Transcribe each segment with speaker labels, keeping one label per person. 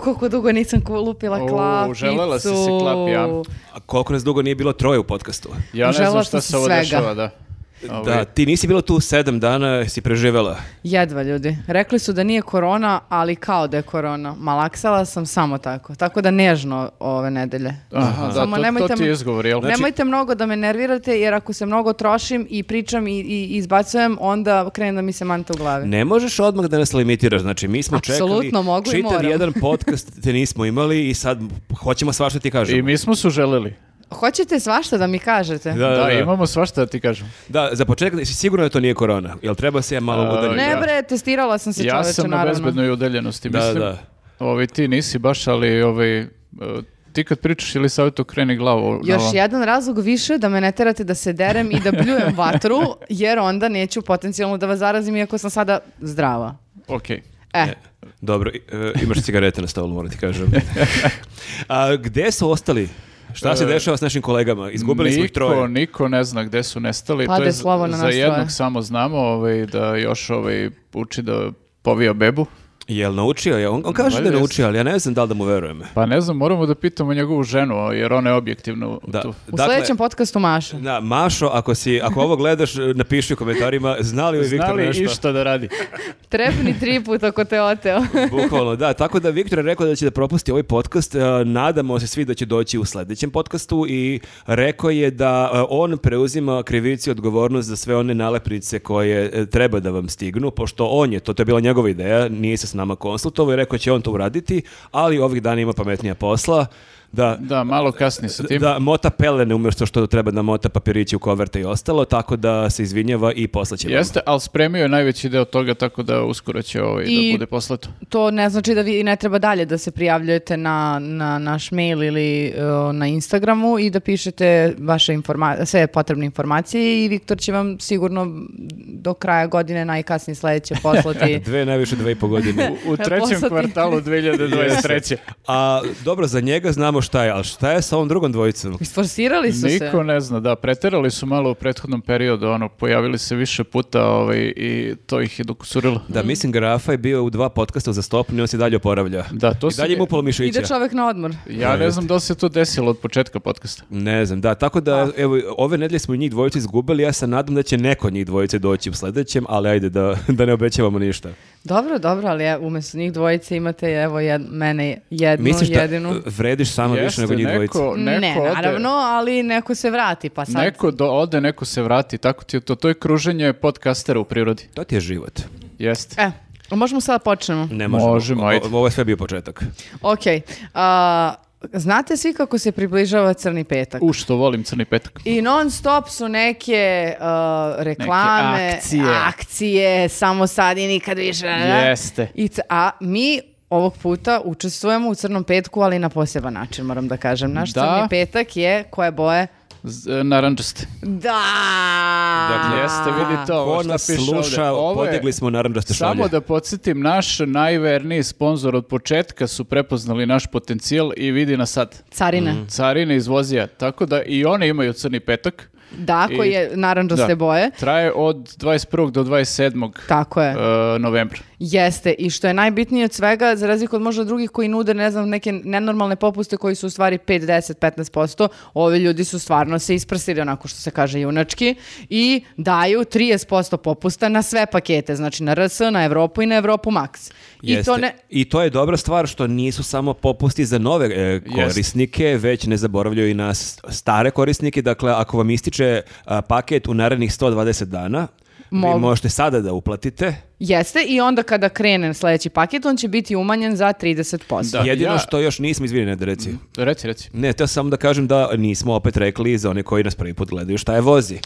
Speaker 1: koliko dugo nisam lupila
Speaker 2: U,
Speaker 1: klapicu.
Speaker 2: želela si se klapi, ja.
Speaker 3: A koliko nas dugo nije bilo troje u podcastu?
Speaker 2: Ja ne
Speaker 1: Žela
Speaker 2: znam
Speaker 1: sam
Speaker 2: šta
Speaker 1: se
Speaker 2: se ovo
Speaker 1: svega.
Speaker 2: dešava, da. Ovo
Speaker 3: Da,
Speaker 2: je-
Speaker 3: ti nisi bila tu sedam dana, si preživela.
Speaker 1: Jedva ljudi. Rekli su da nije korona, ali kao da je korona. Malaksala sam samo tako. Tako da nežno ove nedelje.
Speaker 2: Aha, da,
Speaker 1: Samo
Speaker 2: to- to
Speaker 1: nemojte
Speaker 2: ti je
Speaker 1: me-
Speaker 2: izgovor, jel? Znači-
Speaker 1: Nemojte mnogo da me nervirate, jer ako se mnogo trošim i pričam i, i izbacujem, onda krene da mi se manta u
Speaker 2: E.
Speaker 1: glavi.
Speaker 3: Ne možeš odmah da nas limitiraš, znači mi smo
Speaker 1: Apsolutno,
Speaker 3: čekali
Speaker 1: mogu i
Speaker 3: čitav
Speaker 1: moram.
Speaker 3: jedan podcast te nismo imali i sad hoćemo svašta ti kažemo.
Speaker 2: I mi smo su želeli.
Speaker 1: Hoćete svašta da mi kažete?
Speaker 3: Da, da,
Speaker 2: Da,
Speaker 3: da.
Speaker 2: imamo svašta da ti kažem.
Speaker 3: Da, za početak, jesi sigurno da to nije korona? Jel treba se ja malo
Speaker 2: A,
Speaker 3: udariti?
Speaker 1: Ne
Speaker 2: Ja-
Speaker 1: bre, testirala sam se
Speaker 2: Ja
Speaker 1: čoveče,
Speaker 2: sam na
Speaker 1: naravno.
Speaker 2: bezbednoj udaljenosti,
Speaker 3: Da,
Speaker 2: mislim.
Speaker 3: da.
Speaker 2: Ovi, ti nisi baš, ali ovi, e, ti kad pričaš ili savjetu kreni glavu. na
Speaker 1: Još
Speaker 2: ovo.
Speaker 1: jedan razlog više da me ne terate da se derem i da bljujem vatru, jer onda neću potencijalno da vas zarazim iako sam sada zdrava.
Speaker 2: Okej.
Speaker 1: E,
Speaker 3: Dobro, i- e, imaš cigarete na stolu, moram ti kažem. A gde su ostali? Šta se
Speaker 2: E,
Speaker 3: dešava s našim kolegama? Izgubili smo ih troje.
Speaker 2: Niko, niko ne zna gde su nestali.
Speaker 1: Pade
Speaker 2: to je z-
Speaker 1: slovo na
Speaker 2: za
Speaker 1: nas
Speaker 2: jednog
Speaker 1: troje.
Speaker 2: samo znamo ovaj, da još ovaj, uči da povija bebu.
Speaker 3: Jel naučio? je? On, on kaže da je
Speaker 2: Valjda
Speaker 3: naučio, ali ja ne znam da li da mu verujem.
Speaker 2: Pa ne znam, moramo da pitamo njegovu ženu, jer ona je objektivno
Speaker 3: Da,
Speaker 2: tu.
Speaker 1: u sljedećem podcastu Maša.
Speaker 3: Da, Mašo, ako, si, ako ovo gledaš, napiši u komentarima, zna li ovaj Viktor
Speaker 2: Znali
Speaker 3: nešto?
Speaker 2: išta da radi?
Speaker 1: Trepni tri puta ako te oteo.
Speaker 3: Bukvalno, da. Tako da Viktor je rekao da će da propusti ovaj podcast. E, Nadamo se svi da će doći u sledećem podcastu i rekao je da e, on preuzima krivicu i odgovornost za sve one nalepnice koje e, treba da vam stignu, pošto on je, to, to je bila njegova ideja, nije se s nama konsultovao i rekao će on to uraditi, ali ovih dana ima pametnija posla. Da,
Speaker 2: Da, malo kasni sa tim.
Speaker 3: da mota pelene umjesto što treba da mota papirići u koverte i ostalo, tako da se izvinjava i poslaće vam.
Speaker 2: Jeste, ali spremio je najveći deo toga, tako da uskoro će ovaj,
Speaker 1: I-
Speaker 2: da bude poslato.
Speaker 1: To ne znači da vi ne treba dalje da se prijavljujete na, na naš mail ili e, na Instagramu i da pišete vaše informa- sve potrebne informacije i Viktor će vam sigurno do kraja godine najkasnije sledeće poslati.
Speaker 3: Dve, najviše dve i po godine.
Speaker 2: U trećem
Speaker 1: Poslati.
Speaker 2: kvartalu 2023.
Speaker 3: A dobro, za njega znamo šta je, ali šta je sa ovom drugom dvojicom?
Speaker 1: Isforsirali su se.
Speaker 2: Niko ne zna, da, preterali su malo u prethodnom periodu, ono, pojavili se više puta ovaj, i to ih je dokusurilo.
Speaker 3: Da, mislim, Grafa je bio u dva podcasta za stopnu i on se dalje oporavlja.
Speaker 2: Da, to
Speaker 3: I
Speaker 2: se-
Speaker 3: dalje ima upalo mišića.
Speaker 1: Ide čovek na odmor.
Speaker 2: Ja ne znam da li se to desilo od početka podcasta.
Speaker 3: Ne znam, da, tako da, evo, ove nedelje smo njih dvojice izgubili, ja se nadam da će neko od njih dvojice doći u sledećem, ali ajde da, da ne obećavamo ništa.
Speaker 1: Dobro, dobro, ali ja, umjesto njih dvojice imate evo jed, mene jednu,
Speaker 3: Misliš da
Speaker 1: jedinu.
Speaker 3: e, vrediš samo više nego njih dvojice?
Speaker 2: neko, neko
Speaker 1: ne,
Speaker 2: ode-
Speaker 1: naravno, ali neko se vrati, pa sad.
Speaker 2: Neko do, ode, neko se vrati, tako ti je to. To je kruženje podcastera u prirodi.
Speaker 3: To ti je život.
Speaker 2: Jeste.
Speaker 1: E, možemo sada da počnemo.
Speaker 3: Ne možemo.
Speaker 2: Možemo, ajde.
Speaker 3: O- Ovo je sve bio početak.
Speaker 1: Ok, a, znate svi kako se približava Crni petak?
Speaker 2: U što volim crni petak.
Speaker 1: I non stop su neke a, reklame,
Speaker 2: Neke akcije.
Speaker 1: akcije, samo sad i nikad više.
Speaker 2: Jeste.
Speaker 1: I c- a mi ovog puta učestvujemo u Crnom petku, ali na poseban način, moram da kažem. Naš
Speaker 2: Da.
Speaker 1: Crni petak je, koje boje?
Speaker 2: Z- Narančaste.
Speaker 1: Da!
Speaker 3: Dakle,
Speaker 2: Jeste, vidi to. ovo
Speaker 3: Ko
Speaker 2: šta
Speaker 3: nas
Speaker 2: piše
Speaker 3: sluša,
Speaker 2: ovde. Ovo je-
Speaker 3: podigli smo naranđaste šolje.
Speaker 2: Samo da podsjetim, naš najverniji sponsor od početka su prepoznali naš potencijal i vidi nas sad.
Speaker 1: Carine.
Speaker 2: Mm. Carine iz Vozija, tako da i one imaju crni petak.
Speaker 1: Da, koji
Speaker 2: I-
Speaker 1: je naranđaste
Speaker 2: da.
Speaker 1: boje.
Speaker 2: Traje od 21. do 27.
Speaker 1: Tako je.
Speaker 2: e, novembra.
Speaker 1: Jeste, i što je najbitnije od svega, za razliku od možda drugih koji nude, ne znam, neke nenormalne popuste koji su u stvari 5, 10, 15%, ovi ljudi su stvarno se isprsili onako što se kaže junački i daju 30% popusta na sve pakete, znači na RS, na Evropu i na Evropu Max. I to
Speaker 3: Jeste.
Speaker 1: ne...
Speaker 3: I to je dobra stvar što nisu samo popusti za nove e, korisnike, već ne zaboravljaju i na s- stare korisnike. Dakle, ako vam ističe a, paket u narednih 120 dana,
Speaker 1: Mogu.
Speaker 3: vi možete sada da uplatite.
Speaker 1: Jeste, i onda kada krene sledeći paket, on će biti umanjen za 30%.
Speaker 2: Da,
Speaker 3: Jedino
Speaker 2: ja-
Speaker 3: što još nismo izvini na reci.
Speaker 2: Reci, reci.
Speaker 3: Ne, teo samo da kažem da nismo opet rekli za one koji nas prvi put gledaju šta je vozi.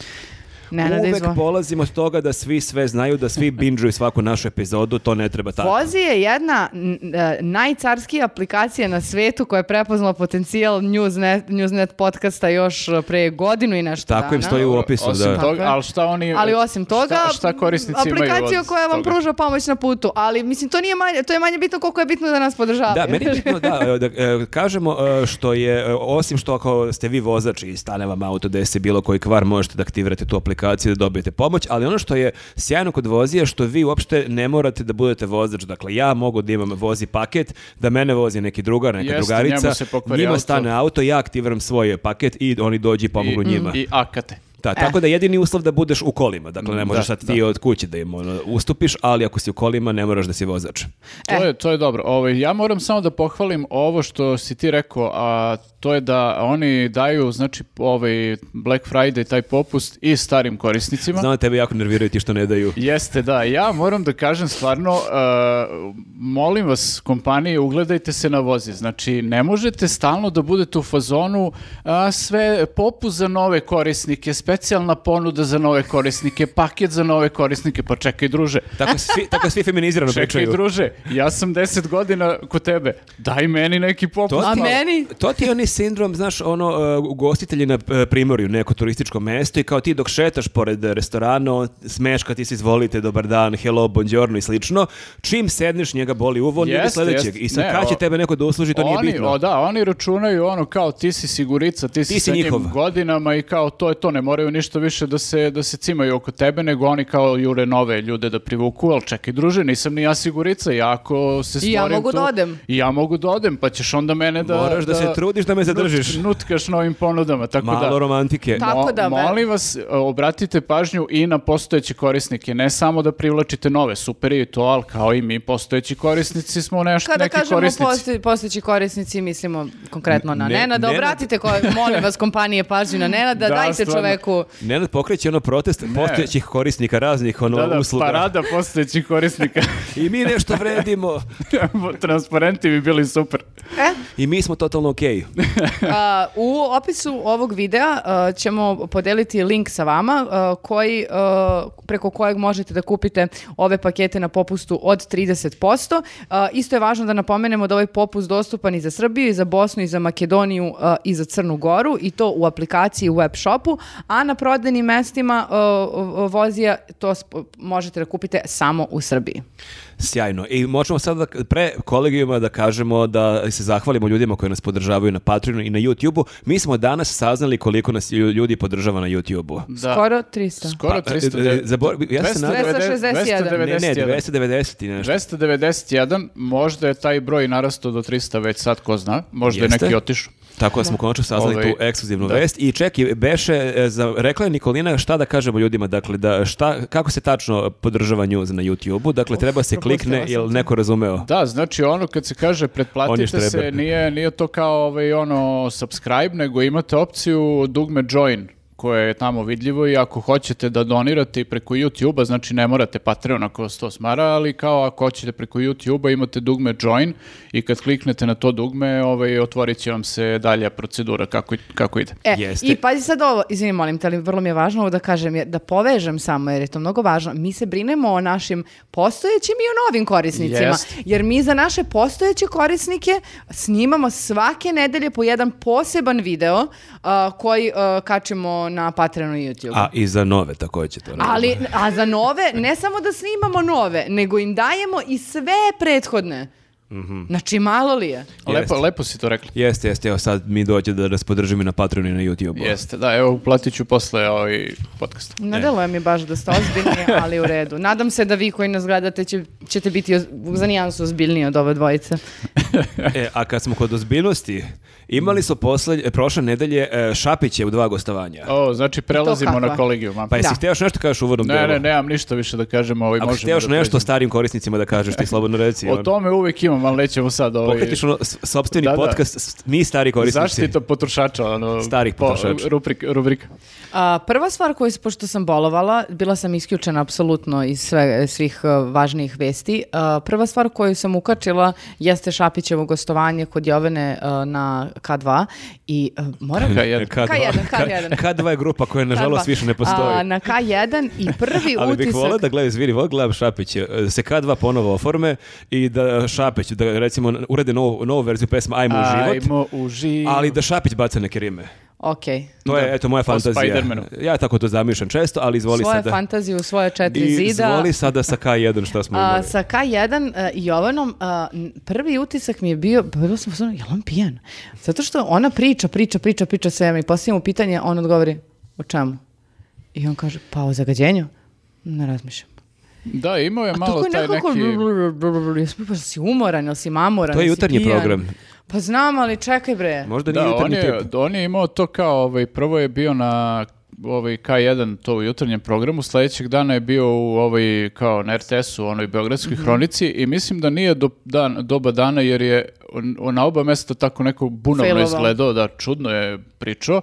Speaker 1: Nenade,
Speaker 3: Uvek
Speaker 1: izvoli.
Speaker 3: polazimo od toga da svi sve znaju, da svi binđuju svaku našu epizodu, to ne treba tako.
Speaker 1: Vozi je jedna n- e, najcarskija aplikacija na svetu koja je prepoznala potencijal Newsnet, Newsnet podcasta još e, pre godinu i nešto
Speaker 3: Tako im
Speaker 1: dana.
Speaker 3: stoji u opisu.
Speaker 2: Osim
Speaker 3: da.
Speaker 2: toga,
Speaker 1: Tako je.
Speaker 2: ali šta oni...
Speaker 1: Ali osim toga,
Speaker 2: šta, šta korisnici imaju
Speaker 1: aplikacija
Speaker 2: od
Speaker 1: koja vam
Speaker 2: toga?
Speaker 1: pruža pomoć na putu, ali mislim to nije manje, to je manje bitno koliko je bitno da nas podržavaju.
Speaker 3: Da, meni je bitno da, e, da e, kažemo e, što je, e, osim što ako ste vi vozač i stane vam auto, desi bilo koji kvar, možete da aktivirate tu aplikaciji da dobijete pomoć, ali ono što je sjajno kod vozi je što vi uopšte ne morate da budete vozač. Dakle, ja mogu da imam vozi paket, da mene vozi neki drugar, neka
Speaker 2: Jeste,
Speaker 3: drugarica,
Speaker 2: njemu se pokvari
Speaker 3: njima
Speaker 2: auto.
Speaker 3: stane auto, ja aktiviram svoj paket i oni dođu i
Speaker 2: I,
Speaker 3: pomogu njima.
Speaker 2: I akate.
Speaker 3: Da, tako da jedini uslov da budeš u kolima. Dakle, ne možeš sad ti od kuće da im ono, ustupiš, ali ako si u kolima ne moraš da si vozač.
Speaker 2: To, je, to je dobro. Ovo, ja moram samo da pohvalim ovo što si ti rekao, a to je da oni daju znači, ovaj Black Friday, taj popust i starim korisnicima.
Speaker 3: Znam da tebe jako nerviraju ti što ne daju.
Speaker 2: Jeste, da. Ja moram da kažem stvarno, uh, molim vas, kompanije, ugledajte se na vozi. Znači, ne možete stalno da budete u fazonu a, sve popu za nove korisnike, specijalna ponuda za nove korisnike, paket za nove korisnike. Pa čekaj, druže.
Speaker 3: Tako svi, tako svi feminizirano
Speaker 2: Čekaj,
Speaker 3: pričaju.
Speaker 2: druže, ja sam 10 godina kod tebe. Daj meni neki popust.
Speaker 1: A
Speaker 3: ti-
Speaker 1: meni?
Speaker 3: To ti je onaj sindrom, znaš, ono, uh, ugostitelji na uh, primorju, neko turističko mesto i kao ti dok šetaš pored restorana, on smeška ti se izvolite, dobar dan, hello, buongiorno i slično. Čim sedneš, njega boli uvo, on ide
Speaker 2: Jeste,
Speaker 3: sledećeg.
Speaker 2: jeste.
Speaker 3: I sad
Speaker 2: Ne,
Speaker 3: kad će
Speaker 2: o-
Speaker 3: tebe neko da usluži, to nije
Speaker 2: oni,
Speaker 3: bitno.
Speaker 2: O, da, oni računaju ono kao ti si sigurica, ti si,
Speaker 3: Ti si
Speaker 2: sa njim
Speaker 3: njihov.
Speaker 2: godinama i kao to je to, ne moraju ništa više da se, da se cimaju oko tebe, nego oni kao jure nove ljude da privuku, ali čekaj druže, nisam ni ja sigurica, ja ako se
Speaker 1: I
Speaker 2: stvorim
Speaker 1: ja mogu
Speaker 2: tu,
Speaker 1: da odem.
Speaker 2: I ja mogu da odem, pa ćeš onda mene da...
Speaker 3: Moraš da se trudiš da me zadržiš.
Speaker 2: nut- nutkaš novim ponudama, tako
Speaker 3: Malo
Speaker 2: da...
Speaker 3: romantike.
Speaker 1: Ta- Tako da me-
Speaker 2: Molim vas, e, obratite pažnju i na postojeće korisnike, ne samo da privlačite nove, super je i to, ali kao i mi postojeći korisnici smo nešto,
Speaker 1: Kada
Speaker 2: neki
Speaker 1: kažemo
Speaker 2: korisnici.
Speaker 1: postoji- postojeći korisnici, mislimo konkretno na
Speaker 3: Ne-
Speaker 1: Nenada.
Speaker 3: Nenad-
Speaker 1: Obratite, ko, molim vas, kompanije, pažnju na Nenada.
Speaker 2: Da,
Speaker 1: dajte
Speaker 2: stvarno.
Speaker 1: čoveku.
Speaker 3: Nenad pokreće ono protest postojećih korisnika raznih ono
Speaker 2: Da, da,
Speaker 3: usluga.
Speaker 2: parada postojećih korisnika.
Speaker 3: I mi nešto vredimo.
Speaker 2: Transparenti bi bili super.
Speaker 1: E,
Speaker 3: I mi smo totalno okej.
Speaker 1: a, Uh, u opisu ovog videa a, ćemo podeliti link sa vama a, koji, a, preko kojeg možete da kupite ove pakete na popustu od 30%. A, isto je važno da napomenemo da ovaj popust dostupan i za Srbiju, i za Bosnu, i za Makedoniju, a, i za Crnu Goru i to u aplikaciji u web shopu, a na prodajnim mestima a, a, vozija to sp- možete da kupite samo u Srbiji.
Speaker 3: Sjajno. I možemo sad da, pre kolegijuma da kažemo da se zahvalimo ljudima koji nas podržavaju na Patreonu i na YouTubeu. Mi smo danas saznali koliko nas lju- ljudi podržava na YouTubeu.
Speaker 2: Da.
Speaker 1: Skoro 300.
Speaker 2: Skoro
Speaker 3: Pa,
Speaker 2: 300.
Speaker 3: e, e, zaborav- ja se nadam-
Speaker 1: 261.
Speaker 3: Ne, ne,
Speaker 2: 291.
Speaker 3: 290 i nešto.
Speaker 2: 291, možda je taj broj narastao do 300 već sad, ko zna, možda
Speaker 3: Jeste.
Speaker 2: je neki otišao.
Speaker 3: Tako da smo konačno saznali
Speaker 2: Ovaj,
Speaker 3: tu ekskluzivnu
Speaker 2: da.
Speaker 3: vest. I čeki, Beše, e, za, rekla je Nikolina šta da kažemo ljudima, dakle, da šta, kako se tačno podržava news na YouTubeu, dakle, treba se klikne,
Speaker 1: propustila sam
Speaker 3: jel neko razumeo?
Speaker 2: Da, znači ono kad se kaže
Speaker 3: On je
Speaker 2: pretplatite
Speaker 3: štreber.
Speaker 2: se, nije, nije to kao ovaj, ono subscribe, nego imate opciju dugme join koje je tamo vidljivo i ako hoćete da donirate i preko YouTube-a, znači ne morate Patreon ako vas to smara, ali kao ako hoćete preko YouTube-a imate dugme join i kad kliknete na to dugme, ovaj, otvorit će vam se dalja procedura kako, kako ide.
Speaker 1: E,
Speaker 3: Jeste.
Speaker 1: I pazi sad ovo, izvini molim te, ali vrlo mi je važno ovo da kažem, je- da povežem samo jer je to mnogo važno. Mi se brinemo o našim postojećim i o novim korisnicima.
Speaker 2: Jest.
Speaker 1: Jer mi za naše postojeće korisnike snimamo svake nedelje po jedan poseban video a, koji a, kačimo na Patreonu i YouTube.
Speaker 3: A i za nove takođe to radimo.
Speaker 1: Ali, a za nove, ne samo da snimamo nove, nego im dajemo i sve prethodne.
Speaker 3: Mhm.
Speaker 1: Znači, malo li je?
Speaker 2: Lepo,
Speaker 3: Jeste.
Speaker 2: lepo si to rekli.
Speaker 3: Jeste, jeste, evo sad mi dođe da nas podržimo i na Patreonu i na YouTubeu.
Speaker 2: Jeste, da, evo uplatit ću posle ovaj podcast.
Speaker 1: Ne deluje mi baš da ste ozbiljni, ali u redu. Nadam se da vi koji nas gledate će, ćete biti oz- za nijansu ozbiljniji od ove dvojice.
Speaker 3: E, a kad smo kod ozbiljnosti, imali su posle, e, prošle nedelje e, Šapiće u dva gostavanja.
Speaker 2: O, znači prelazimo
Speaker 1: kakva?
Speaker 2: na kolegijum. a?
Speaker 3: Pa jesi
Speaker 1: Da.
Speaker 3: htio još nešto kažeš u uvodnom
Speaker 2: Ne,
Speaker 3: delu?
Speaker 2: ne, nemam ništa više da kažem. Ovaj,
Speaker 3: Ako si
Speaker 2: možemo
Speaker 3: htio još
Speaker 2: da
Speaker 3: nešto
Speaker 2: pređemo.
Speaker 3: starim korisnicima da kažeš, ti slobodno reci.
Speaker 2: O
Speaker 3: Ivan.
Speaker 2: tome uvek imam, ali nećemo sad ovaj...
Speaker 3: Pokretiš ono s- sopstveni
Speaker 2: Da, da.
Speaker 3: podcast, s- mi stari korisnici.
Speaker 2: Zaštita potrošača, ono...
Speaker 3: Starih potrošača.
Speaker 2: rubrik, rubrika.
Speaker 1: A, prva stvar koju, s- pošto sam bolovala, bila sam isključena apsolutno iz sve, svih e, važnijih vesti, a, prva stvar koju sam ukačila jeste Šapićevo gostovanje kod Jovene e, na K2 i e, moram...
Speaker 2: Ka jedan.
Speaker 3: K2.
Speaker 1: K1, K1.
Speaker 3: K2 je grupa koja nažalost
Speaker 1: K2.
Speaker 3: više ne postoji.
Speaker 1: A, na K1 i prvi
Speaker 3: Ali bih
Speaker 1: utisak...
Speaker 3: volao da gledam, izvini, volao gledam Šapić, e, da se K2 ponovo oforme i da Šapić, da recimo urede novu, novu verziju pesma Ajmo u život,
Speaker 2: Ajmo u život.
Speaker 3: ali da Šapić baca neke rime.
Speaker 1: Okej.
Speaker 3: To je, eto, moja fantazija.
Speaker 2: Spidermanu.
Speaker 3: Ja tako to zamišljam često, ali izvoli
Speaker 1: Svoje
Speaker 3: sada.
Speaker 1: fantazije u svoje četiri
Speaker 3: I
Speaker 1: zida.
Speaker 3: izvoli sada sa K1 šta smo
Speaker 1: A,
Speaker 3: imali.
Speaker 1: sa K1 e, i Jovanom a, n- prvi utisak mi je bio, bilo sam stvarno, je li on pijan? Zato što ona priča, priča, priča, priča svema i poslije mu pitanje, on odgovori, o čemu? I on kaže, pa o zagađenju? Ne razmišljam.
Speaker 2: Da, imao je malo
Speaker 1: Tako je
Speaker 2: taj
Speaker 1: nekako...
Speaker 2: neki...
Speaker 1: Brr, brr, brr, brr, brr, jesi- pa si umoran, jel si mamoran?
Speaker 3: To je
Speaker 1: jel si
Speaker 3: jutarnji
Speaker 1: pijan?
Speaker 3: program.
Speaker 1: Pa znam, ali čekaj bre.
Speaker 3: Možda nije
Speaker 2: Da, on
Speaker 3: jutarnji
Speaker 2: je,
Speaker 3: tip.
Speaker 2: on je imao to kao, ovaj, prvo je bio na ovaj K1 to u jutarnjem programu, sledećeg dana je bio u ovaj, kao na RTS-u, onoj Beogradskoj
Speaker 3: Mhm.
Speaker 2: hronici i mislim da nije do, dan, doba dana jer je on- on na oba mesta tako neko bunavno
Speaker 1: Failovao.
Speaker 2: izgledao, da čudno je pričao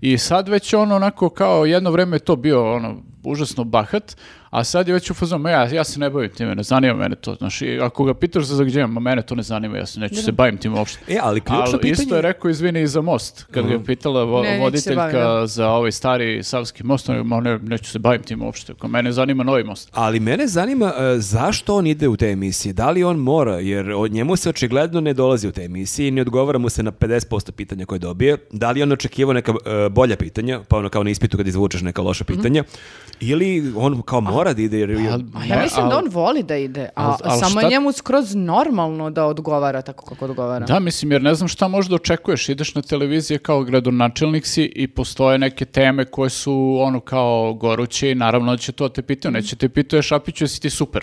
Speaker 2: i sad već on onako kao jedno vreme je to bio ono užasno bahat, a sad je već u fazonu, "Ma ja, ja se ne bavim time, ne zanima mene to, znaš, i ako ga pitaš za zagađenje, ma mene to ne zanima, ja se neću se bavim tim uopšte.
Speaker 3: E, ali ključno
Speaker 2: Ali
Speaker 3: pitanje...
Speaker 2: isto je rekao, izvini, i za most. Kad ga je pitala vo-
Speaker 1: Ne, neću se
Speaker 2: voditeljka
Speaker 1: bavim, da.
Speaker 2: za ovaj stari savski most, on je, "Ma ne, neću se bavim tim uopšte. Ko mene zanima novi most.
Speaker 3: Ali mene zanima e, zašto on ide u te emisije. Da li on mora, jer od njemu se očigledno ne dolazi u te emisije i ne odgovara mu se na 50% pitanja koje dobije. Da li je on očekivao neka e, bolja pitanja, pa ono kao na ispitu kad izvučeš neka loša pitanja,
Speaker 1: Mhm.
Speaker 3: ili on kao mora da ide jer...
Speaker 2: Al-
Speaker 1: A
Speaker 2: ne,
Speaker 1: ja mislim da
Speaker 2: al-
Speaker 1: on voli da ide, a,
Speaker 2: Al- al
Speaker 1: samo
Speaker 2: šta-
Speaker 1: je njemu skroz normalno da odgovara tako kako odgovara.
Speaker 2: Da, mislim, jer ne znam šta možda očekuješ. Ideš na televizije kao gradonačelnik si i postoje neke teme koje su ono kao goruće i naravno da će to te
Speaker 1: Mm.
Speaker 2: pitaju. Neće te pitaju, Šapiću, jesi ti super.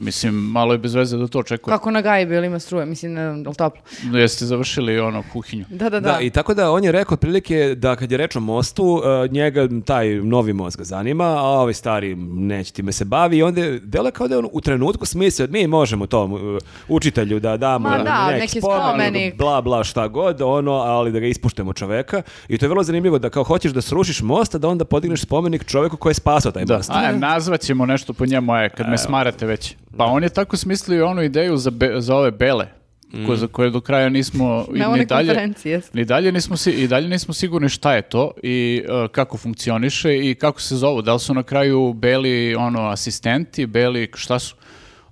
Speaker 2: Mislim, malo je bez veze da to očekuješ.
Speaker 1: Kako na gajbi ili ima struje, mislim, ne znam, je li toplo?
Speaker 2: Jeste završili ono kuhinju.
Speaker 1: Da, da, da.
Speaker 3: Da. i tako da on je rekao otprilike da kad je reč o mostu, e, njega taj novi most ga zanima, a ovaj stari neće time se bavi i onda je- delo je kao da je on u trenutku smislio, mi možemo tom e, učitelju da damo
Speaker 1: Ma da,
Speaker 3: neki,
Speaker 1: neki
Speaker 3: spomenik,
Speaker 1: spomenik.
Speaker 3: bla bla šta god, ono, ali da ga ispuštemo čoveka i to je vrlo zanimljivo da kao hoćeš da srušiš most, a da onda podigneš spomenik čoveku koji je spasao taj
Speaker 2: Da,
Speaker 3: most.
Speaker 2: a, nazvat ćemo nešto po njemu, aj, kad me smarate već. Pa on je tako smislio i onu ideju za, be- za ove bele,
Speaker 3: Mm.
Speaker 2: ko, za koje do kraja nismo i
Speaker 1: Na
Speaker 2: ni
Speaker 1: one
Speaker 2: dalje,
Speaker 1: konferenciji, jeste.
Speaker 2: ni dalje nismo si, i dalje nismo sigurni šta je to i e, kako funkcioniše i kako se zovu. Da li su na kraju beli ono asistenti, beli šta su?
Speaker 1: Mm.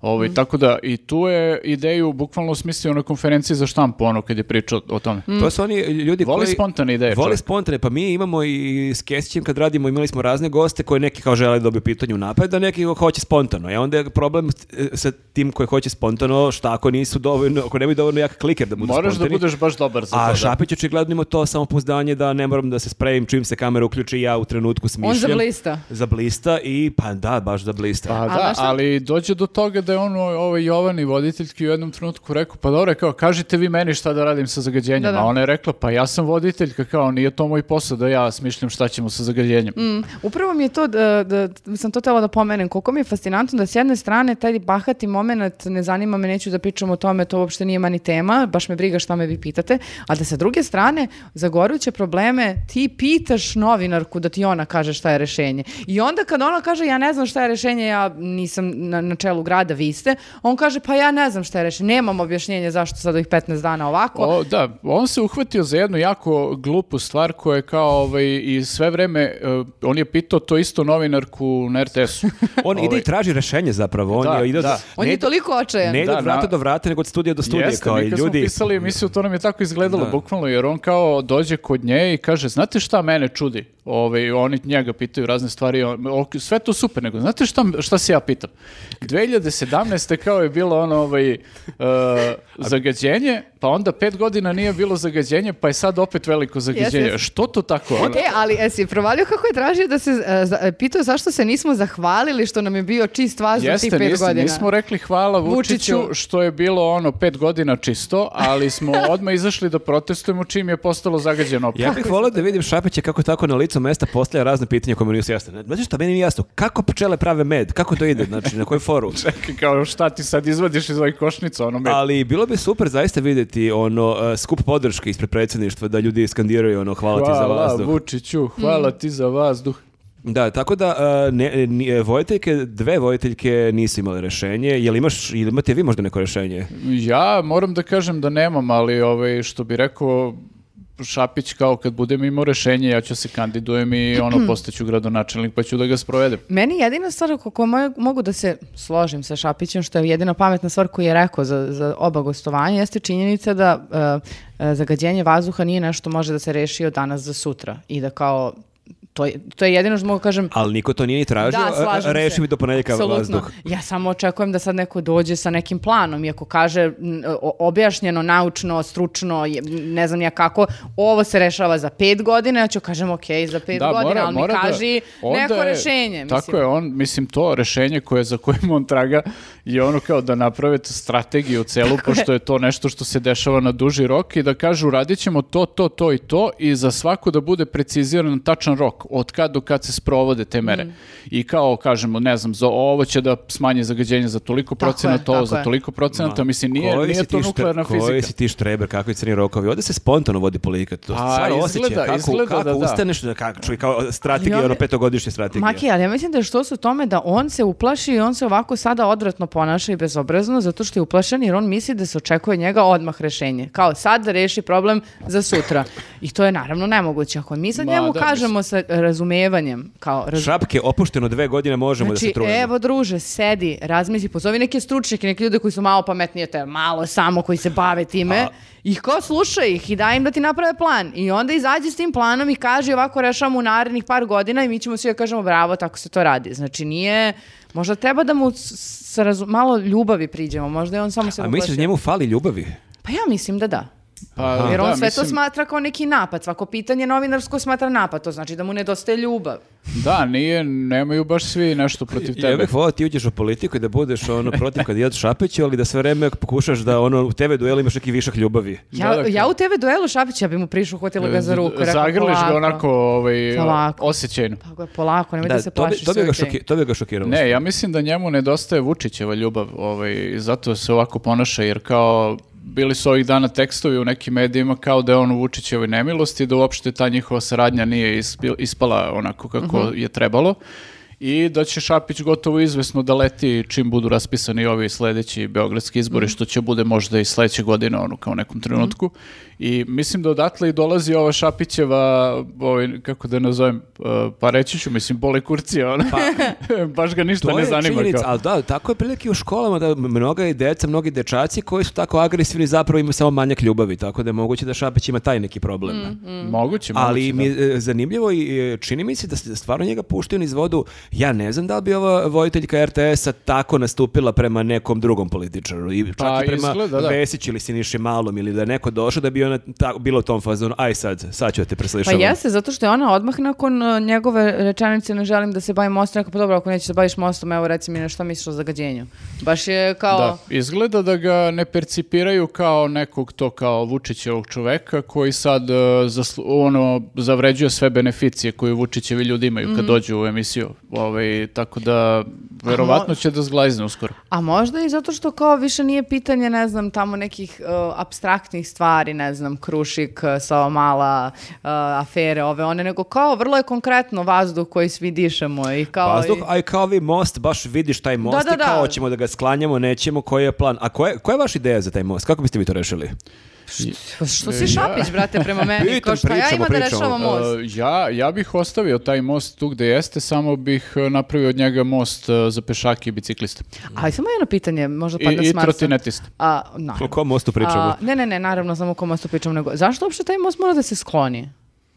Speaker 2: Ovaj, Tako da i tu je ideju bukvalno smislio na konferenciji za štampu, ono kad je pričao o tome.
Speaker 3: To su oni ljudi
Speaker 2: Mm. Voli
Speaker 3: koji...
Speaker 2: spontane ideje,
Speaker 3: Voli
Speaker 2: čovjek.
Speaker 3: spontane, pa mi imamo i s Kesićem kad radimo, imali smo razne goste koji neki kao žele da dobiju pitanje u napred, a neki hoće spontano. I onda je problem s- e, sa tim koji hoće spontano, šta ako nisu dovoljno, ako nemaju dovoljno jak kliker da budu
Speaker 2: Moraš
Speaker 3: spontani.
Speaker 2: da budeš baš dobar za to.
Speaker 3: A
Speaker 2: da.
Speaker 3: Šapić očigledno ima to samopouzdanje da ne moram da se spremim čim se kamera uključi ja u trenutku smišljam.
Speaker 1: zablista.
Speaker 3: Zablista i pa da, baš zablista.
Speaker 2: Pa
Speaker 1: A
Speaker 2: da,
Speaker 1: znaš šta?
Speaker 2: ali dođe do toga da je on ovaj Jovan i voditeljki u jednom trenutku rekao, pa dobro, kao, kažite vi meni šta da radim sa zagađenjem,
Speaker 1: Da, da.
Speaker 2: a ona je rekla, pa ja sam voditeljka, kao, nije to moj posao da ja smišljam šta ćemo sa zagađenjem.
Speaker 1: Mm, Upravo mi je to, da, da, sam to tela da pomenem, koliko mi je fascinantno da s jedne strane taj bahati moment ne zanima me, neću da pričam o tome, to uopšte nije mani tema, baš me briga šta me vi pitate, a da sa druge strane za goruće probleme ti pitaš novinarku da ti ona kaže šta je rešenje. I onda kad ona kaže ja ne znam šta je rešenje, ja nisam na, na čelu grada, vi ste, on kaže pa ja ne znam šta je rešenje, nemam objašnjenje zašto sad ovih 15 dana ovako.
Speaker 2: O, da, on se uhvatio za jednu jako glupu stvar koja je kao ovaj, i sve vreme, eh, on je pitao to isto novinarku na RTS-u.
Speaker 3: on ide
Speaker 2: Ovaj,
Speaker 3: i traži rešenje zapravo. On
Speaker 2: Da,
Speaker 3: je ide od-
Speaker 2: da.
Speaker 1: on
Speaker 3: ne
Speaker 1: je
Speaker 3: ide-
Speaker 1: toliko očajan.
Speaker 3: Ne ide
Speaker 2: Da,
Speaker 3: od vrata
Speaker 2: na-
Speaker 3: do vrata, nego od studija do studija.
Speaker 2: Jeste,
Speaker 3: kao, i
Speaker 2: mi kad smo
Speaker 3: ljudi,
Speaker 2: pisali emisiju, to nam je tako izgledalo bukvalno, jer on kao dođe kod nje i kaže, znate šta mene čudi? Ove, oni njega pitaju razne stvari, on- ok, sve to super, nego znate šta, šta se ja pitam? 2017. kao je bilo ono ovaj, e, zagađenje, pa onda pet godina nije bilo zagađenje, pa je sad opet veliko zagađenje.
Speaker 1: Jesi, jesi.
Speaker 2: Što to tako? ono?
Speaker 1: E, ali e, si provalio kako je tražio da se, e, za- e, pitao zašto se nismo zahvalili što nam je bio čist vazduh tih
Speaker 2: Jeste,
Speaker 1: pet
Speaker 2: nismo,
Speaker 1: godina.
Speaker 2: nismo rekli hvala Vučiću,
Speaker 1: Vučiću.
Speaker 2: što je bilo ono pet godina čisto, ali smo odmah izašli da protestujemo čim je postalo zagađeno opet.
Speaker 3: Ja bih volio da vidim Šapića kako tako na licu mesta postavlja razne pitanja koje mu nisu jasne. Znači šta, meni nije jasno, kako pčele prave med, kako to ide, znači na koju foru?
Speaker 2: kao šta ti sad izvadiš iz ovih košnica, ono me...
Speaker 3: Ali bilo bi super zaista vidjeti ono e, skup podrške ispred predsjedništva da ljudi skandiraju ono hvala, ti za
Speaker 2: Hvala
Speaker 3: vazduh.
Speaker 2: Vučiću, hvala ti za vazduh.
Speaker 3: Da, tako da e, ne, e, ni- e, vojiteljke, dve vojiteljke nisu imale rešenje. Jel imaš, ili imate vi možda neko rešenje?
Speaker 2: Ja moram da kažem da nemam, ali ovaj, što bi rekao Šapić kao kad budem imao rešenje, ja ću se kandidujem i ono postaću gradonačelnik pa ću da ga sprovedem.
Speaker 1: Meni jedina stvar oko koje mo- mogu da se složim sa Šapićem, što je jedina pametna stvar koju je rekao za, za oba gostovanja, jeste činjenica da e, e, zagađenje vazduha nije nešto može da se reši od danas za sutra i da kao To je, to je jedino što mogu kažem,
Speaker 3: Ali niko to nije ni tražio, e,
Speaker 1: da, slažem se.
Speaker 3: reši mi do ponedjeljka
Speaker 1: Apsolutno.
Speaker 3: vazduh.
Speaker 1: Ja samo očekujem da sad neko dođe sa nekim planom, iako kaže m, o- objašnjeno, naučno, stručno, je- m, ne znam ja kako, ovo se rešava za pet godina, ja ću kažem ok, za pet godina, ali mi
Speaker 2: da-
Speaker 1: kaži
Speaker 2: onda
Speaker 1: neko
Speaker 2: je-
Speaker 1: rješenje. Mislim.
Speaker 2: Tako je, on, mislim, to rešenje koje za kojim on traga je ono kao da naprave tu strategiju celu, pošto je to nešto što se dešava na duži rok i da kažu radit ćemo to, to, to i to i za svaku da bude preciziran tačan rok, od kad do kad se sprovode te mere.
Speaker 1: Mm.
Speaker 2: I kao kažemo, ne znam, za ovo će da smanji zagađenje za toliko
Speaker 1: Tako je,
Speaker 2: procenata, ovo
Speaker 1: tako
Speaker 2: za
Speaker 1: je.
Speaker 2: toliko procenata, mislim, nije,
Speaker 3: Koji
Speaker 2: nije
Speaker 3: si ti
Speaker 2: to
Speaker 3: štre-
Speaker 2: nuklearna
Speaker 3: Koji
Speaker 2: fizika.
Speaker 3: si ti štreber, kakvi crni rokovi? Ovdje se spontano vodi politika. To
Speaker 2: A,
Speaker 3: stvar osjećaja,
Speaker 2: izgleda-
Speaker 3: kako,
Speaker 2: izgleda
Speaker 3: kako
Speaker 2: da da.
Speaker 3: ustaneš, kako, čuj, kao strategija,
Speaker 1: Ali on-
Speaker 3: ono petogodišnja strategija.
Speaker 1: Maki, ali ja mislim da je što su u tome da on se uplaši i on se ovako sada odvratno ponaša i bezobrazno zato što je uplašen jer on misli da se očekuje od njega odmah rešenje. Kao sad da reši problem za sutra. I to je naravno nemoguće. Ako mi sad
Speaker 2: Ma,
Speaker 1: njemu
Speaker 2: da,
Speaker 1: kažemo sa razumevanjem, kao raz-
Speaker 3: Šapke, opušteno dve godine možemo da
Speaker 1: Znači,
Speaker 3: se trujemo.
Speaker 1: evo druže, sedi, razmisli, pozovi neke stručnjake, neke ljude koji su malo pametniji od tebe, malo samo koji se bave time
Speaker 3: A-
Speaker 1: i ko slušaj ih i daj im da ti naprave plan i onda izađi s tim planom i kaži ovako rešavamo u narednih par godina i mi ćemo svi da kažemo bravo, tako se to radi. Znači nije, možda treba da mu s- s- sa razu- malo ljubavi priđemo, možda je on samo se
Speaker 3: A misliš da njemu fali ljubavi?
Speaker 1: Pa ja mislim da da.
Speaker 2: Pa,
Speaker 1: Jer on
Speaker 2: da,
Speaker 1: sve to
Speaker 2: mislim-
Speaker 1: smatra kao neki napad, svako pitanje novinarsko smatra napad, to znači da mu nedostaje ljubav.
Speaker 2: Da, nije, nemaju baš svi nešto protiv
Speaker 3: Ja
Speaker 2: tebe.
Speaker 3: bih volao da ti uđeš u politiku i da budeš ono protiv kandidat Šapiću, ali da sve vreme pokušaš da ono u TV duelu imaš neki višak ljubavi.
Speaker 1: Ja,
Speaker 2: Da, dakle.
Speaker 1: ja u TV duelu Šapića bi mu prišla, uhvatila ga za ruku. i rekla,
Speaker 2: Zagrliš
Speaker 1: "Polako."
Speaker 2: ga onako ovaj,
Speaker 1: Polako.
Speaker 2: osjećajno.
Speaker 1: Tako je, polako, nemoj da, se
Speaker 3: to bi-
Speaker 1: plašiš.
Speaker 3: to bi,
Speaker 1: sve je
Speaker 3: ga
Speaker 1: okej.
Speaker 3: šoki- to bi ga šokiralo.
Speaker 2: Ne, ja mislim da njemu nedostaje Vučićeva ljubav, ovaj, zato se ovako ponaša, jer kao bili su ovih dana tekstovi u nekim medijima kao da je on u Vučićevoj nemilosti, da uopšte ta njihova saradnja nije ispi- ispala onako kako
Speaker 1: Mhm.
Speaker 2: je trebalo i da će Šapić gotovo izvesno da leti čim budu raspisani ovi sledeći beogradski izbori,
Speaker 3: Mhm.
Speaker 2: što će bude možda i sledeće godine, ono kao u nekom trenutku. I mislim da odatle i dolazi ova Šapićeva, ovaj, kako da je nazovem, eh, pa reći ću, mislim, bole kurcija, ona. baš ga ništa
Speaker 3: Pa, To
Speaker 2: ne
Speaker 3: je
Speaker 2: zanima.
Speaker 3: činjenica,
Speaker 2: Kao.
Speaker 3: ali da, tako je prilike u školama da mnoga je deca, mnogi dečaci koji su tako agresivni zapravo imaju samo manjak ljubavi, tako da je moguće da Šapić ima taj neki problem.
Speaker 2: Mm. Moguće,
Speaker 3: Ali
Speaker 2: moguće,
Speaker 3: mi
Speaker 2: da.
Speaker 3: je e, zanimljivo i e, čini mi se da se stvarno njega puštaju niz vodu. Ja ne znam da li bi ova vojiteljka RTS-a tako nastupila prema nekom drugom političaru. I čak
Speaker 2: Pa,
Speaker 3: i prema
Speaker 2: izgleda, da.
Speaker 3: Vesić ili Siniši Malom ili da je neko došao da bi ona ta, bila u tom fazonu. Aj sad, sad ću da te
Speaker 1: Pa
Speaker 3: preslišavam.
Speaker 1: jeste, zato što je ona odmah nakon uh, njegove rečenice ne želim da se bavim mostom, rekao, pa dobro, ako nećeš da baviš mostom, evo reci mi na šta misliš o zagađenju. Baš je kao...
Speaker 2: Da, izgleda da ga ne percipiraju kao nekog to kao Vučićevog čoveka koji sad e, zaslu- ono, zavređuje sve beneficije koje Vučićevi ljudi imaju
Speaker 1: Mhm.
Speaker 2: kad dođu u emisiju. Ovaj, tako da, verovatno će da zglajzne uskoro.
Speaker 1: A možda i zato što kao više nije pitanje, ne znam, tamo nekih uh, abstraktnih stvari, ne znam, krušik, uh, Savamala, uh, afere, ove one, nego kao vrlo je konkretno vazduh koji svi dišemo i kao...
Speaker 3: Vazduh,
Speaker 1: i-
Speaker 3: aj kao vi most, baš vidiš taj most
Speaker 1: da,
Speaker 3: i kao
Speaker 1: da.
Speaker 3: hoćemo da ga sklanjamo, nećemo, koji je plan. A koja je, koja je vaša ideja za taj most? Kako biste vi to rešili?
Speaker 1: Pa
Speaker 2: E,
Speaker 1: Što si šapić, brate, prema meni?
Speaker 3: Pitam,
Speaker 1: Kao šta ja
Speaker 3: pričamo,
Speaker 1: imam da
Speaker 3: pričamo.
Speaker 1: rešavam most?
Speaker 2: E, ja, ja bih ostavio taj most tu gde jeste, samo bih e, napravio od njega most e, za pešake i bicikliste.
Speaker 1: Ali samo jedno pitanje, možda
Speaker 2: E, I,
Speaker 1: padne
Speaker 2: i
Speaker 1: s Marsa.
Speaker 2: trotinetiste.
Speaker 1: A, na.
Speaker 3: O kom mostu pričamo?
Speaker 1: ne, ne, ne, naravno, samo o kom mostu pričam. Nego, zašto uopšte taj most mora da se skloni?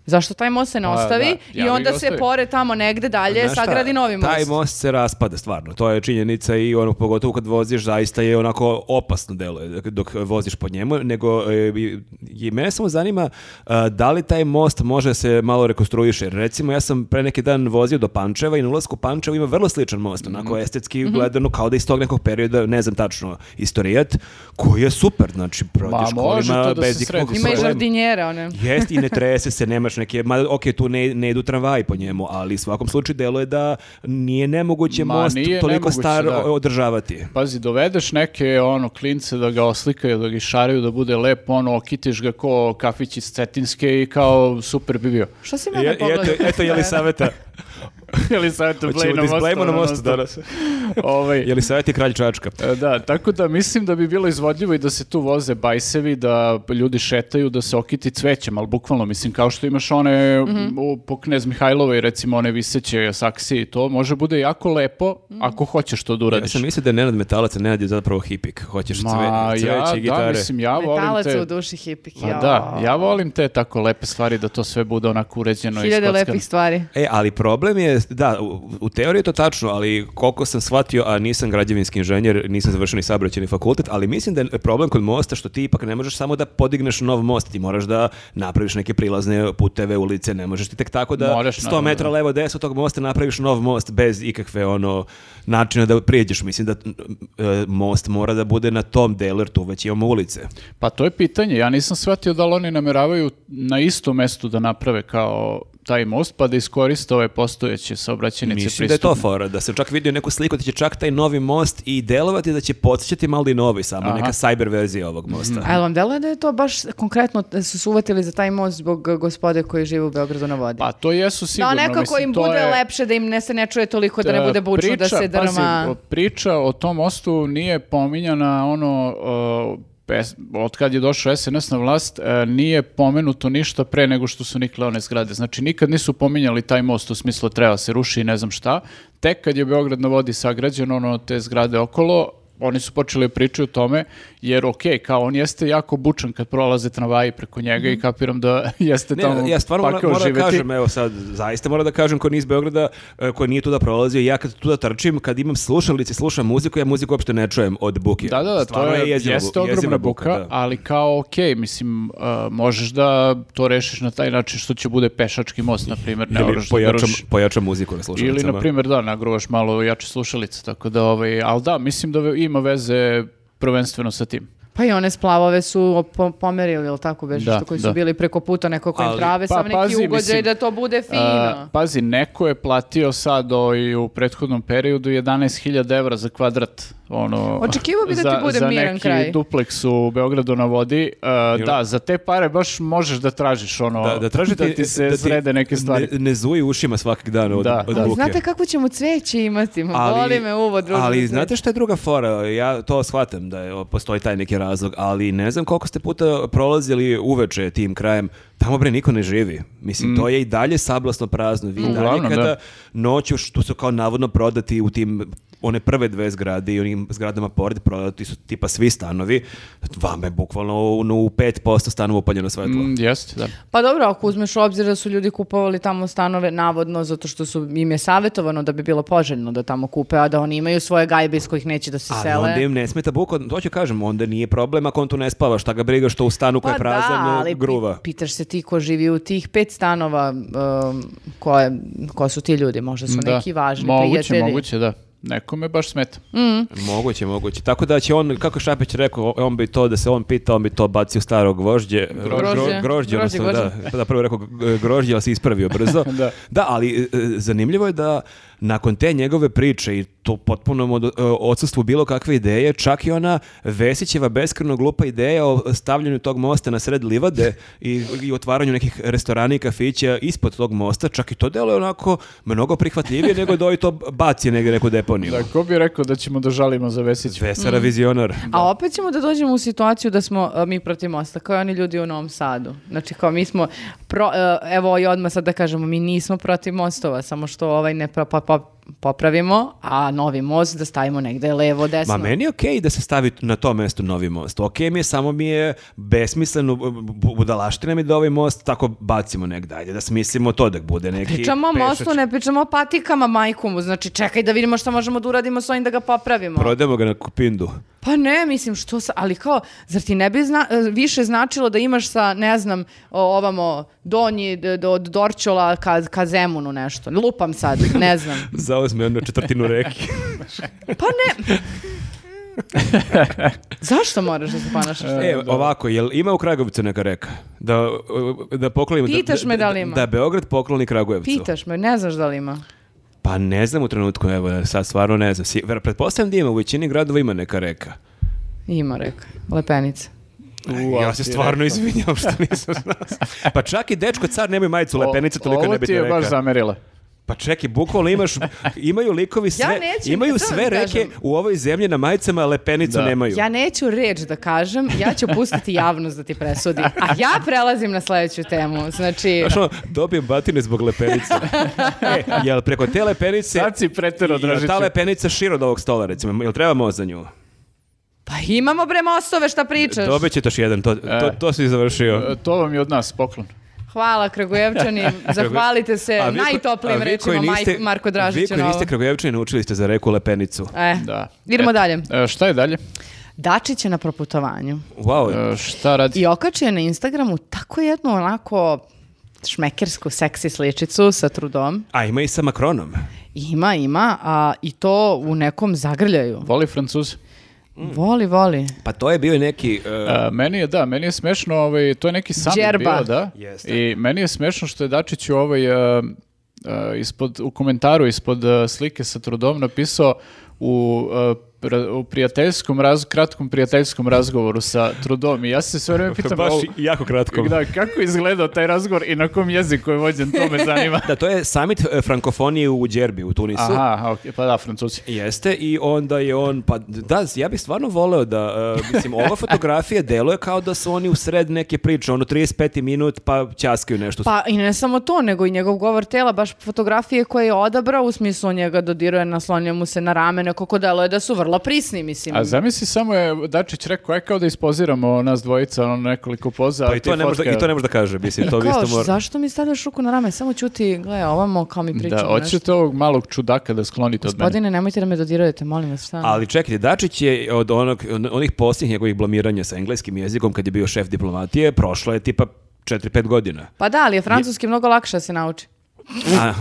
Speaker 1: Zašto taj most se ne
Speaker 2: Pa,
Speaker 1: ostavi
Speaker 2: da, ja
Speaker 1: i
Speaker 2: bi
Speaker 1: onda
Speaker 2: ga
Speaker 1: se
Speaker 2: ostavio.
Speaker 1: pored tamo negde dalje
Speaker 3: Znaš šta,
Speaker 1: sagradi novi most?
Speaker 3: Taj most se raspada stvarno, to je činjenica i ono pogotovo kad voziš zaista je onako opasno deluje dok- dok voziš pod njemu, nego e, i- i mene samo zanima a, da li taj most može da se malo rekonstruiše. Jer, Recimo ja sam pre neki dan vozio do Pančeva i na ulasku u Pančevo ima vrlo sličan most, onako
Speaker 1: Mhm.
Speaker 3: estetski gledano kao da iz tog nekog perioda, ne znam tačno, istorijat, koji je super, znači protiš
Speaker 2: Ma, može
Speaker 3: kolima
Speaker 2: to da se
Speaker 3: bez ikakvog
Speaker 2: sredi.
Speaker 1: Ima i
Speaker 3: problema.
Speaker 1: žardinjera, one.
Speaker 3: Jeste i ne trese se, nemaš neke, ma ok, tu ne, ne idu tramvaji po njemu, ali u svakom slučaju deluje da nije nemoguće
Speaker 2: Ma,
Speaker 3: most
Speaker 2: nije
Speaker 3: toliko
Speaker 2: nemoguće,
Speaker 3: star
Speaker 2: da.
Speaker 3: o- održavati.
Speaker 2: Pazi, dovedeš neke ono klince da ga oslikaju, da ga šaraju, da bude lepo, ono, okitiš ga ko kafić iz Cetinske i kao super bi bio.
Speaker 1: Šta si
Speaker 2: e,
Speaker 3: Je, Znači,
Speaker 1: mene pogledao?
Speaker 3: eto, eto Jelisaveta.
Speaker 2: Ili sad to ono,
Speaker 3: Hoćemo da izblejimo na mostu danas.
Speaker 2: Ovaj,
Speaker 3: Je li savjeti kralj Čačka?
Speaker 2: E, Da, tako da mislim da bi bilo izvodljivo i da se tu voze bajsevi, da ljudi šetaju, da se okiti cvećem, ali bukvalno, mislim, kao što imaš one u, po Knez Mihajlovoj, recimo, one viseće saksije i to, može bude jako lepo ako hoćeš to da
Speaker 3: Ja
Speaker 2: uradiš.
Speaker 3: sam mislio da je Nenad Metalac, a Nenad je zapravo hipik. Hoćeš cve,
Speaker 2: Ma,
Speaker 3: cveće
Speaker 2: ja,
Speaker 3: i
Speaker 2: da,
Speaker 3: gitare.
Speaker 2: mislim, ja volim
Speaker 1: Metalac
Speaker 2: te...
Speaker 1: u duši hipik.
Speaker 2: Pa
Speaker 1: jao.
Speaker 2: da, ja volim te tako lepe stvari da to sve bude onako uređeno i
Speaker 1: Hiljade
Speaker 2: skockano.
Speaker 1: lepih stvari.
Speaker 3: E, ali problem je, da, u, u teoriji je to tačno, ali koliko sam shvatio, a nisam građevinski inženjer, nisam završio ni saobraćajni fakultet, ali mislim da je problem kod mosta što ti ipak ne možeš samo da podigneš nov most, ti moraš da napraviš neke prilazne puteve, ulice, ne možeš ti tek tako da
Speaker 2: Moraš,
Speaker 3: 100
Speaker 2: naravno,
Speaker 3: metra
Speaker 2: da.
Speaker 3: levo desno od tog mosta napraviš nov most bez ikakve ono načina da prijeđeš. Mislim da e, most mora da bude na tom delu, jer tu već imamo ulice.
Speaker 2: Pa to je pitanje. Ja nisam shvatio da li oni nameravaju na istom mestu da naprave kao taj most, pa da iskoriste ove postojeće saobraćenice
Speaker 3: Mislim da je to
Speaker 2: pristupne.
Speaker 3: fora, da sam čak vidio neku sliku da će čak taj novi most i delovati da će podsjećati malo i novi samo,
Speaker 2: Aha. Mhm.
Speaker 3: neka cyber verzija ovog mosta.
Speaker 1: A jel vam deluje da je to baš konkretno da su se uvatili za taj most zbog e, gospode koji žive u Beogradu na vodi?
Speaker 2: Pa to jesu sigurno.
Speaker 1: da nekako
Speaker 2: mislim,
Speaker 1: im
Speaker 2: to
Speaker 1: bude
Speaker 2: je-
Speaker 1: lepše, da im ne se ne čuje toliko, da ne bude bučno, da
Speaker 2: E, Priča,
Speaker 1: se drma...
Speaker 2: pazi, o- priča o tom mostu nije pominjana ono... o, pes- od kad je došao SNS na vlast, e, nije pomenuto ništa pre nego što su nikle one zgrade. Znači, nikad nisu pominjali taj most u smislu treba se ruši i ne znam šta. Tek kad je Beograd na vodi sagrađen, ono, te zgrade okolo, oni su počeli priču o tome, jer ok, kao on jeste jako bučan kad prolaze tramvaji preko njega
Speaker 1: Mhm.
Speaker 2: i kapiram da jeste
Speaker 3: Ne,
Speaker 2: tamo
Speaker 3: ja stvarno moram,
Speaker 2: pakao
Speaker 3: moram da
Speaker 2: živeti.
Speaker 3: kažem, evo sad, zaista moram da kažem ko nije iz Beograda, e, ko nije tu da prolazio, ja kad tu da trčim, kad imam slušalice, slušam muziku, ja muziku uopšte ne čujem od buke.
Speaker 2: Da, da, da,
Speaker 3: Stvarno
Speaker 2: to je,
Speaker 3: jeziva bu-
Speaker 2: jeste ogromna
Speaker 3: jeziva
Speaker 2: buka,
Speaker 3: da.
Speaker 2: ali kao ok, mislim, uh, možeš da to rešiš na taj način što će bude pešački most, na primjer, ne
Speaker 3: Ili
Speaker 2: moraš da ga
Speaker 3: pojačam,
Speaker 2: rušiš.
Speaker 3: pojačam muziku na
Speaker 2: Ili,
Speaker 3: slušalicama.
Speaker 2: na primjer, da, nagruvaš malo jače slušalice, tako da, ovaj, ali da, mislim da ve- ima veze prvenstveno sa tim.
Speaker 1: Pa i one splavove su po- pomerili, ili tako beže,
Speaker 2: Da,
Speaker 1: što koji
Speaker 2: da.
Speaker 1: su bili preko puta, neko koji im
Speaker 3: Ali-
Speaker 1: prave
Speaker 2: pa
Speaker 1: sam neki
Speaker 2: pazi,
Speaker 1: ugođaj
Speaker 2: mislim,
Speaker 1: da to bude
Speaker 2: A, pa
Speaker 1: fino.
Speaker 2: pazi, neko je platio sad ovaj, u prethodnom periodu 11.000 evra za kvadrat. Ono,
Speaker 1: Očekivao bi da
Speaker 2: za-
Speaker 1: ti bude miran
Speaker 2: Za
Speaker 1: kraj.
Speaker 2: neki dupleks u Beogradu na vodi. A,
Speaker 3: Ili-
Speaker 2: da, za te pare baš možeš da tražiš ono,
Speaker 3: Da, da, tražite,
Speaker 2: ti se
Speaker 3: da ti
Speaker 2: srede neke stvari.
Speaker 3: Ne, ne zuji ušima svakog dana od,
Speaker 2: Da,
Speaker 3: od
Speaker 2: da.
Speaker 1: Ali
Speaker 3: buke.
Speaker 1: znate kako ćemo cveće imati? Ma, Boli me uvo, druže.
Speaker 3: Ali
Speaker 1: cveće.
Speaker 3: znate šta je druga fora? Ja to shvatam da je, o, postoji taj neki razlog, ali ne znam koliko ste puta prolazili uveče tim krajem. Tamo bre niko ne živi. Mislim, to je i dalje sablasno prazno. Vi i dalje
Speaker 2: Mm. Uglavnom,
Speaker 3: kada
Speaker 2: da.
Speaker 3: noću što su kao navodno prodati u tim one prve dve zgrade i onim zgradama pored prodati su tipa svi stanovi, vama je bukvalno u, u 5% stanova upaljeno svetlo.
Speaker 2: Mm, jeste, da.
Speaker 1: Pa dobro, ako uzmeš u obzir da su ljudi kupovali tamo stanove navodno zato što su im je savjetovano da bi bilo poželjno da tamo kupe, a da oni imaju svoje gajbe iz kojih neće da se
Speaker 3: Ali
Speaker 1: sele.
Speaker 3: onda im ne smeta buka, to ću kažem, onda nije problem ako on tu ne spava, šta ga briga što u stanu koji je prazan
Speaker 1: Pa
Speaker 3: e,
Speaker 1: ali pi-
Speaker 3: gruva.
Speaker 1: pitaš se ti ko živi u tih pet stanova, um, ko, je- ko su ti ljudi, možda su
Speaker 2: Da.
Speaker 1: neki važni
Speaker 2: moguće,
Speaker 1: prijatelji. Mm.
Speaker 2: Moguće, da. Nekome baš smeta.
Speaker 1: Mhm.
Speaker 3: Moguće, moguće. Tako da će on, kako je Šapić rekao, on bi to da se on pita, on bi to bacio staro gvožđe.
Speaker 1: Grožđe.
Speaker 3: Gro- grožđe,
Speaker 1: Grožđe,
Speaker 3: odnosno, Da, da, prvo je rekao g- grožđe, ali se ispravio brzo.
Speaker 2: Da.
Speaker 3: ali e, e, zanimljivo je da nakon te njegove priče i to potpunom od, e, odsustvu bilo kakve ideje, čak i ona Vesićeva beskreno glupa ideja o stavljanju tog mosta na sred livade i, i otvaranju nekih restorana i kafića ispod tog mosta, čak i to delo je onako mnogo prihvatljivije nego da ovi to baci negdje neku deponiju.
Speaker 2: Da, ko bi rekao da ćemo da žalimo za Vesića?
Speaker 3: Vesera vizionar.
Speaker 1: Mm. A opet ćemo da dođemo u situaciju da smo e, mi protiv mosta, kao i oni ljudi u Novom Sadu. Znači kao mi smo, pro- e, evo i odmah sad da kažemo, mi nismo protiv mostova, samo što ovaj ne pro- pa- pa- popravimo, a novi most da stavimo negde levo, desno.
Speaker 3: Ma meni je okej da se stavi na to mesto novi most. Okej mi je, samo mi je besmisleno, bu- budalaština mi da ovaj most tako bacimo negdje. Ajde da smislimo to da bude neki
Speaker 1: Pričamo o
Speaker 3: pešač-
Speaker 1: mostu, ne pričamo o patikama majkomu, znači čekaj da vidimo šta možemo da uradimo s ovim da ga popravimo.
Speaker 3: Prodajemo ga na kupindu.
Speaker 1: Pa ne, mislim, što sa, ali kao, zar ti ne bi zna- e, više značilo da imaš sa, ne znam, o- ovamo, donji, d- d- od Dorčola ka, ka Zemunu nešto. Lupam sad, ne znam.
Speaker 3: Zauzme ono četvrtinu reki.
Speaker 1: Pa ne. Zašto moraš da se ponašaš? tako?
Speaker 3: e, ovako, jel ima u Kragovicu neka reka? Da, da poklonimo...
Speaker 1: Pitaš me da li ima?
Speaker 3: Da, Beograd pokloni Kragujevcu.
Speaker 1: Pitaš me, ne znaš da li ima.
Speaker 3: Pa ne znam u trenutku, evo, sad stvarno ne znam. Si, ver- pretpostavljam da ima, u većini gradova ima neka reka.
Speaker 1: Ima, reka. Lepenica.
Speaker 2: Ua,
Speaker 3: ja se
Speaker 2: ti
Speaker 3: stvarno
Speaker 2: rekao.
Speaker 3: izvinjam što nisam znao. Pa čak i dečko car nemaju majicu lepenice, toliko
Speaker 2: Ovo
Speaker 3: ne bi
Speaker 2: ti je baš
Speaker 3: rekao.
Speaker 2: zamerila.
Speaker 3: Pa čekaj, bukvalno imaš, imaju likovi sve,
Speaker 1: Ja neću,
Speaker 3: imaju
Speaker 1: to vam
Speaker 3: sve reke
Speaker 1: kažem.
Speaker 3: u ovoj zemlji na majicama, a lepenicu
Speaker 2: Da.
Speaker 3: nemaju.
Speaker 1: Ja neću reč da kažem, ja ću pustiti javnost da ti presudi. A ja prelazim na sledeću temu. Znači,
Speaker 3: Znaš ono, dobijem batine zbog lepenice. e, jel preko te lepenice...
Speaker 2: Sad si preterao,
Speaker 3: jel
Speaker 2: Dražiću.
Speaker 3: Ta lepenica šira od ovog stola, recimo. Jel treba moza nju?
Speaker 1: pa imamo bre mostove, šta pričaš?
Speaker 3: Dobit ćete još jedan, to, to, to si završio.
Speaker 2: E, To vam je od nas poklon.
Speaker 1: Hvala Kragujevčani, zahvalite se
Speaker 3: A vi ko-
Speaker 1: najtoplijim
Speaker 3: a vi koji
Speaker 1: rečima Maj-
Speaker 3: niste-
Speaker 1: Marko
Speaker 3: Vi
Speaker 1: Dražiću.
Speaker 3: koji niste Kragujevčani naučili ste za reku lepenicu.
Speaker 1: E,
Speaker 2: Da.
Speaker 1: idemo
Speaker 2: E,
Speaker 1: dalje.
Speaker 2: e, šta je dalje?
Speaker 1: Dačić je na proputovanju
Speaker 3: Wow,
Speaker 2: E, šta radi?
Speaker 1: i okačio je na Instagramu tako jednu onako šmekersku seksi sličicu sa trudom.
Speaker 3: a ima i sa Makronom.
Speaker 1: Ima, ima, a i to u nekom zagrljaju.
Speaker 2: Voli Francuze?
Speaker 3: Mm.
Speaker 1: Voli, voli.
Speaker 3: Pa to je bio i neki... e,
Speaker 2: E, meni je, da, meni je smešno, ovaj, to je neki summit
Speaker 1: Đerba.
Speaker 2: bio, da.
Speaker 3: Jeste.
Speaker 2: I meni je smešno što je Dačić u ovaj, e, e, ispod, u komentaru ispod e, slike sa trudom napisao u e, pra- u prijateljskom raz, kratkom prijateljskom razgovoru sa Trudom i ja se sve vreme pitam
Speaker 3: baš
Speaker 2: ovo-
Speaker 3: i- jako kratko.
Speaker 2: da, kako je izgledao taj razgovor i na kom jeziku je vođen, to me zanima.
Speaker 3: Da, to je summit e, frankofonije u Djerbi, u Tunisu.
Speaker 2: Aha, okej, pa da, Francuzi.
Speaker 3: Jeste i onda je on, pa da, ja bih stvarno voleo da, e, mislim, ova fotografija deluje kao da su oni u sred neke priče, ono 35. minut pa ćaskaju nešto.
Speaker 1: Pa i ne samo to, nego i njegov govor tela, baš fotografije koje je odabrao, u smislu on njega dodiruje, naslonio mu se na ramene, kako delo je da su vrlo prisni, mislim.
Speaker 2: A zamisli samo je Dačić rekao, aj kao da ispoziramo nas dvojica, ono nekoliko poza.
Speaker 3: Pa i
Speaker 2: ti
Speaker 3: to, ne može, da-
Speaker 2: fotka-
Speaker 3: I to ne može da kaže, mislim,
Speaker 1: I
Speaker 3: to bi
Speaker 1: kao,
Speaker 3: isto mora.
Speaker 1: zašto mi stavljaš ruku na rame? Samo ćuti, gle, ovamo, kao mi pričamo
Speaker 2: Da, hoćete ovog malog čudaka da sklonite od mene.
Speaker 1: Gospodine, nemojte da me dodirujete, molim vas, šta?
Speaker 3: Ali čekajte, Dačić je od onog, on- onih posljednjih njegovih blamiranja sa engleskim jezikom kad je bio šef diplomatije, prošlo je tipa 4-5 godina.
Speaker 1: Pa da, ali je francuski mnogo lakše da se nauči.
Speaker 3: A,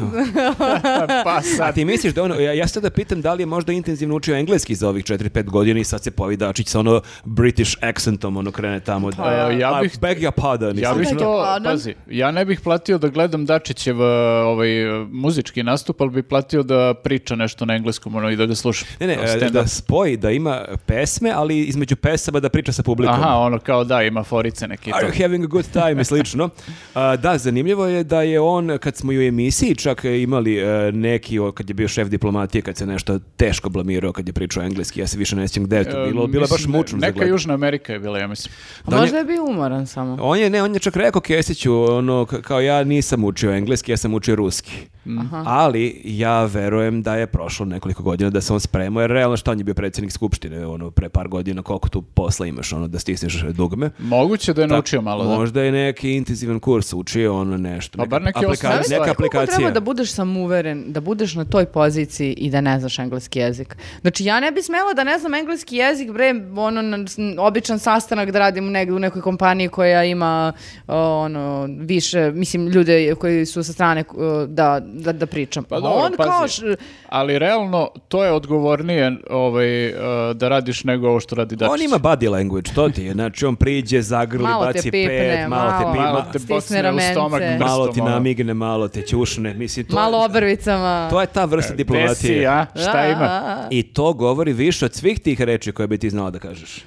Speaker 2: Pa
Speaker 3: a
Speaker 2: sad.
Speaker 3: ti misliš da ono, ja, ja sada pitam da li je možda intenzivno učio engleski za ovih 4-5 godina i sad se pojavi Dačić sa ono British accentom, ono krene tamo. da,
Speaker 2: ja- Pa, ja
Speaker 3: "I
Speaker 2: bih-
Speaker 3: beg your pardon.
Speaker 2: Ja
Speaker 3: mislim.
Speaker 2: bih
Speaker 1: Sada je
Speaker 2: to,
Speaker 1: pardon.
Speaker 2: pazi, ja ne bih platio da gledam Dačićev e, ovaj, e, muzički nastup, ali bih platio da priča nešto na engleskom ono, i da ga slušam.
Speaker 3: Ne, ne,
Speaker 2: Kao
Speaker 3: e,
Speaker 2: stand-up.
Speaker 3: da spoji, da ima pesme, ali između pesama da priča sa publikom.
Speaker 2: Aha, ono kao da, ima forice neke i
Speaker 3: Are
Speaker 2: to.
Speaker 3: you having a good time i slično. A, da, zanimljivo je da je on, kad smo i u emisiji čak imali e, neki, o, kad je bio šef diplomatije, kad se nešto teško blamirao, kad je pričao engleski, ja se više ne sjećam gde je to bilo,
Speaker 2: E,
Speaker 3: bilo je baš
Speaker 2: mislim, ne-
Speaker 3: mučno za
Speaker 2: Neka
Speaker 3: gledanje.
Speaker 2: Južna Amerika je bila, ja mislim.
Speaker 1: A
Speaker 3: Da, on je-
Speaker 1: možda je bio umoran samo.
Speaker 3: On je, ne, on je čak rekao Kesiću, ono, k- kao ja nisam učio engleski, ja sam učio ruski.
Speaker 1: Mm.
Speaker 3: Ali ja verujem da je prošlo nekoliko godina da se on spremao, jer realno šta on je bio predsjednik Skupštine, ono, pre par godina, koliko tu posla imaš, ono, da stisneš dugme.
Speaker 2: Moguće da je naučio malo, da.
Speaker 3: Možda je neki intenzivan kurs učio ono nešto.
Speaker 2: Pa bar neke osnovne stvari.
Speaker 3: aplikacija, neka
Speaker 1: Zamisli koliko treba
Speaker 3: aplikacija.
Speaker 1: da budeš samouveren, da budeš na toj poziciji i da ne znaš engleski jezik. Znači, ja ne bi smela da ne znam engleski jezik, bre, ono, na, s- n- običan sastanak da radim negde u nekoj kompaniji koja ima, o, ono, više, mislim, ljude koji su sa strane o, da, da, da pričam.
Speaker 2: Pa
Speaker 1: A
Speaker 2: dobro,
Speaker 1: on kao,
Speaker 2: pazi.
Speaker 1: š-
Speaker 2: Ali realno, to je odgovornije ovaj, e, da radiš nego ovo što radi Dačić.
Speaker 3: On ima body language, to ti je. Znači, on priđe, zagrli,
Speaker 1: malo te
Speaker 3: baci
Speaker 1: pipne,
Speaker 3: pet, malo,
Speaker 1: malo,
Speaker 3: te pima,
Speaker 2: Malo
Speaker 3: malo,
Speaker 2: te
Speaker 1: stisne
Speaker 2: bocne u
Speaker 1: ramence,
Speaker 2: stomak, brzo.
Speaker 3: ti
Speaker 2: prstom, ono.
Speaker 3: namigne, malo te ćušne. Mislim, to,
Speaker 1: malo obrvicama.
Speaker 3: to je ta vrsta
Speaker 2: E, Desi,
Speaker 3: diplomatije.
Speaker 2: a? Šta
Speaker 1: Da,
Speaker 2: ima?
Speaker 1: a, a.
Speaker 3: I to govori više od svih tih reči koje bi ti znala da kažeš.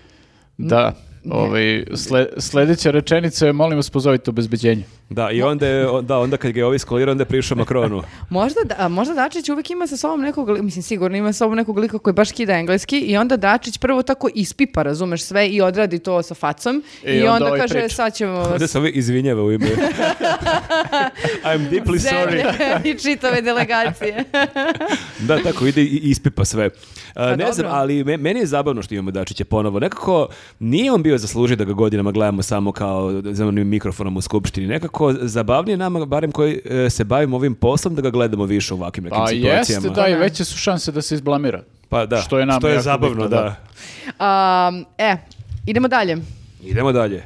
Speaker 2: Da. Ovaj, sle, sledeća rečenica je, molim vas, pozovite obezbeđenje.
Speaker 3: Da, i onda, je, on- da, onda kad ga je ovaj skolirao, onda je prišao Makronu.
Speaker 1: Možda, da, a možda Dačić uvijek ima sa sobom nekog, li- mislim sigurno ima sa sobom nekog lika koji baš kida engleski i onda Dačić prvo tako ispipa, razumeš sve i odradi to sa facom
Speaker 2: I
Speaker 1: i,
Speaker 2: onda
Speaker 1: onda,
Speaker 2: ovaj
Speaker 1: kaže
Speaker 2: priča.
Speaker 1: sad ćemo vas
Speaker 3: Onda se ovaj izvinjava u ime. I'm deeply sorry.
Speaker 1: zemlje i čitave delegacije.
Speaker 3: Da, tako ide i ispipa sve. Uh, ne
Speaker 1: dobro.
Speaker 3: znam, ali me- meni je zabavno što imamo Dačića ponovo. Nekako nije on bio zaslužio da ga godinama gledamo samo kao za onim mikrofonom u skupštini. Nekako zabavnije nama, barem koji e, se bavimo ovim poslom, da ga gledamo više u ovakvim nekim
Speaker 2: Pa
Speaker 3: situacijama.
Speaker 2: jeste, da, i veće su šanse da se izblamira.
Speaker 3: Pa da,
Speaker 2: Što je nama jako
Speaker 3: zabavno,
Speaker 2: bitno,
Speaker 3: da.
Speaker 2: da.
Speaker 1: Um, e, idemo dalje.
Speaker 3: Idemo dalje.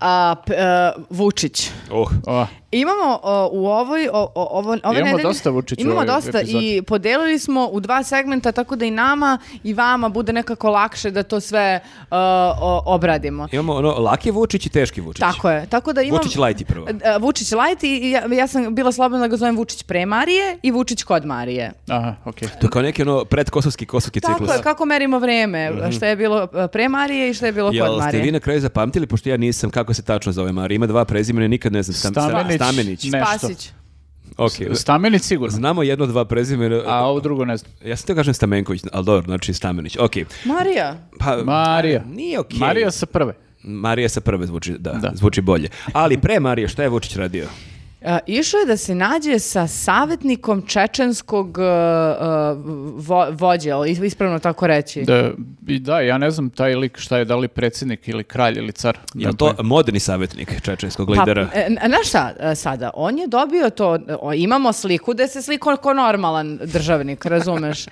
Speaker 1: A, p- e, Vučić.
Speaker 3: Oh.
Speaker 2: O,
Speaker 1: Imamo o, u ovoj o, o, ovo, ove
Speaker 2: Imamo
Speaker 1: nedelje-
Speaker 2: dosta Vučića u
Speaker 1: Imamo
Speaker 2: ovoj
Speaker 1: dosta
Speaker 2: epizodi.
Speaker 1: i podelili smo u dva segmenta tako da i nama i vama bude nekako lakše da to sve e, o- obradimo.
Speaker 3: Imamo ono, laki Vučić i teški Vučić.
Speaker 1: Tako je. Tako da imam
Speaker 3: Vučić Lajti prvo.
Speaker 1: E, Vučić Light i i ja, ja sam bila slobodna da ga zovem Vučić pre Marije i Vučić kod Marije.
Speaker 2: aha, okej.
Speaker 3: To je kao neki ono predkosovski kosovski
Speaker 1: Tako
Speaker 3: ciklus. Mhm.
Speaker 1: je, kako merimo vreme, šta je bilo e, pre Marije i šta je bilo kod
Speaker 3: Jel ste
Speaker 1: Marije.
Speaker 3: vi na kraju zapamtili, pošto ja nisam kako se tačno zove Marija, ima dva prezimena, nikad ne znam. Sam- sam-
Speaker 2: Stamenić.
Speaker 3: Stamenić.
Speaker 2: Ne. nešto.
Speaker 1: Spasić.
Speaker 3: Ok.
Speaker 2: Stamenić sigurno.
Speaker 3: Znamo jedno, dva prezimena.
Speaker 2: A ovo drugo ne znam.
Speaker 3: Ja sam te kažem Stamenković, ali dobro, znači Stamenić. Ok.
Speaker 1: Marija.
Speaker 3: Pa,
Speaker 2: Marija.
Speaker 3: Nije ok.
Speaker 2: Marija sa prve.
Speaker 3: Marija sa prve zvuči, da, zvuči bolje. Ali pre Marije, šta je Vučić radio?
Speaker 1: E, Išao je da se nađe sa savjetnikom čečenskog e, e, vo- vođe, ali is- ispravno tako reći.
Speaker 2: Da, i da, ja ne znam taj lik šta je, da li predsjednik ili kralj ili car.
Speaker 3: Je
Speaker 2: Nemam
Speaker 3: to
Speaker 2: pojma.
Speaker 3: moderni savjetnik čečenskog
Speaker 1: Pa,
Speaker 3: lidera?
Speaker 1: e, n- znaš šta e, sada? On je dobio to, o, imamo sliku da se sliko ko normalan državnik, razumeš?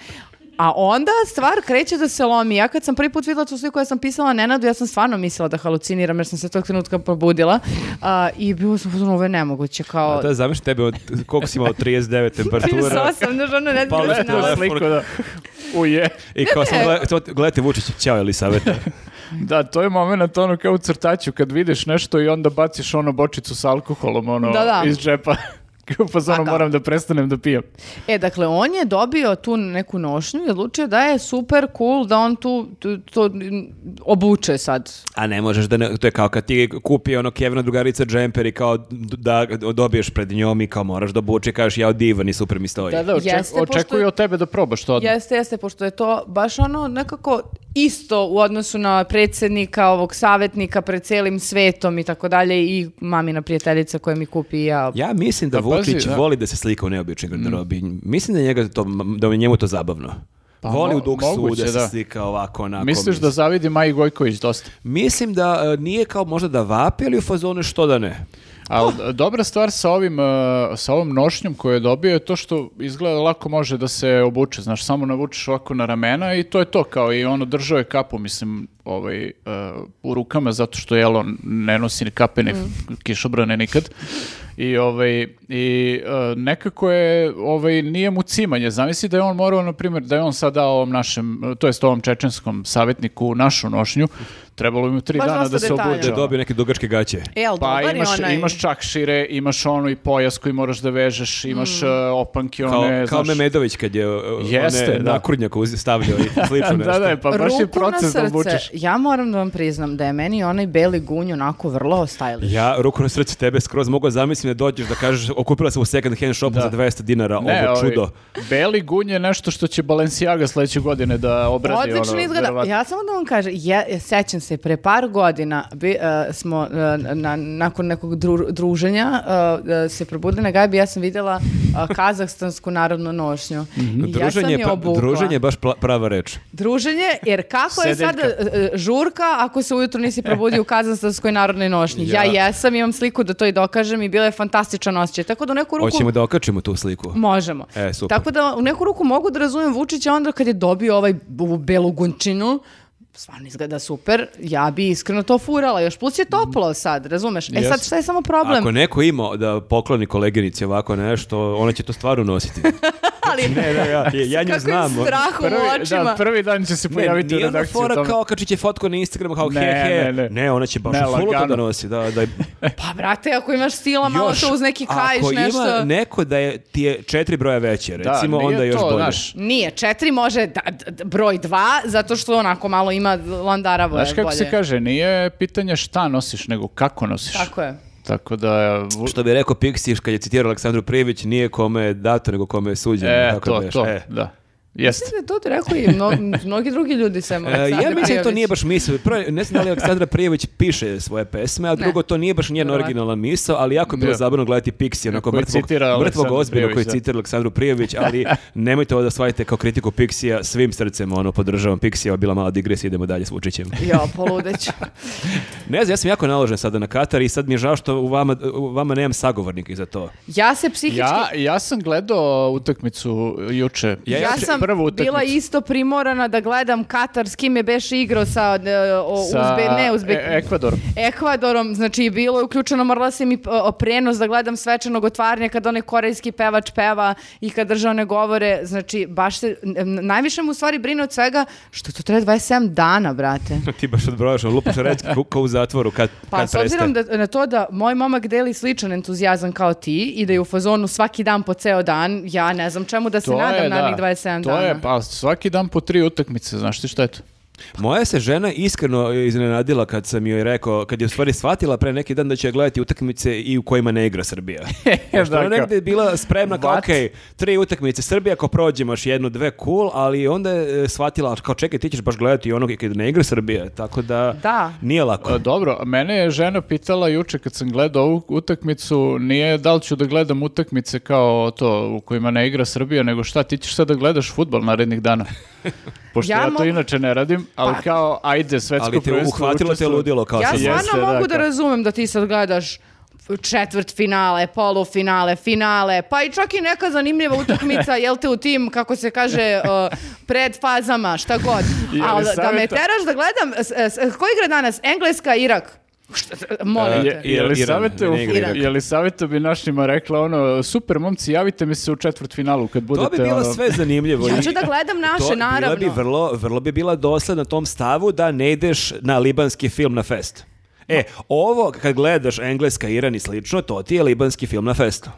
Speaker 1: A onda stvar kreće da se lomi. Ja kad sam prvi put vidjela tu sliku, ja sam pisala Nenadu, ja sam stvarno mislila da haluciniram jer sam se tog trenutka probudila. A, I bilo sam, pozorno, ovo je nemoguće. Kao,
Speaker 3: Da, zamisli tebe, od, koliko si imao, 39 temperatura?
Speaker 1: 38, znaš, ono, ne znam
Speaker 3: Pali
Speaker 1: gde se
Speaker 3: telefon.
Speaker 1: nalazi.
Speaker 2: Sliku, da. Uje.
Speaker 3: I kao sam, gleda- to- gledajte Vučić, ćao Elisaveta.
Speaker 2: Da, to je moment ono kao u crtaću kad vidiš nešto i onda baciš ono bočicu sa alkoholom ono
Speaker 1: Da, da.
Speaker 2: iz džepa. Kao pa
Speaker 1: Pa
Speaker 2: ono
Speaker 1: da.
Speaker 2: moram da prestanem da pijem.
Speaker 1: E, dakle, on je dobio tu neku nošnju i odlučio da je super cool da on tu, tu- to mm, obuče sad.
Speaker 3: A ne možeš da ne, to je kao kad ti kupi ono Kevina drugarica džemper i kao d- da dobiješ pred njom i kao moraš da obuče i kažeš ja divan i super mi stoji.
Speaker 2: Da, da, oček,
Speaker 1: Jeste, pošto-
Speaker 2: očekuju od tebe da probaš to. odmah.
Speaker 1: Jeste, jeste, pošto je to baš ono nekako isto u odnosu na predsjednika, ovog savjetnika pred celim svetom i tako dalje i mamina prijateljica koja mi kupi i ja.
Speaker 3: Ja mislim da,
Speaker 2: Da, pazi,
Speaker 3: Vučić
Speaker 2: da. Mm.
Speaker 3: voli da se slika u neobičnoj garderobi. Mislim da je njega to da je njemu to zabavno. voli
Speaker 2: Pa mo-
Speaker 3: u duksu
Speaker 2: moguće,
Speaker 3: da se
Speaker 2: da.
Speaker 3: slika ovako onako.
Speaker 2: Misliš da zavidi Maji Gojković dosta?
Speaker 3: Mislim da e, nije kao možda da vapi, ali u fazonu što da ne.
Speaker 2: Ali dobra stvar sa ovim e, sa ovom nošnjom koju je dobio je to što izgleda lako može da se obuče, znaš, samo navučeš ovako na ramena i to je to kao i ono držao je kapu, mislim, ovaj e, u rukama zato što jel on ne nosi ni kape ni
Speaker 1: Mm.
Speaker 2: kišobrane nikad. I ovaj i e, nekako je ovaj nije mu cimanje. Zamisli da je on morao na primjer da je on sada ovom našem e, to jest ovom čečenskom savjetniku našu nošnju trebalo bi mu tri
Speaker 1: Baš
Speaker 2: dana
Speaker 1: dosta
Speaker 2: da se
Speaker 1: detalja.
Speaker 2: obuče.
Speaker 3: Da je
Speaker 2: ono.
Speaker 3: dobio neke dugačke gaće.
Speaker 1: E, ali
Speaker 2: Pa
Speaker 1: dobar je
Speaker 2: imaš,
Speaker 1: onaj.
Speaker 2: imaš čakšire, imaš ono i pojas koji moraš da vežeš, imaš
Speaker 1: Mm.
Speaker 2: e, opanke
Speaker 3: Kao,
Speaker 2: one,
Speaker 3: kao
Speaker 2: znaš.
Speaker 3: Memedović kad je e,
Speaker 2: Jeste,
Speaker 3: one
Speaker 2: da.
Speaker 3: nakrudnjak uz- stavljao i slično nešto.
Speaker 2: Da, da, pa baš je
Speaker 1: Ruku na
Speaker 2: proces da
Speaker 1: srce,
Speaker 2: obučeš.
Speaker 1: ja moram da vam priznam da je meni onaj beli gunj onako vrlo stylish.
Speaker 3: Ja ruku na srce tebe skroz mogu zamislim da dođeš da kažeš okupila sam u second hand shopu za 200 dinara ovo
Speaker 2: ovaj,
Speaker 3: čudo.
Speaker 2: beli gunj je nešto što će Balenciaga sledeće godine da obradi.
Speaker 1: Odlično
Speaker 2: ono,
Speaker 1: izgleda.
Speaker 2: verovatno.
Speaker 1: Ja samo da vam kažem, ja, ja sećam se, pre par godina bi, e, smo e, na, nakon nekog dru- druženja e, e, se probudili na gajbi, ja sam vidjela e, kazahstansku narodnu nošnju. I ja sam
Speaker 3: Druženje,
Speaker 1: je
Speaker 3: pa-
Speaker 1: obukla.
Speaker 3: druženje je baš pla- prava reč.
Speaker 1: Druženje, jer kako je sad e,
Speaker 2: Sedeljka.
Speaker 1: žurka ako se ujutro nisi probudio u kazahstanskoj narodnoj nošnji? Ja.
Speaker 3: Ja.
Speaker 1: jesam, imam sliku da to i dokažem i bila je fantastičan osjećaj. Tako da u neku ruku...
Speaker 3: Hoćemo da okačimo tu sliku.
Speaker 1: Možemo.
Speaker 3: E, super.
Speaker 1: Tako da u neku ruku mogu da razumijem Vučića onda kad je dobio ovaj b- ovu belu gunčinu, stvarno izgleda super, ja bi iskreno to furala, još plus je toplo sad, razumeš? E sad
Speaker 2: Jeste.
Speaker 1: šta je samo problem?
Speaker 3: Ako neko ima da pokloni koleginici ovako nešto, ona će to stvarno nositi.
Speaker 1: Ali
Speaker 3: ne, da, ja, ja nju
Speaker 1: E, kako
Speaker 3: znam. ono,
Speaker 1: je strah u
Speaker 2: Prvi,
Speaker 1: očima.
Speaker 2: da, prvi dan će se
Speaker 3: Ne,
Speaker 2: pojaviti u
Speaker 3: nije ona
Speaker 2: redakciji. o
Speaker 3: fora
Speaker 2: tome.
Speaker 3: kao kad će fotko na Instagramu kao
Speaker 2: Ne,
Speaker 3: he he.
Speaker 2: ne, ne.
Speaker 3: ona će baš
Speaker 2: Ne,
Speaker 3: u full to da
Speaker 2: lagano.
Speaker 3: nosi. Da, da,
Speaker 1: Pa brate, ako imaš stila, malo to uz neki kajš,
Speaker 3: ako
Speaker 1: nešto...
Speaker 3: ima neko da je, ti je četiri broja veće,
Speaker 2: Da,
Speaker 3: recimo,
Speaker 2: nije
Speaker 3: onda je još
Speaker 2: to,
Speaker 3: bolje.
Speaker 2: znaš.
Speaker 1: Nije, četiri može da, d- d- broj dva, zato što onako malo ima landaravo.
Speaker 2: Znaš
Speaker 1: je
Speaker 2: kako
Speaker 1: bolje.
Speaker 2: se kaže, nije pitanje šta nosiš, nego kako nosiš.
Speaker 1: Tako je.
Speaker 2: Tako da... vu-
Speaker 3: Što bi rekao Pixiš kad je citirao Aleksandru Prijević, nije kome je dato, nego kome je suđeno.
Speaker 2: E,
Speaker 3: tako
Speaker 2: to,
Speaker 3: beše.
Speaker 2: to,
Speaker 3: E.
Speaker 2: da. Jeste.
Speaker 1: Mislim da je to ti rekao i mno- mnogi drugi ljudi sem
Speaker 3: E,
Speaker 1: Aleksandar
Speaker 3: ja mislim da to
Speaker 1: Prijović.
Speaker 3: nije baš misao. Prvo, ne znam da li Aleksandra Prijević piše svoje pesme, a drugo, to nije baš njen
Speaker 1: Verovatno.
Speaker 3: originalna misao, ali jako je bilo
Speaker 2: Da.
Speaker 3: zabavno gledati Pixija, onako
Speaker 2: Koji
Speaker 3: mrtvog,
Speaker 2: citira
Speaker 3: mrtvog
Speaker 2: Aleksandru
Speaker 3: ozbiljno koji
Speaker 2: Prijević, da.
Speaker 3: citira Aleksandru Prijević, ali nemojte ovo da shvatite kao kritiku Pixija, svim srcem ono, podržavam Pixija, ovo je bila mala digresija, idemo dalje s Vučićem.
Speaker 1: Jo, poludeć.
Speaker 3: Ne znam, ja sam jako naložen sada na Katar i sad mi je žao što u vama, u vama nemam sagovornika i za to.
Speaker 1: Ja se psihički...
Speaker 2: Ja, ja sam gledao utakmicu juče.
Speaker 3: Ja-
Speaker 1: Ja,
Speaker 3: juče-
Speaker 1: sam
Speaker 2: prvu utakmicu.
Speaker 1: bila isto primorana da gledam Katar s kim je beš igrao sa, e, o,
Speaker 2: sa
Speaker 1: Uzbe- ne Uzbe-
Speaker 2: E- Ekvadorom.
Speaker 1: Ekvadorom, znači bilo je uključeno, morala sam i p- o, prenos da gledam svečanog otvaranja kad onaj korejski pevač peva i kad državne govore, znači baš se, n- n- najviše mu u stvari brine od svega što to traje 27 dana, brate.
Speaker 3: Ti baš odbrojaš, ono, lupaš reći kao u zatvoru kad,
Speaker 1: Pa
Speaker 3: kad
Speaker 1: s obzirom
Speaker 3: prestane.
Speaker 1: da, na to da moj momak deli sličan entuzijazam kao ti i da je u fazonu svaki dan po ceo dan, ja ne znam čemu da se nadam narednih 27
Speaker 2: to
Speaker 1: dana.
Speaker 2: je, pa svaki dan po tri utakmice, znaš ti šta je to?
Speaker 3: Moja se žena iskreno iznenadila kad sam joj rekao, kad je u stvari shvatila pre neki dan da će gledati utakmice i u kojima ne igra Srbija. Pošto ona
Speaker 2: Dakle.
Speaker 3: negde je bila spremna kao,
Speaker 2: What?
Speaker 3: ok, tri utakmice Srbija, ako prođemo još jednu, dve, cool, ali onda je e, shvatila, ali kao čekaj, ti ćeš baš gledati onog kad ne igra Srbija, tako da,
Speaker 1: Da.
Speaker 3: nije lako.
Speaker 2: A, E, Dobro, a mene je žena pitala juče kad sam gledao ovu utakmicu, nije da li ću da gledam utakmice kao to u kojima ne igra Srbija, nego šta, ti ćeš sad da gledaš futbol narednih dana. Pošto
Speaker 1: Ja
Speaker 2: ja,
Speaker 1: mogu- Pa-
Speaker 2: to inače ne radim, ali kao, ajde, svetsko
Speaker 3: Ali te
Speaker 2: prvenstvo
Speaker 3: uhvatilo te
Speaker 2: učestvujem.
Speaker 3: ludilo kao
Speaker 1: Ja
Speaker 2: sam-
Speaker 3: sad.
Speaker 1: stvarno
Speaker 2: Pa Jeste, da,
Speaker 1: mogu da
Speaker 2: kao-
Speaker 1: razumem da ti sad gledaš četvrt finale, polufinale, finale, pa i čak i neka zanimljiva utakmica, jel te u tim, kako se kaže, uh, pred fazama, šta god.
Speaker 2: Je li
Speaker 1: Ali da me
Speaker 2: savjeta-
Speaker 1: teraš da gledam, s, s- s- ko igra danas? Engleska, Irak? Šta- Molim
Speaker 2: E, Je,
Speaker 1: te.
Speaker 2: je li
Speaker 3: Iran,
Speaker 2: savete,
Speaker 3: ne igra Irak.
Speaker 2: je li savete bi našima rekla ono, super momci, javite mi se u četvrt finalu kad budete
Speaker 3: To bi bilo
Speaker 2: ono,
Speaker 3: sve zanimljivo.
Speaker 1: Ja
Speaker 3: i-
Speaker 1: ću da gledam naše,
Speaker 3: to,
Speaker 1: naravno.
Speaker 3: Bila bi vrlo, vrlo bi bila dosledna tom stavu da ne ideš na libanski film na fest. E, ovo kad gledaš Engleska, Iran i slično, to ti je libanski film na festu.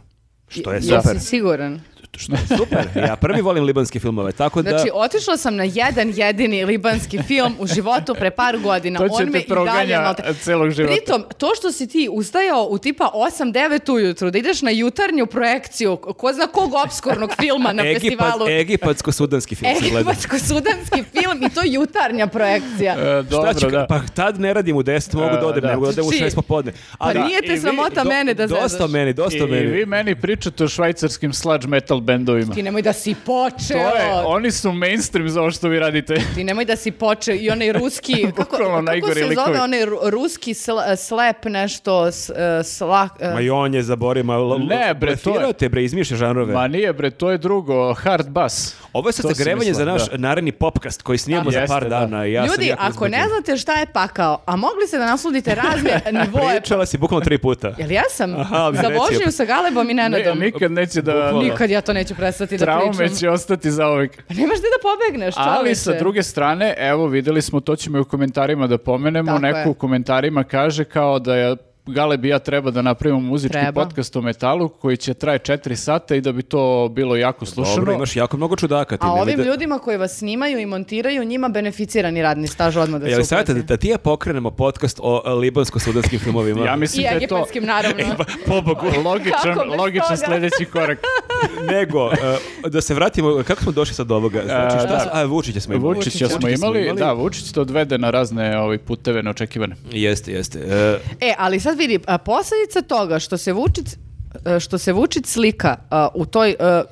Speaker 3: Što je super.
Speaker 1: Jesi siguran?
Speaker 3: Što je super. Ja prvi volim libanske filmove, tako da...
Speaker 1: Znači, otišla sam na jedan jedini libanski film u životu pre par godina.
Speaker 2: To će
Speaker 1: On
Speaker 2: te
Speaker 1: me i
Speaker 2: proganja
Speaker 1: dalje malte-
Speaker 2: celog života.
Speaker 1: Pritom, to što si ti ustajao u tipa 8-9 ujutru, da ideš na jutarnju projekciju, ko zna kog obskurnog filma na
Speaker 3: Egipat-
Speaker 1: festivalu.
Speaker 3: Egipatsko-sudanski film se gleda.
Speaker 1: Egipatsko-sudanski film i to jutarnja projekcija.
Speaker 2: E, dobro,
Speaker 3: Šta ću,
Speaker 2: da.
Speaker 3: Pa tad ne radim u 10, mogu da
Speaker 2: E,
Speaker 3: odem,
Speaker 2: da.
Speaker 3: mogu da odem u
Speaker 1: Znači,
Speaker 3: 6 popodne.
Speaker 1: Pa
Speaker 3: Ali-
Speaker 1: nije
Speaker 2: i
Speaker 1: te
Speaker 2: vi-
Speaker 1: sramota
Speaker 3: e, Do-
Speaker 1: meni da zezaš.
Speaker 3: Dosta meni,
Speaker 2: I,
Speaker 3: dosta
Speaker 2: I
Speaker 3: meni.
Speaker 2: vi meni pričate o švajcarskim sludge metal bendovima.
Speaker 1: Ti nemoj da si
Speaker 2: To
Speaker 1: počeo.
Speaker 2: je, oni su mainstream za ovo što vi radite.
Speaker 1: Ti nemoj da si počeo i onaj ruski, kako,
Speaker 2: Bukvalno
Speaker 1: kako
Speaker 2: najgori
Speaker 1: se
Speaker 2: likovi.
Speaker 1: zove onaj ru- ruski sl- slep nešto, s, e, slak, e,
Speaker 3: Ma i on je zaborio, ma l-
Speaker 2: Ne, bre, to je-
Speaker 3: blefirao te, bre, izmišlja žanrove.
Speaker 2: Ma nije bre, to je drugo, hard bass.
Speaker 3: Ovo je sad
Speaker 2: To sam
Speaker 3: zagrevanje za
Speaker 2: mislio,
Speaker 3: naš
Speaker 2: da.
Speaker 3: naredni popkast koji snimamo za
Speaker 2: Jeste,
Speaker 3: par
Speaker 2: da.
Speaker 3: dana. i Ja sam
Speaker 1: Ljudi,
Speaker 3: jako
Speaker 1: ako ne
Speaker 3: uzbuđen.
Speaker 1: znate šta je pakao, a mogli ste da nasludite razne nivoje...
Speaker 3: Pričala si bukvalno tri puta.
Speaker 1: Jel jesam?
Speaker 3: Aha, ali
Speaker 1: Za
Speaker 3: reci.
Speaker 1: vožnju sa Galebom i
Speaker 2: Ne,
Speaker 1: Nenadom.
Speaker 2: nikad neće da...
Speaker 3: Bukvalno.
Speaker 1: Nikad ja to neću prestati da
Speaker 2: Traume
Speaker 1: pričam.
Speaker 2: će ostati za uvijek.
Speaker 1: Pa nemaš gde da pobegneš, čoveče.
Speaker 2: Ali sa druge strane, evo videli smo, to ćemo i u komentarima da pomenemo,
Speaker 1: Tako
Speaker 2: neko
Speaker 1: je.
Speaker 2: u komentarima kaže kao da je Galeb i ja treba da napravimo muzički
Speaker 1: Treba.
Speaker 2: podcast o metalu koji će traje 4 sata i da bi to bilo jako slušano.
Speaker 3: Dobro, imaš jako mnogo čudaka. Ti
Speaker 1: A
Speaker 3: nemoj
Speaker 1: ovim
Speaker 3: da...
Speaker 1: ljudima koji vas snimaju i montiraju, njima beneficirani radni staž odmah da se
Speaker 3: Jel savjeta
Speaker 1: uplati.
Speaker 3: E, da, da ti ja pokrenemo podcast o e, libansko-sudanskim filmovima?
Speaker 2: Ja mislim
Speaker 1: I
Speaker 2: da je to E,
Speaker 1: egipatskim, naravno.
Speaker 3: Pobogu.
Speaker 2: logičan,
Speaker 1: Kako bez
Speaker 2: logičan
Speaker 1: toga?
Speaker 2: sljedeći korak.
Speaker 3: Nego, e, da se vratimo, kako smo došli sad do ovoga? Znači, šta
Speaker 2: E, da.
Speaker 3: smo- a, Vučića smo imali.
Speaker 2: Vučića smo imali, da, Vučić to odvede na razne ovaj, puteve neočekivane.
Speaker 3: Jeste, jeste. E,
Speaker 1: E, ali sad vidi, a, posljedica toga što se Vučić, e, što se Vučić slika a, u toj e,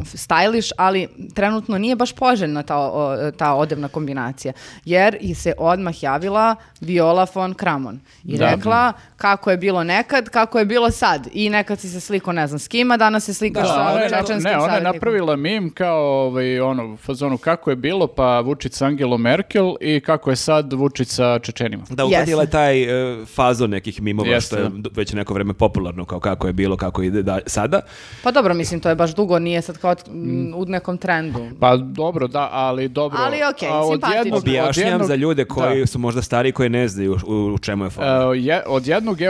Speaker 1: stylish, ali trenutno nije baš poželjna ta, o, e, ta odevna kombinacija, jer i se odmah javila Viola von Kramon i
Speaker 2: Da.
Speaker 1: rekla kako je bilo nekad, kako je bilo sad i nekad si se sliko ne znam s kim, a danas se slikaš
Speaker 2: Da, ona
Speaker 1: Pa sa
Speaker 2: je nap-
Speaker 1: čečenskim
Speaker 2: ne, ona je
Speaker 1: savjetnikom.
Speaker 2: napravila mim kao ovaj, ono, u fazonu kako je bilo, pa Vučić sa Angelom Merkel i kako je sad Vučić sa Čečenima.
Speaker 3: da, uhvatila je taj e, fazon nekih mimova
Speaker 2: Jeste,
Speaker 3: što
Speaker 2: da.
Speaker 3: je d- već neko vreme popularno, kao kako je bilo, kako ide da, sada.
Speaker 1: Pa dobro, mislim, to je baš dugo, nije sad kao mm, u nekom trendu.
Speaker 2: Pa dobro, da, ali dobro.
Speaker 1: Ali okej,
Speaker 2: a od
Speaker 1: simpatično.
Speaker 2: jednog- od
Speaker 3: Objašnjam
Speaker 2: jednog-
Speaker 3: za ljude koji
Speaker 2: da.
Speaker 3: su možda stariji, koji ne znaju u, u čemu je fazon.
Speaker 2: E, je- od jednog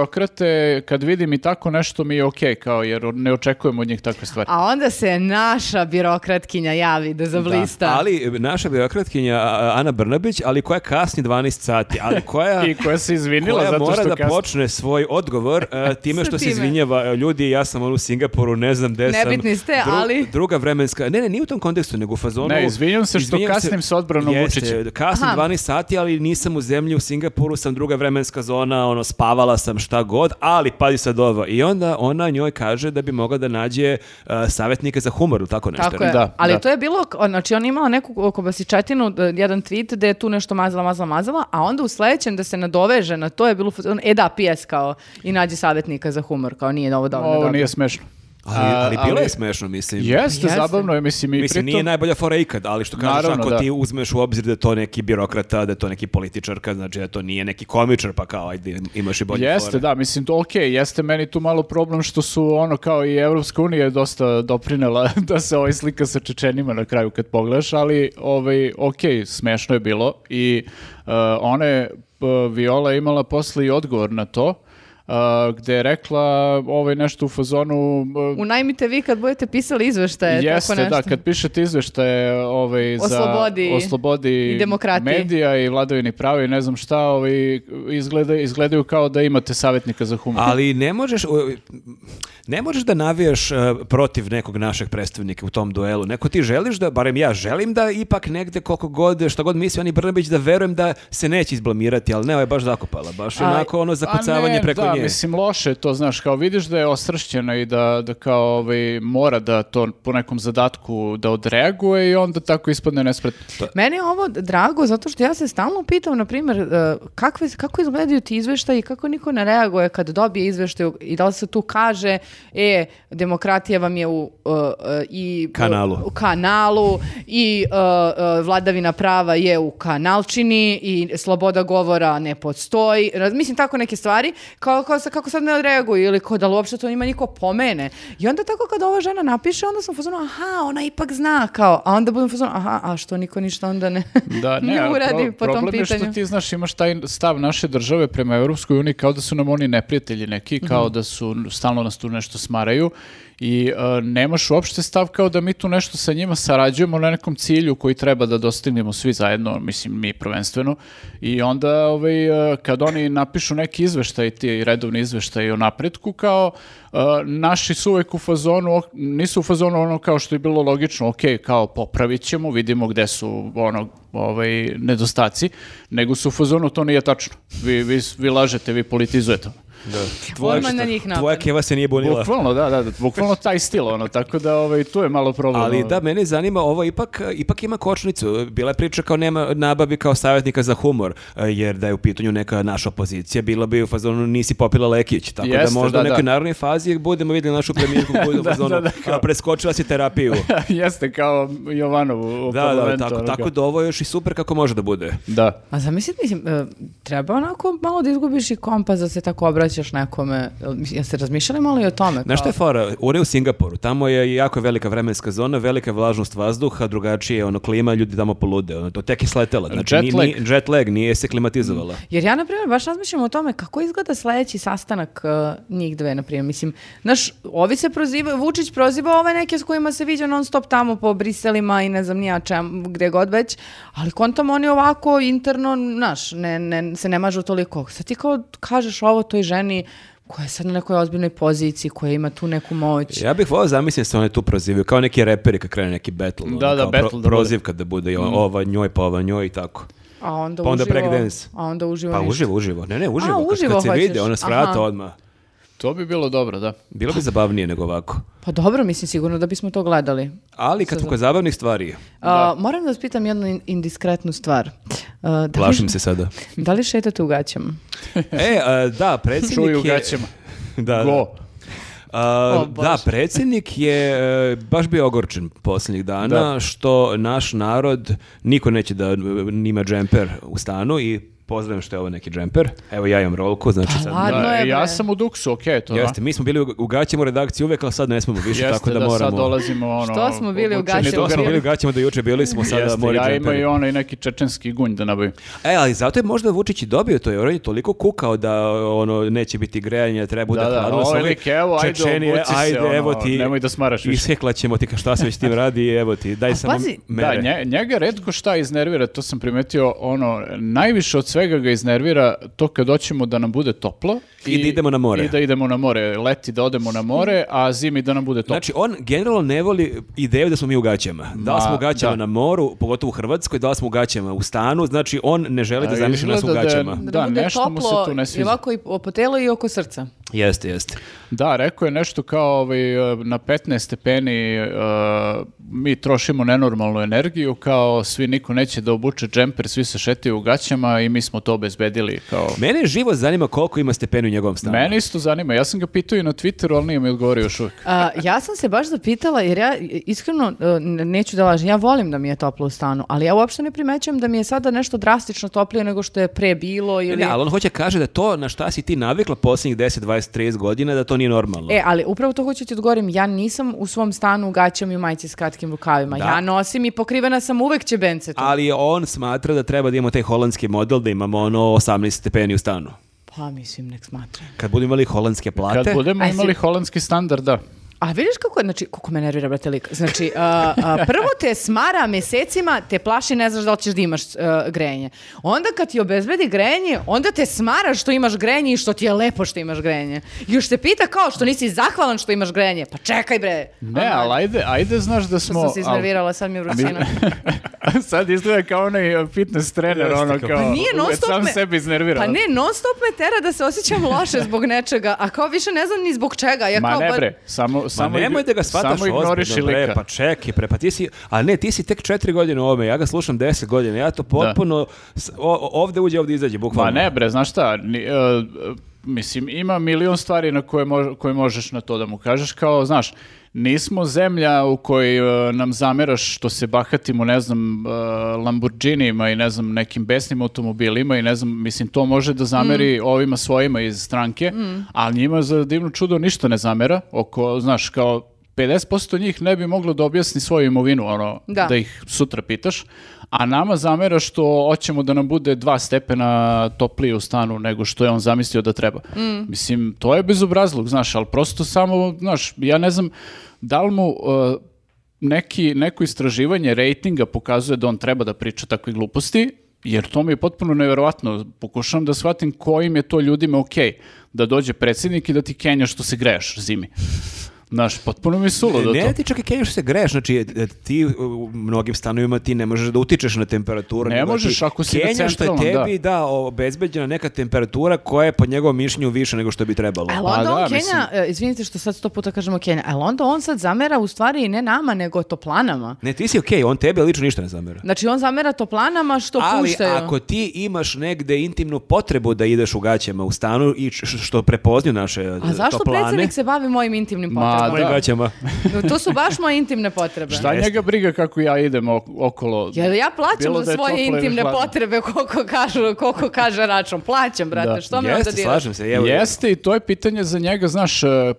Speaker 2: eurobirokrate, kad vidim i tako nešto, mi je okej, kao, jer ne očekujem od njih takve stvari.
Speaker 1: A onda se naša birokratkinja javi da zablista.
Speaker 3: Da, ali naša birokratkinja a, Ana Brnabić, ali koja kasni 12 sati, ali koja
Speaker 2: I koja se izvinila
Speaker 3: koja
Speaker 2: zato
Speaker 3: mora
Speaker 2: što
Speaker 3: da
Speaker 2: kasno-
Speaker 3: počne svoj odgovor e,
Speaker 1: Sa
Speaker 3: time što se
Speaker 1: time.
Speaker 3: izvinjava e, ljudi, ja sam ono u Singapuru, ne znam gde sam.
Speaker 1: Nebitni ste, ali-
Speaker 3: Druga vremenska, ne, ne, nije u tom kontekstu, nego u fazonu...
Speaker 2: Ne, izvinjam se što
Speaker 3: izvinjam
Speaker 2: kasnim sa odbranom
Speaker 3: Jeste,
Speaker 2: Vučića.
Speaker 3: Kasnim
Speaker 1: Aha.
Speaker 3: 12 sati, ali nisam u zemlji, u Singapuru sam druga vremenska zona, ono, spavala sam šta god, ali pazi sad ovo. I onda ona njoj kaže da bi mogla da nađe e, savjetnike za humor, ili tako nešto.
Speaker 1: Tako je.
Speaker 2: Da,
Speaker 1: ali
Speaker 2: da.
Speaker 1: to je bilo, k- znači on je imao neku kobasičetinu, d- jedan tweet da je tu nešto mazala, mazala, mazala, a onda u sledećem da se nadoveže na to je bilo, fazon, e da, PS kao i nađi savjetnika za humor, kao nije ovo dovoljno.
Speaker 2: Ovo
Speaker 1: dobro.
Speaker 2: nije smešno.
Speaker 3: Ali, ali
Speaker 2: A,
Speaker 3: bilo je
Speaker 2: ali-
Speaker 3: smešno, mislim.
Speaker 2: Jeste,
Speaker 1: Jeste.
Speaker 2: zabavno je, mislim, i
Speaker 3: Mislim,
Speaker 2: pritom-
Speaker 3: nije najbolja fora ikad, ali što kažeš,
Speaker 2: Naravno,
Speaker 3: ako
Speaker 2: da.
Speaker 3: ti uzmeš u obzir da je to neki birokrata, da je to neki političarka, znači da to nije neki komičar, pa kao, ajde, imaš i bolje
Speaker 2: Jeste,
Speaker 3: fore.
Speaker 2: da, mislim to okej, jeste meni tu malo problem što su ono kao i Evropska unija je dosta doprinela da se ovaj slika sa Čečenima na kraju kad pogledaš, ali ovaj, okej, smešno je eh, bilo i uh, ona je, uh, Viola je imala posle i odgovor na to, a, gde je rekla ovaj nešto u fazonu... a,
Speaker 1: Unajmite vi kad budete pisali izveštaje,
Speaker 2: Jeste,
Speaker 1: tako nešto.
Speaker 2: da, kad pišete izveštaje ovaj,
Speaker 1: O
Speaker 2: za
Speaker 1: slobodi
Speaker 2: o slobodi
Speaker 1: i demokratiji.
Speaker 2: medija i vladavini prava i ne znam šta, ovaj, izgleda, izgledaju kao da imate savjetnika za humor.
Speaker 3: Ali ne možeš, u- ne možeš da navijaš e, protiv nekog našeg predstavnika u tom duelu. Neko ti želiš da, barem ja želim da ipak negde koliko god, što god misli Ani Brnabić, da verujem da se neće izblamirati, ali ne, ovo je baš zakopala. Baš
Speaker 1: A-
Speaker 3: onako ono zakucavanje
Speaker 2: Pa ne,
Speaker 3: preko
Speaker 2: da,
Speaker 3: nje.
Speaker 2: mislim loše je to, znaš, kao vidiš da je ostrašćena i da, da kao ovaj, mora da to po nekom zadatku da odreaguje i onda tako ispadne nespretno.
Speaker 1: Meni je ovo drago zato što ja se stalno pitam, na primjer, e, kakve, kako izgledaju ti izveštaji i kako niko ne reaguje kad dobije izveštaj i da li se tu kaže, e, demokratija vam je u e, e, i,
Speaker 3: Kanalu.
Speaker 1: u kanalu i e, e, vladavina prava je u kanalčini i sloboda govora ne postoji. Raz- Mislim, tako neke stvari, kao, kao sa- kako sad ne odreaguju ili kao da li uopšte to njima niko pomene. I onda tako kad ova žena napiše, onda sam u fazonu, aha, ona ipak zna, kao, a onda budem u fazonu, aha, a što niko ništa onda ne,
Speaker 2: Da, ne,
Speaker 1: ne
Speaker 2: ali
Speaker 1: uradi
Speaker 2: pro-
Speaker 1: po tom
Speaker 2: problem je
Speaker 1: pitanju.
Speaker 2: što ti, znaš, imaš taj stav naše države prema Europskoj uniji kao da su nam oni neprijatelji neki,
Speaker 1: Mhm.
Speaker 2: kao da su, stalno nas tu nešto smaraju i e, nemaš uopšte stav kao da mi tu nešto sa njima sarađujemo na nekom cilju koji treba da dostignemo svi zajedno, mislim mi prvenstveno i onda ovaj, e, kad oni napišu neki izveštaj, ti redovni izveštaj o napretku, kao e, naši su uvek u fazonu, ok- nisu u fazonu ono kao što je bilo logično, ok, kao popravit ćemo, vidimo gde su ono, ovaj, nedostaci, nego su u fazonu, to nije tačno. Vi, vi, vi lažete, vi politizujete.
Speaker 3: Tvoja-
Speaker 1: Odmah na njih napad.
Speaker 3: Tvoja keva se nije bunila.
Speaker 2: Bukvalno, da, da, da, bukvalno taj stil, ono, tako da ovaj, tu je malo problem.
Speaker 3: Ali
Speaker 2: ovaj.
Speaker 3: da, mene zanima, ovo ipak, ipak ima kočnicu. Bila je priča kao nema nabavi kao savjetnika za humor, e, jer da je u pitanju neka naša opozicija, bila bi u fazonu nisi popila Lekić. Tako
Speaker 2: Jeste,
Speaker 3: da možda
Speaker 2: da,
Speaker 3: u nekoj
Speaker 2: da.
Speaker 3: narodnoj fazi budemo vidjeli našu premijerku koju je u fazonu,
Speaker 2: da, da,
Speaker 3: "A, preskočila si terapiju.
Speaker 2: Jeste kao Jovanov u
Speaker 3: da, da,
Speaker 2: parlamentu,
Speaker 3: tako,
Speaker 2: ono,
Speaker 3: tako
Speaker 2: kao-
Speaker 3: da ovo je još i super kako može da bude.
Speaker 2: Da.
Speaker 1: A zamislite, mislim, e, treba onako malo da izgubiš i kompas da se tako obraćaš nekome. Jel- mislim, Jeste razmišljali malo i o tome?
Speaker 3: Znaš šta
Speaker 1: kao-
Speaker 3: je fora? Ona je u Singapuru. Tamo je jako velika vremenska zona, velika je vlažnost vazduha, drugačije je ono klima, ljudi tamo polude. Ono, to tek je sletela. Znači,
Speaker 2: Jet
Speaker 3: ni-
Speaker 2: lag.
Speaker 3: ni- jet lag, nije se klimatizovala.
Speaker 1: Jer ja, na primjer, baš razmišljam o tome kako izgleda sledeći sastanak uh, njih dve, na primjer. Mislim, znaš, ovi se prozivaju, Vučić proziva ove neke s kojima se viđa non stop tamo po Briselima i ne znam nija čem, gde god već, ali kontam oni ovako interno, znaš, ne, ne, se ne mažu toliko. Sad ti kao kažeš ovo toj ženi koja je sad na nekoj ozbiljnoj poziciji, koja ima tu neku moć.
Speaker 3: Ja bih volao zamislim se one tu prozivaju, kao neki reperi kad krene neki battle. ono,
Speaker 2: Da, da,
Speaker 3: kao
Speaker 2: battle da
Speaker 3: prozivka da bude, i ova njoj, pa ova njoj i tako.
Speaker 1: A onda
Speaker 3: Pa onda
Speaker 1: uživo...
Speaker 3: breakdance.
Speaker 1: A onda uživo
Speaker 3: Pa
Speaker 1: ništa.
Speaker 3: uživo, uživo. Ne, ne, uživo. kad-
Speaker 1: uživo
Speaker 3: kad, se
Speaker 1: hoćeš.
Speaker 3: vide, ona s vrata
Speaker 1: Aha.
Speaker 3: odmah.
Speaker 2: To bi bilo dobro, da.
Speaker 3: Bilo bi zabavnije nego ovako.
Speaker 1: Pa dobro, mislim, sigurno da bismo to gledali.
Speaker 3: Ali kad smo kod zabavnih stvari,
Speaker 1: A, moram da vas pitam jednu in- indiskretnu stvar. A, da, li,
Speaker 3: plašim se sada.
Speaker 1: da li šetate u gaćama?
Speaker 3: e, a, da, predsjednik
Speaker 2: Čuju u
Speaker 3: je...
Speaker 2: gaćama.
Speaker 3: Da, da.
Speaker 2: Go.
Speaker 3: A,
Speaker 1: O, Bože.
Speaker 3: da, predsjednik je e, baš bio ogorčen posljednjih dana što naš narod, niko neće da e, nima džemper u stanu i pozdravim što je ovo neki džemper. Evo ja imam rolku, znači sad...
Speaker 1: Ladno
Speaker 2: Da, e,
Speaker 1: je, Pa bre.
Speaker 2: ja sam u duksu, okej, to da.
Speaker 3: Jeste, mi smo bili u- u gaćama u redakciji uvek, ali sad ne smemo više,
Speaker 2: Jeste
Speaker 3: tako da,
Speaker 2: da
Speaker 3: moramo.
Speaker 2: sad dolazimo ono...
Speaker 1: Što smo bili u
Speaker 2: obučeni
Speaker 1: gaćama?
Speaker 2: do
Speaker 3: To smo
Speaker 2: grla.
Speaker 3: bili u gaćama do juče, bili smo sada
Speaker 2: Jeste,
Speaker 3: mori
Speaker 2: ja ima
Speaker 3: džemperi.
Speaker 2: i onaj neki čečenski gunj da nabavim.
Speaker 3: E, ali zato je možda Vučić i dobio to, jer on je toliko kukao da ono, neće biti grejanja, treba bude
Speaker 2: Da, da,
Speaker 3: hladno.
Speaker 2: ovaj
Speaker 3: Ovi
Speaker 2: lik, evo, ajde,
Speaker 3: Čečeni,
Speaker 2: obuci se,
Speaker 3: ajde,
Speaker 2: ono,
Speaker 3: evo ti,
Speaker 2: nemoj da smaraš više.
Speaker 3: Isekla ćemo ti ka- šta se već tim radi, evo ti, daj samo
Speaker 1: pazi-
Speaker 3: mere.
Speaker 2: Da, nje- njega redko šta iznervira, to sam primetio, ono, najviše od svega ga iznervira to kad hoćemo da nam bude toplo.
Speaker 3: I da idemo na more.
Speaker 2: I da idemo na more. Leti da odemo na more, a zimi da nam bude toplo.
Speaker 3: Znači, on generalno ne voli ideju da smo mi u gaćama. Da
Speaker 2: Ma,
Speaker 3: li smo u gaćama
Speaker 2: da.
Speaker 3: na moru, pogotovo u Hrvatskoj, da li smo u gaćama u stanu, znači on ne želi da
Speaker 2: A,
Speaker 3: zamišlja nas u
Speaker 2: izgleda da je-
Speaker 3: gaćama.
Speaker 1: Da,
Speaker 2: Da,
Speaker 1: nam bude
Speaker 2: nešto mu se
Speaker 1: toplo
Speaker 2: tu ne sviđa.
Speaker 1: I ovako i po telu i oko srca.
Speaker 3: Jeste, jeste.
Speaker 2: Da, rekao je nešto kao ovaj, e, na 15 stepeni e, mi trošimo nenormalnu energiju, kao svi niko neće da obuče džemper, svi se šetaju u gaćama i mi smo to obezbedili. Kao...
Speaker 3: Mene živo zanima koliko ima stepeni u njegovom stanu.
Speaker 2: Mene isto zanima, ja sam ga pitao i na Twitteru, ali nije mi odgovorio još uvijek.
Speaker 1: A, ja sam se baš zapitala, jer ja iskreno e, ne- neću da lažem, ja volim da mi je toplo u stanu, ali ja uopšte ne primećujem da mi je sada nešto drastično toplije nego što je pre bilo. Ili...
Speaker 3: Ne, ali on hoće kaže da to na šta si ti navikla posljednjih 10, 20, 30 godina, da to nije normalno.
Speaker 1: E, ali upravo to hoću ti odgovorim, ja nisam u svom stanu u gaćama i u majici s kratkim rukavima.
Speaker 3: Da.
Speaker 1: Ja nosim i pokrivena sam uvek čebence.
Speaker 3: Ali on smatra da treba da imamo taj holandski model, da imamo ono 18 stepeni u stanu.
Speaker 1: Pa Pa mislim, nek smatra.
Speaker 3: Kad budemo imali holandske plate.
Speaker 2: Kad budemo
Speaker 1: Aj, si-
Speaker 2: imali holandski standard, da.
Speaker 1: A vidiš kako je, znači, kako me nervira, brate, lik. Znači, a, a, prvo te smara mesecima, te plaši, ne znaš da li ćeš da imaš a, grejanje. Onda kad ti obezbedi grejanje, onda te smara što imaš grejanje i što ti je lepo što imaš grejanje. Još te pita kao što nisi zahvalan što imaš grejanje. Pa čekaj, bre.
Speaker 2: Ne, ali ajde, ajde znaš da
Speaker 1: Što
Speaker 2: smo...
Speaker 1: sam se
Speaker 2: al-
Speaker 1: iznervirala, sad mi je vrućina.
Speaker 2: Sad izgleda kao onaj e, fitness trener,
Speaker 3: Jeste,
Speaker 2: ono
Speaker 3: kao-
Speaker 2: kao...
Speaker 1: Pa nije non
Speaker 2: uvijek
Speaker 1: stop
Speaker 2: sam
Speaker 1: me-
Speaker 2: sebi iznervira.
Speaker 1: Pa ne, non stop me tera da se osjećam loše zbog nečega, a kao više ne znam ni zbog čega. Ja
Speaker 2: Ma
Speaker 1: kao,
Speaker 2: ne
Speaker 1: pa-
Speaker 2: bre, samo,
Speaker 3: Ma
Speaker 2: samo,
Speaker 3: nemoj
Speaker 2: ign-
Speaker 3: da ga shvataš
Speaker 2: samo ignoriš
Speaker 3: ozbiljno,
Speaker 2: i
Speaker 3: bre,
Speaker 2: lika.
Speaker 3: pa čekaj, pre, pa ti si, a ne, ti si tek četiri godine u ovome, ja ga slušam deset godina, ja to potpuno, s- o- ovde uđe, ovde izađe,
Speaker 2: Pa
Speaker 3: bukvalno.
Speaker 2: ne bre, znaš šta, ni- e, e, mislim, ima milion stvari na koje, mož- koje možeš na to da mu kažeš, kao, znaš, nismo zemlja u kojoj e, nam zameraš što se bahatimo, ne znam, e, Lamborghinijima i ne znam, nekim besnim automobilima i ne znam, mislim, to može da zameri ovima svojima iz stranke, ali njima za divno čudo ništa ne zamera, oko, znaš, kao, 50% njih ne bi moglo da objasni svoju imovinu, ono,
Speaker 1: Da.
Speaker 2: da ih sutra pitaš, a nama zamera što hoćemo da nam bude dva stepena toplije u stanu nego što je on zamislio da treba. Mislim, to je bezobrazlog, znaš, ali prosto samo, znaš, ja ne znam da li mu uh, neki, neko istraživanje rejtinga pokazuje da on treba da priča takve gluposti, jer to mi je potpuno neverovatno. Pokušavam da shvatim kojim je to ljudima okej da dođe predsjednik i da ti kenja što se greješ zimi. Znaš, potpuno mi je suludo
Speaker 3: Ne,
Speaker 2: to.
Speaker 3: ti čak i kenjaš se greš, znači e, ti u- u mnogim stanovima ti ne možeš da utičeš na temperaturu.
Speaker 2: Ne
Speaker 3: nego ti
Speaker 2: možeš ako si na
Speaker 3: kenjaš što je
Speaker 2: centralnom,
Speaker 3: tebi, da. obezbeđena neka temperatura koja je po njegovom mišljenju više nego što bi trebalo.
Speaker 1: Ali
Speaker 2: Pa
Speaker 1: onda on
Speaker 2: da,
Speaker 1: Kenja,
Speaker 2: mislim.
Speaker 1: e, izvinite što sad sto puta kažemo Kenja, ali onda on sad zamera u stvari ne nama, nego toplanama.
Speaker 3: Ne, ti si okej, on tebi lično ništa ne zamera.
Speaker 1: Znači on zamera toplanama što
Speaker 3: Ali
Speaker 1: puštaju.
Speaker 3: ako ti imaš negde intimnu potrebu da ideš u gaćama u stanu i š- š- što prepoznju naše e,
Speaker 1: A zašto
Speaker 3: toplane,
Speaker 1: predsjednik se bavi mojim intimnim
Speaker 2: Ma,
Speaker 1: potrebama?
Speaker 3: Mojim
Speaker 2: Da.
Speaker 3: gaćama.
Speaker 1: To su baš moje intimne potrebe.
Speaker 2: Šta njega briga kako ja idem ok- okolo?
Speaker 1: Jel ja plaćam
Speaker 2: Bilo da
Speaker 1: za
Speaker 2: je toplo
Speaker 1: svoje
Speaker 2: ili
Speaker 1: intimne
Speaker 2: hladno.
Speaker 1: potrebe koliko, kažu, koliko kaže račun. Plaćam, brate,
Speaker 2: Da.
Speaker 1: što me onda
Speaker 3: Jeste,
Speaker 1: diraš?
Speaker 3: slažem se. Evo,
Speaker 2: Jeste i to je pitanje za njega, znaš, e, e,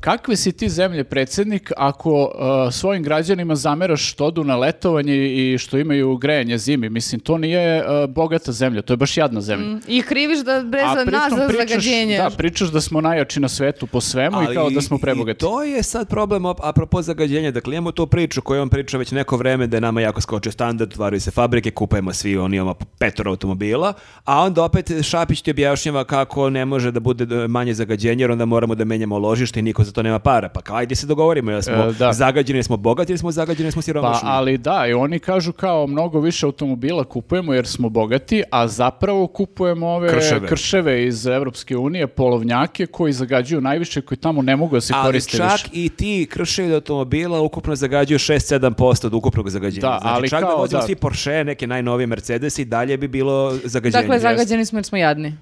Speaker 2: kakve si ti zemlje predsjednik ako e, svojim građanima zameraš što odu na letovanje i što imaju grejanje zimi? Mislim, to nije e, bogata zemlja, to je baš jadna zemlja.
Speaker 1: I kriviš da bre za
Speaker 2: pritom
Speaker 1: Mm. nas za zagađenje.
Speaker 2: da, pričaš da smo najjači na svetu po svemu i kao da smo
Speaker 3: i
Speaker 2: prebogati.
Speaker 3: to je sad problem op- apropo zagađenja. Dakle, imamo tu priču koju on priča već neko vreme da je nama jako skočio standard, otvaraju se fabrike, kupujemo svi, on imamo po petoro automobila, a onda opet Šapić ti objašnjava kako ne može da bude e, manje zagađenje jer onda moramo da menjamo ložište i niko za to nema para. Pa kao, ajde se dogovorimo, jel smo
Speaker 2: E, da.
Speaker 3: zagađeni, jel smo bogati ili smo zagađeni, jel smo
Speaker 2: Pa,
Speaker 3: siromašni.
Speaker 2: ali da, i oni kažu kao mnogo više automobila kupujemo jer smo bogati, a zapravo kupujemo ove
Speaker 3: Krševe.
Speaker 2: krševe, iz Evropske unije, polovnjake koji zagađuju najviše, koji tamo ne mogu da se
Speaker 3: Ali
Speaker 2: koriste
Speaker 3: čak
Speaker 2: više.
Speaker 3: i ti krševi od automobila ukupno zagađuju 6-7% od ukupnog zagađenja.
Speaker 2: Da,
Speaker 3: znači,
Speaker 2: ali
Speaker 3: čak da
Speaker 2: kao,
Speaker 3: vozimo
Speaker 2: da.
Speaker 3: svi Porsche, neke najnovije Mercedes i dalje bi bilo zagađenje.
Speaker 1: Dakle, zagađeni smo jer smo jadni.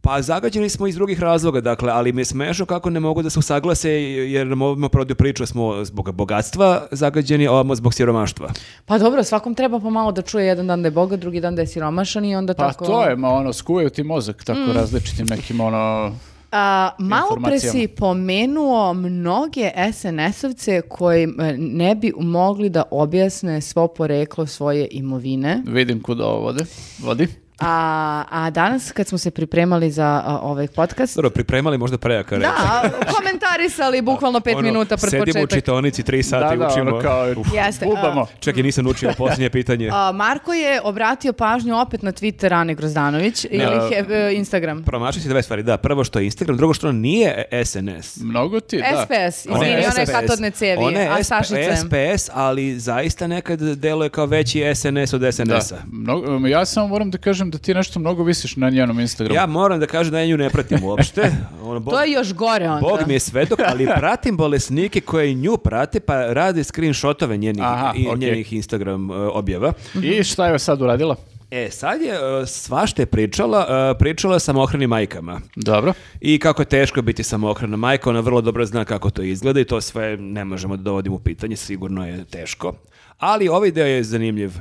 Speaker 3: Pa zagađeni smo iz drugih razloga, dakle, ali mi je smešno kako ne mogu da se usaglase jer nam ovdje prodaju priču da smo zbog bogatstva zagađeni, a ovamo zbog siromaštva.
Speaker 1: Pa dobro, svakom treba pomalo da čuje jedan dan da je boga, drugi dan da je siromašan i onda
Speaker 2: Pa
Speaker 1: tako... Mm.
Speaker 2: to je, ma ono, skuvaju ti mozak tako različitim nekim ono...
Speaker 1: A, malo pre
Speaker 2: informacijama.
Speaker 1: si pomenuo mnoge SNS-ovce koji e, ne bi mogli da objasne svo poreklo svoje imovine.
Speaker 2: Vidim kuda ovo vode, vodi.
Speaker 1: A, a danas kad smo se pripremali za a, ovaj podcast,
Speaker 3: Dobro, pripremali možda prejaka reč.
Speaker 1: da, komentarisali bukvalno pet
Speaker 3: Ono,
Speaker 1: minuta pred
Speaker 3: sedimo u
Speaker 1: početak.
Speaker 3: čitaonici tri sata i
Speaker 2: da,
Speaker 3: učimo.
Speaker 2: ono kao,
Speaker 3: Uf,
Speaker 1: Jeste, a-
Speaker 2: bubamo.
Speaker 3: čekaj, nisam učio posljednje pitanje.
Speaker 1: A, Marko je obratio pažnju opet na Twitter Ane Grozdanović ili
Speaker 2: a-
Speaker 1: he- e, Instagram.
Speaker 3: Promašio si dve stvari, da, prvo što je Instagram, drugo što on nije SNS.
Speaker 2: Mnogo ti, da. Ono
Speaker 1: SPS,
Speaker 3: Ona
Speaker 1: izvini, ono- one
Speaker 3: SPS.
Speaker 1: katodne cevi,
Speaker 3: Ona je
Speaker 1: a
Speaker 3: SP
Speaker 1: Sašica je.
Speaker 3: SPS, ali zaista nekad deluje kao veći SNS od
Speaker 2: Da.
Speaker 3: SNS-a.
Speaker 2: Mnogo, um, ja samo moram da kažem da ti nešto mnogo visiš na njenom Instagramu.
Speaker 3: Ja moram da kažem da ja nju ne pratim uopšte. Ono, Bog,
Speaker 1: To je još gore onda.
Speaker 3: Bog mi je svedok, ali pratim bolesnike koji nju prate, pa rade screenshotove njenih,
Speaker 2: Aha,
Speaker 3: i,
Speaker 2: okej.
Speaker 3: njenih Instagram e, objava.
Speaker 2: I šta je sad uradila?
Speaker 3: E, sad je e, svašta je pričala, e, pričala sam ohranim majkama.
Speaker 2: Dobro.
Speaker 3: I kako je teško biti samohrana majka, ona vrlo dobro zna kako to izgleda i to sve ne možemo da dovodimo u pitanje, sigurno je teško. Ali ovaj deo je zanimljiv.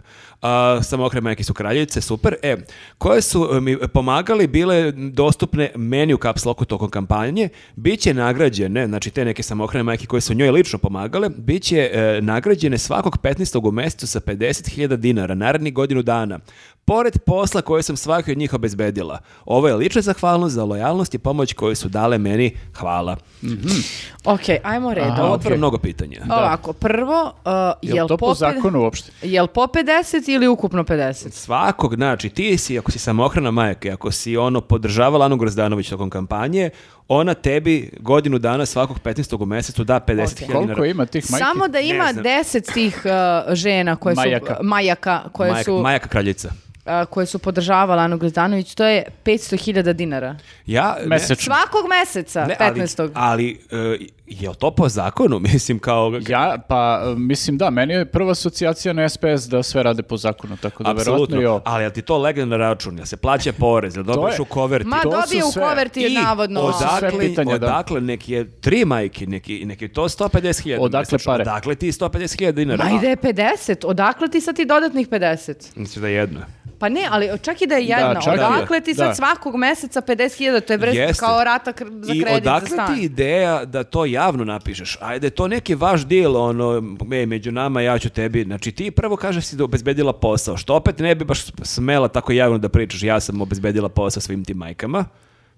Speaker 3: A, samohrane majke su kraljice, super. E, koje su e, mi pomagali, bile dostupne meni u Caps Locku tokom kampanje, bit će nagrađene, znači te neke samohrane majke koje su njoj lično pomagale, bit će e, nagrađene svakog 15. u mesecu sa 50.000 dinara, narednih godinu dana. Pored posla koje sam svaki od njih obezbedila, ovo je lična zahvalnost za lojalnost i pomoć koju su dale meni. Hvala.
Speaker 1: Ok, ajmo redom.
Speaker 3: Da otvara mnogo pitanja.
Speaker 1: Ovako, prvo, uh,
Speaker 2: Jel,
Speaker 1: jel,
Speaker 2: to po
Speaker 1: pe-
Speaker 2: zakonu uopšte?
Speaker 1: Jel po 50 ili ukupno 50?
Speaker 3: Svakog, znači, ti si, ako si samohrana majka, i ako si ono podržavala Anu Grozdanović tokom kampanje, ona tebi godinu dana svakog 15. u mesecu da 50.000 dinara.
Speaker 2: Koliko ima tih majki?
Speaker 1: Samo da ima
Speaker 3: znam.
Speaker 1: 10 tih uh, žena koje
Speaker 2: Majaka.
Speaker 1: su uh, majaka koje
Speaker 3: Majaka,
Speaker 1: su
Speaker 3: majaka kraljica.
Speaker 1: uh, koje su podržavale Anu Glezdanović, to je 500.000 dinara.
Speaker 3: Ja, ne-
Speaker 2: Mesečno.
Speaker 1: Svakog meseca,
Speaker 3: ne, ali-
Speaker 1: 15.
Speaker 3: Ali, e, je li to po zakonu? Mislim, kao...
Speaker 2: Ja, pa mislim da, meni je prva asocijacija na SPS da sve rade po zakonu, tako da verovatno i
Speaker 3: Apsolutno.
Speaker 2: ovo.
Speaker 3: Ali je li ti to legne na račun? Jel se plaća porez? Jel dobiješ
Speaker 2: je-
Speaker 3: u koverti?
Speaker 1: Ma
Speaker 2: to su
Speaker 1: dobije u
Speaker 2: sve.
Speaker 1: koverti je
Speaker 3: I
Speaker 1: navodno.
Speaker 2: sve
Speaker 3: Odakle,
Speaker 2: pitanja, da.
Speaker 3: odakle neki je tri majke, neki, neki je to 150.000.
Speaker 2: Odakle
Speaker 3: mesečno.
Speaker 2: pare?
Speaker 3: Odakle ti 150.000 dinara?
Speaker 1: Ma ide 50, odakle ti sad ti dodatnih 50?
Speaker 3: Mislim da je jedno.
Speaker 1: Pa ne, ali čak i da je jedna,
Speaker 2: čak
Speaker 3: i da.
Speaker 1: odakle ti sad
Speaker 2: Da.
Speaker 1: svakog meseca 50.000, to je brez
Speaker 3: Jeste.
Speaker 1: kao rata kr- za
Speaker 3: I
Speaker 1: kredit, za
Speaker 3: odakle
Speaker 1: stan.
Speaker 3: ti ideja da to javno napišeš? Ajde, to neki vaš deal, ono, e, među nama ja ću tebi. Znači, ti prvo kažeš si da obezbedila posao, što opet ne bi baš smela tako javno da pričaš, ja sam obezbedila posao svim tim majkama.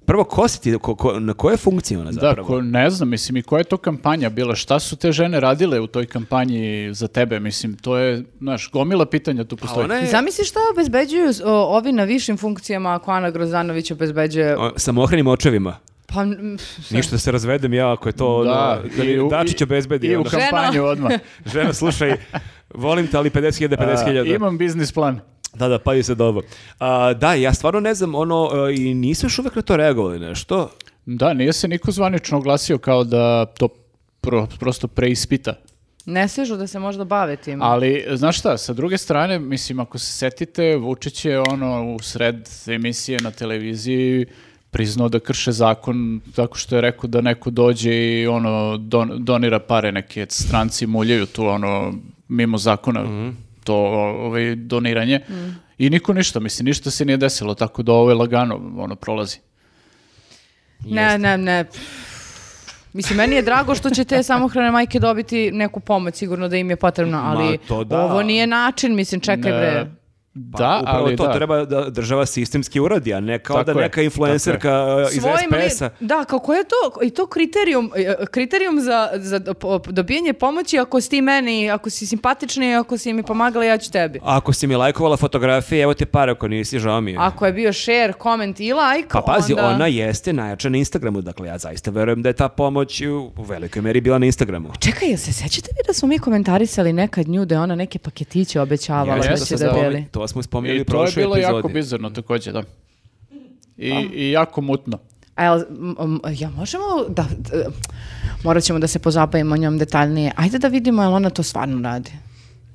Speaker 3: Prvo, ko si ti, ko- ko- na koje funkcije ona
Speaker 2: Da,
Speaker 3: zapravo?
Speaker 2: ko, ne znam, mislim, i koja je to kampanja bila? Šta su te žene radile u toj kampanji za tebe? Mislim, to je, znaš, gomila pitanja tu
Speaker 3: A
Speaker 2: postoji.
Speaker 3: ona je-
Speaker 1: Zamisli šta obezbeđuju o, ovi na višim funkcijama ako Ana Grozanović obezbeđuje...
Speaker 3: O, samohranim očevima.
Speaker 1: Pa, mm,
Speaker 3: Ništa da se razvedem ja ako je to
Speaker 2: Da,
Speaker 3: ono, da mi
Speaker 2: u-
Speaker 3: Dačić obezbedi.
Speaker 2: I u
Speaker 3: ono.
Speaker 1: Ženo.
Speaker 2: kampanju odmah.
Speaker 3: Žena, slušaj, volim te, ali 50.000, 50.000.
Speaker 2: A, imam biznis plan.
Speaker 3: Da, pa da, pazi se dobro. A, da, ja stvarno ne znam, ono, e, i nisu još uvek na to reagovali nešto.
Speaker 2: Da, nije se niko zvanično oglasio kao da to pro- prosto preispita.
Speaker 1: ne sežu da se možda bave tim.
Speaker 2: Mm. Ali, znaš šta, sa druge strane, mislim, ako se setite, Vučić je ono u sred emisije na televiziji priznao da krše zakon tako što je rekao da neko dođe i ono don- donira pare neke stranci muljaju tu ono mimo zakona
Speaker 3: Mhm.
Speaker 2: to ovaj doniranje i niko ništa mislim ništa se nije desilo tako da ovo je lagano ono prolazi
Speaker 1: ne, ne, ne. Mislim, meni je drago što će te samohrane majke dobiti neku pomoć, sigurno da im je potrebno, ali
Speaker 3: to da.
Speaker 1: ovo nije način, mislim, čekaj
Speaker 2: E,
Speaker 1: bre.
Speaker 2: da
Speaker 3: Pa Upravo
Speaker 2: ali
Speaker 3: to
Speaker 2: da.
Speaker 3: treba da država sistemski uradi, a ne kao
Speaker 2: Tako
Speaker 3: da
Speaker 2: je,
Speaker 3: neka influencerka e, iz
Speaker 1: Svojim li-
Speaker 3: SPS-a.
Speaker 1: Da, kako je to, i to kriterijum, e, e, kriterijum za, za do- po- dobijanje pomoći ako si ti meni, ako si simpatični, ako si mi pomagala, ja ću tebi.
Speaker 3: Ako si mi lajkovala fotografije, evo te pare, ako nisi, žao mi je.
Speaker 1: Ako je bio share, comment i like,
Speaker 3: Pa pazi,
Speaker 1: onda...
Speaker 3: ona jeste najjača na Instagramu, dakle ja zaista verujem da je ta pomoć u u velikoj meri bila na Instagramu.
Speaker 1: Čekaj, jel se sećate vi da smo mi komentarisali nekad nju da je ona neke paketiće obećavala pa
Speaker 2: Jeste,
Speaker 1: da će
Speaker 3: to, smo
Speaker 1: da
Speaker 3: spomi-
Speaker 1: deli?
Speaker 3: to smo spominjali u
Speaker 2: I to je
Speaker 3: prošloj
Speaker 2: bilo
Speaker 3: epizodi.
Speaker 2: jako bizarno takođe, da. I, I jako mutno.
Speaker 1: A jel, m- m- ja možemo da... d- morat ćemo da se pozabavimo njom detaljnije. Ajde da vidimo jel ona to stvarno radi.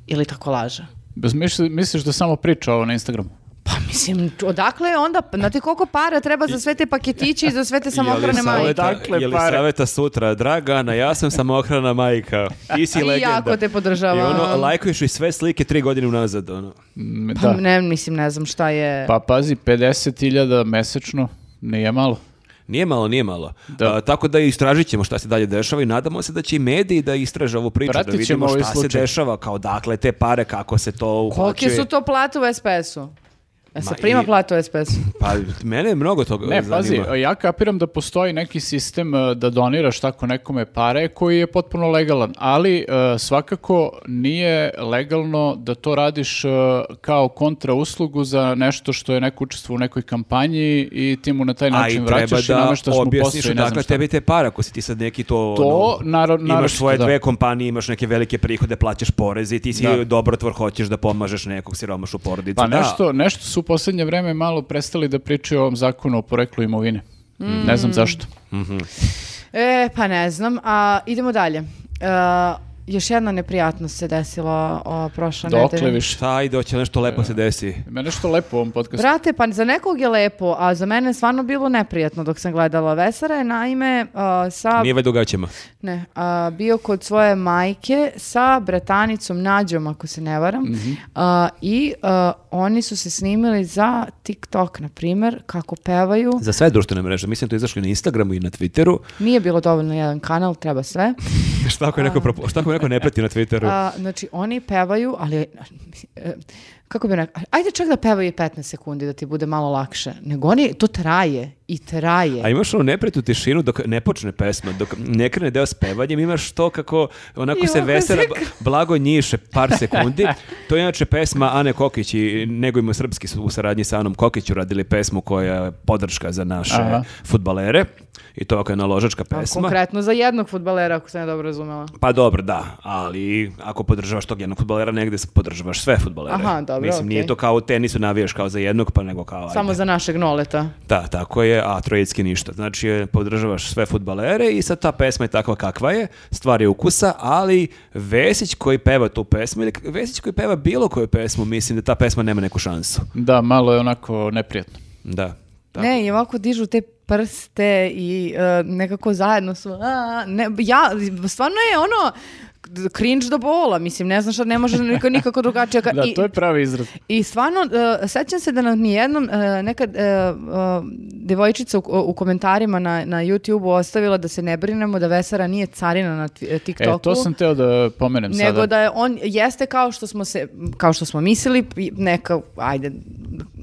Speaker 1: Ili tako laže.
Speaker 2: Bez- misli- Misliš da samo priča ovo na Instagramu?
Speaker 1: Pa mislim, odakle je onda, znate koliko para treba za sve te paketiće i za sve te samohrane
Speaker 3: Jelisaveta-
Speaker 1: majke?
Speaker 2: Odakle
Speaker 3: Jelisaveta sutra, Dragana, ja sam samohrana majka. Ti si
Speaker 1: I
Speaker 3: legenda.
Speaker 1: jako te podržavam.
Speaker 3: I ono, lajkuješ i sve slike tri godine unazad. Ono.
Speaker 2: Mm,
Speaker 1: Pa
Speaker 2: Da.
Speaker 1: ne, mislim, ne znam šta je...
Speaker 2: Pa pazi, 50.000 mesečno nije malo.
Speaker 3: Nije malo, nije malo.
Speaker 2: Da.
Speaker 3: A, tako da istražit ćemo šta se dalje dešava i nadamo se da će i mediji da istraže ovu priču, da
Speaker 2: Pratit ćemo
Speaker 3: vidimo
Speaker 2: ovaj
Speaker 3: šta se
Speaker 2: slučaj.
Speaker 3: dešava, kao dakle te pare, kako se to
Speaker 1: Kolike
Speaker 3: uplaćuje.
Speaker 1: su to plate u SPS-u? Ja se
Speaker 3: znači- Ma
Speaker 1: E prima
Speaker 3: i-
Speaker 1: plata u SPS-u?
Speaker 3: Pa, mene je mnogo toga
Speaker 2: Ne,
Speaker 3: zanima.
Speaker 2: pazi, ja kapiram da postoji neki sistem e, da doniraš tako nekome pare koji je potpuno legalan, ali e, svakako nije legalno da to radiš e, kao kontra uslugu za nešto što je neko učestvo u nekoj kampanji i ti mu na ono taj
Speaker 3: A i
Speaker 2: način
Speaker 3: treba
Speaker 2: vraćaš i
Speaker 3: da
Speaker 2: nameštaš mu
Speaker 3: objasniš
Speaker 2: posao i ne znam
Speaker 3: odakle
Speaker 2: šta.
Speaker 3: tebi te para, ako si ti sad neki to...
Speaker 2: To,
Speaker 3: ono,
Speaker 2: naro-
Speaker 3: Imaš
Speaker 2: naročito,
Speaker 3: svoje
Speaker 2: da.
Speaker 3: dve kompanije, imaš neke velike prihode, plaćaš poreze i ti si
Speaker 2: Da.
Speaker 3: dobrotvor, hoćeš da pomažeš nekog siromašu porodicu.
Speaker 2: Pa
Speaker 3: Da.
Speaker 2: nešto, nešto su u posljednje vreme malo prestali da pričaju o ovom zakonu o poreklu imovine.
Speaker 1: Mm.
Speaker 2: Ne znam zašto.
Speaker 1: E, pa ne znam. A, idemo dalje. E, još jedna neprijatnost se desila o, prošle
Speaker 2: Dokle
Speaker 1: nedelje.
Speaker 2: više.
Speaker 3: Šta, ide, hoće nešto lepo se desi.
Speaker 2: Ima nešto lepo u ovom podcastu.
Speaker 1: Brate, pa za nekog je lepo, a za mene je stvarno bilo neprijatno dok sam gledala Vesara. je, Naime, a, sa...
Speaker 3: Nije ovaj vaj dugaćima.
Speaker 1: Ne, a, bio kod svoje majke sa bratanicom Nađom, ako se ne varam.
Speaker 2: Mhm.
Speaker 1: A, I a, oni su se snimili za TikTok, na primer, kako pevaju.
Speaker 3: Za sve društvene mreže. Mislim to izašli na Instagramu i na Twitteru.
Speaker 1: Nije bilo dovoljno jedan kanal, treba sve.
Speaker 3: šta ako je neko, propo- šta ako je neko ne prati na Twitteru?
Speaker 1: A, znači, oni pevaju, ali... e, Kako bi rekao? Ajde čak da pevaju i 15 sekundi da ti bude malo lakše. Nego oni, to traje i traje.
Speaker 3: A imaš onu nepretu tišinu dok ne počne pesma, dok ne krene deo s pevanjem, imaš to kako onako
Speaker 1: I
Speaker 3: se
Speaker 1: ovako
Speaker 3: vesela,
Speaker 1: se-
Speaker 3: b- blago njiše par sekundi. To je inače pesma Ane Kokić i Negojmo Srpski su u saradnji sa Anom Kokiću radili pesmu koja je podrška za naše
Speaker 2: Aha.
Speaker 3: futbalere i to je naložačka
Speaker 1: A
Speaker 3: pesma.
Speaker 1: Konkretno za jednog futbalera, ako sam ja dobro razumela.
Speaker 3: Pa dobro, da, ali ako podržavaš tog jednog futbolera, negde podržavaš sve futbolere.
Speaker 1: Aha, dobro,
Speaker 3: Mislim, nije
Speaker 1: okej.
Speaker 3: to kao u tenisu navijaš kao za jednog, pa nego kao...
Speaker 1: Samo
Speaker 3: ajde.
Speaker 1: za našeg noleta.
Speaker 3: Da, tako je, a trojecki ništa. Znači, eh, podržavaš sve futbalere i sad ta pesma je takva kakva je, stvar je ukusa, ali Vesić koji peva tu pesmu, ili Vesić koji peva bilo koju pesmu, mislim da ta pesma nema neku šansu.
Speaker 2: Da, malo je onako neprijatno.
Speaker 3: Da. Tako.
Speaker 1: Ne, i ovako dižu te prste i e, nekako zajedno su... a, ne, ja, stvarno je ono cringe do bola, mislim, ne znam šta, ne može nikako, nikako drugačije. ka-
Speaker 2: Da,
Speaker 1: i-
Speaker 2: to je pravi izraz.
Speaker 1: I stvarno, uh, sećam se da nam je jednom uh, nekad uh, uh, devojčica u, u komentarima na, na YouTube-u ostavila da se ne brinemo da Vesara nije carina na twi- TikToku.
Speaker 2: E, to sam teo da pomenem
Speaker 1: Nego
Speaker 2: sada.
Speaker 1: da je on jeste kao što smo se kao što smo mislili i neka ajde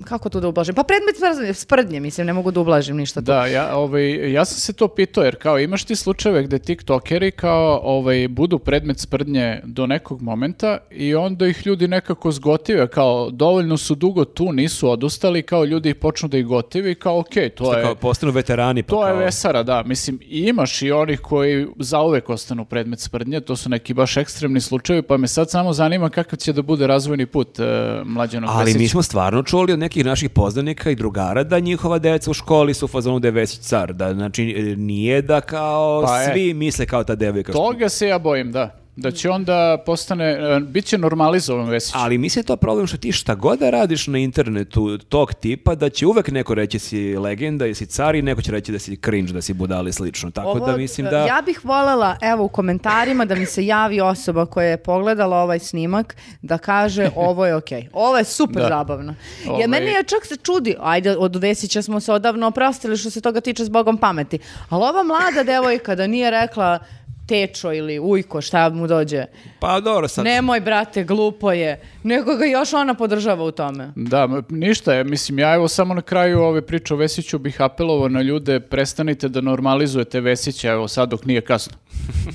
Speaker 1: kako to da ublažim pa predmet sprdnje- sprdnje mislim ne mogu da ublažim ništa tu.
Speaker 2: Da, ja, ovaj, ja sam se to pitao, jer kao imaš ti slučajeve gde tiktokeri kao ovaj, budu predmet sprdnje do nekog momenta i onda ih ljudi nekako zgotive, kao dovoljno su dugo tu, nisu odustali, kao ljudi počnu da ih gotivi, kao okej, to
Speaker 3: Kao
Speaker 2: je...
Speaker 3: postanu veterani. Pa
Speaker 2: To je
Speaker 3: kao-
Speaker 2: Vesara, da. Mislim, i imaš i onih koji zauvek ostanu predmet sprdnje, to su neki baš ekstremni slučajevi, pa me sad samo zanima kakav će da bude razvojni put e, mlađanog
Speaker 3: Ali mi
Speaker 2: Vesića.
Speaker 3: smo stvarno čuli od nekih naših poznanika i drugara da njihova deca u školi su u fazonu da je Vesić car. Da, znači, eh, nije da kao
Speaker 2: Pa, e.
Speaker 3: svi misle kao ta devojka. što-
Speaker 2: Toga se ja bojim, da. Da će onda postane, e, bit će normalizovan Vesić.
Speaker 3: Ali mislim da je to problem što ti šta god da radiš na internetu tog tipa, da će uvek neko reći si legenda, jesi car i neko će reći da si cringe, da si budali slično. Tako
Speaker 1: Ovo,
Speaker 3: da mislim
Speaker 1: e,
Speaker 3: da...
Speaker 1: Ja bih voljela, evo u komentarima, da mi se javi osoba koja je pogledala ovaj snimak, da kaže ovo je okej. Ovo je super
Speaker 2: Da.
Speaker 1: zabavno.
Speaker 2: Ovaj-
Speaker 1: Ja, meni je čak se čudi, ajde, od Vesića smo se odavno oprostili što se toga tiče s Bogom pameti, ali ova mlada devojka da nije rekla tečo ili ujko, šta mu dođe.
Speaker 3: Pa dobro, sad...
Speaker 1: Nemoj, brate, glupo je. Nego ga još ona podržava u tome.
Speaker 2: Da, m- ništa je. Mislim, ja evo samo na kraju ove priče o Vesiću bih apelovao na ljude, prestanite da normalizujete Vesića, evo sad dok nije kasno.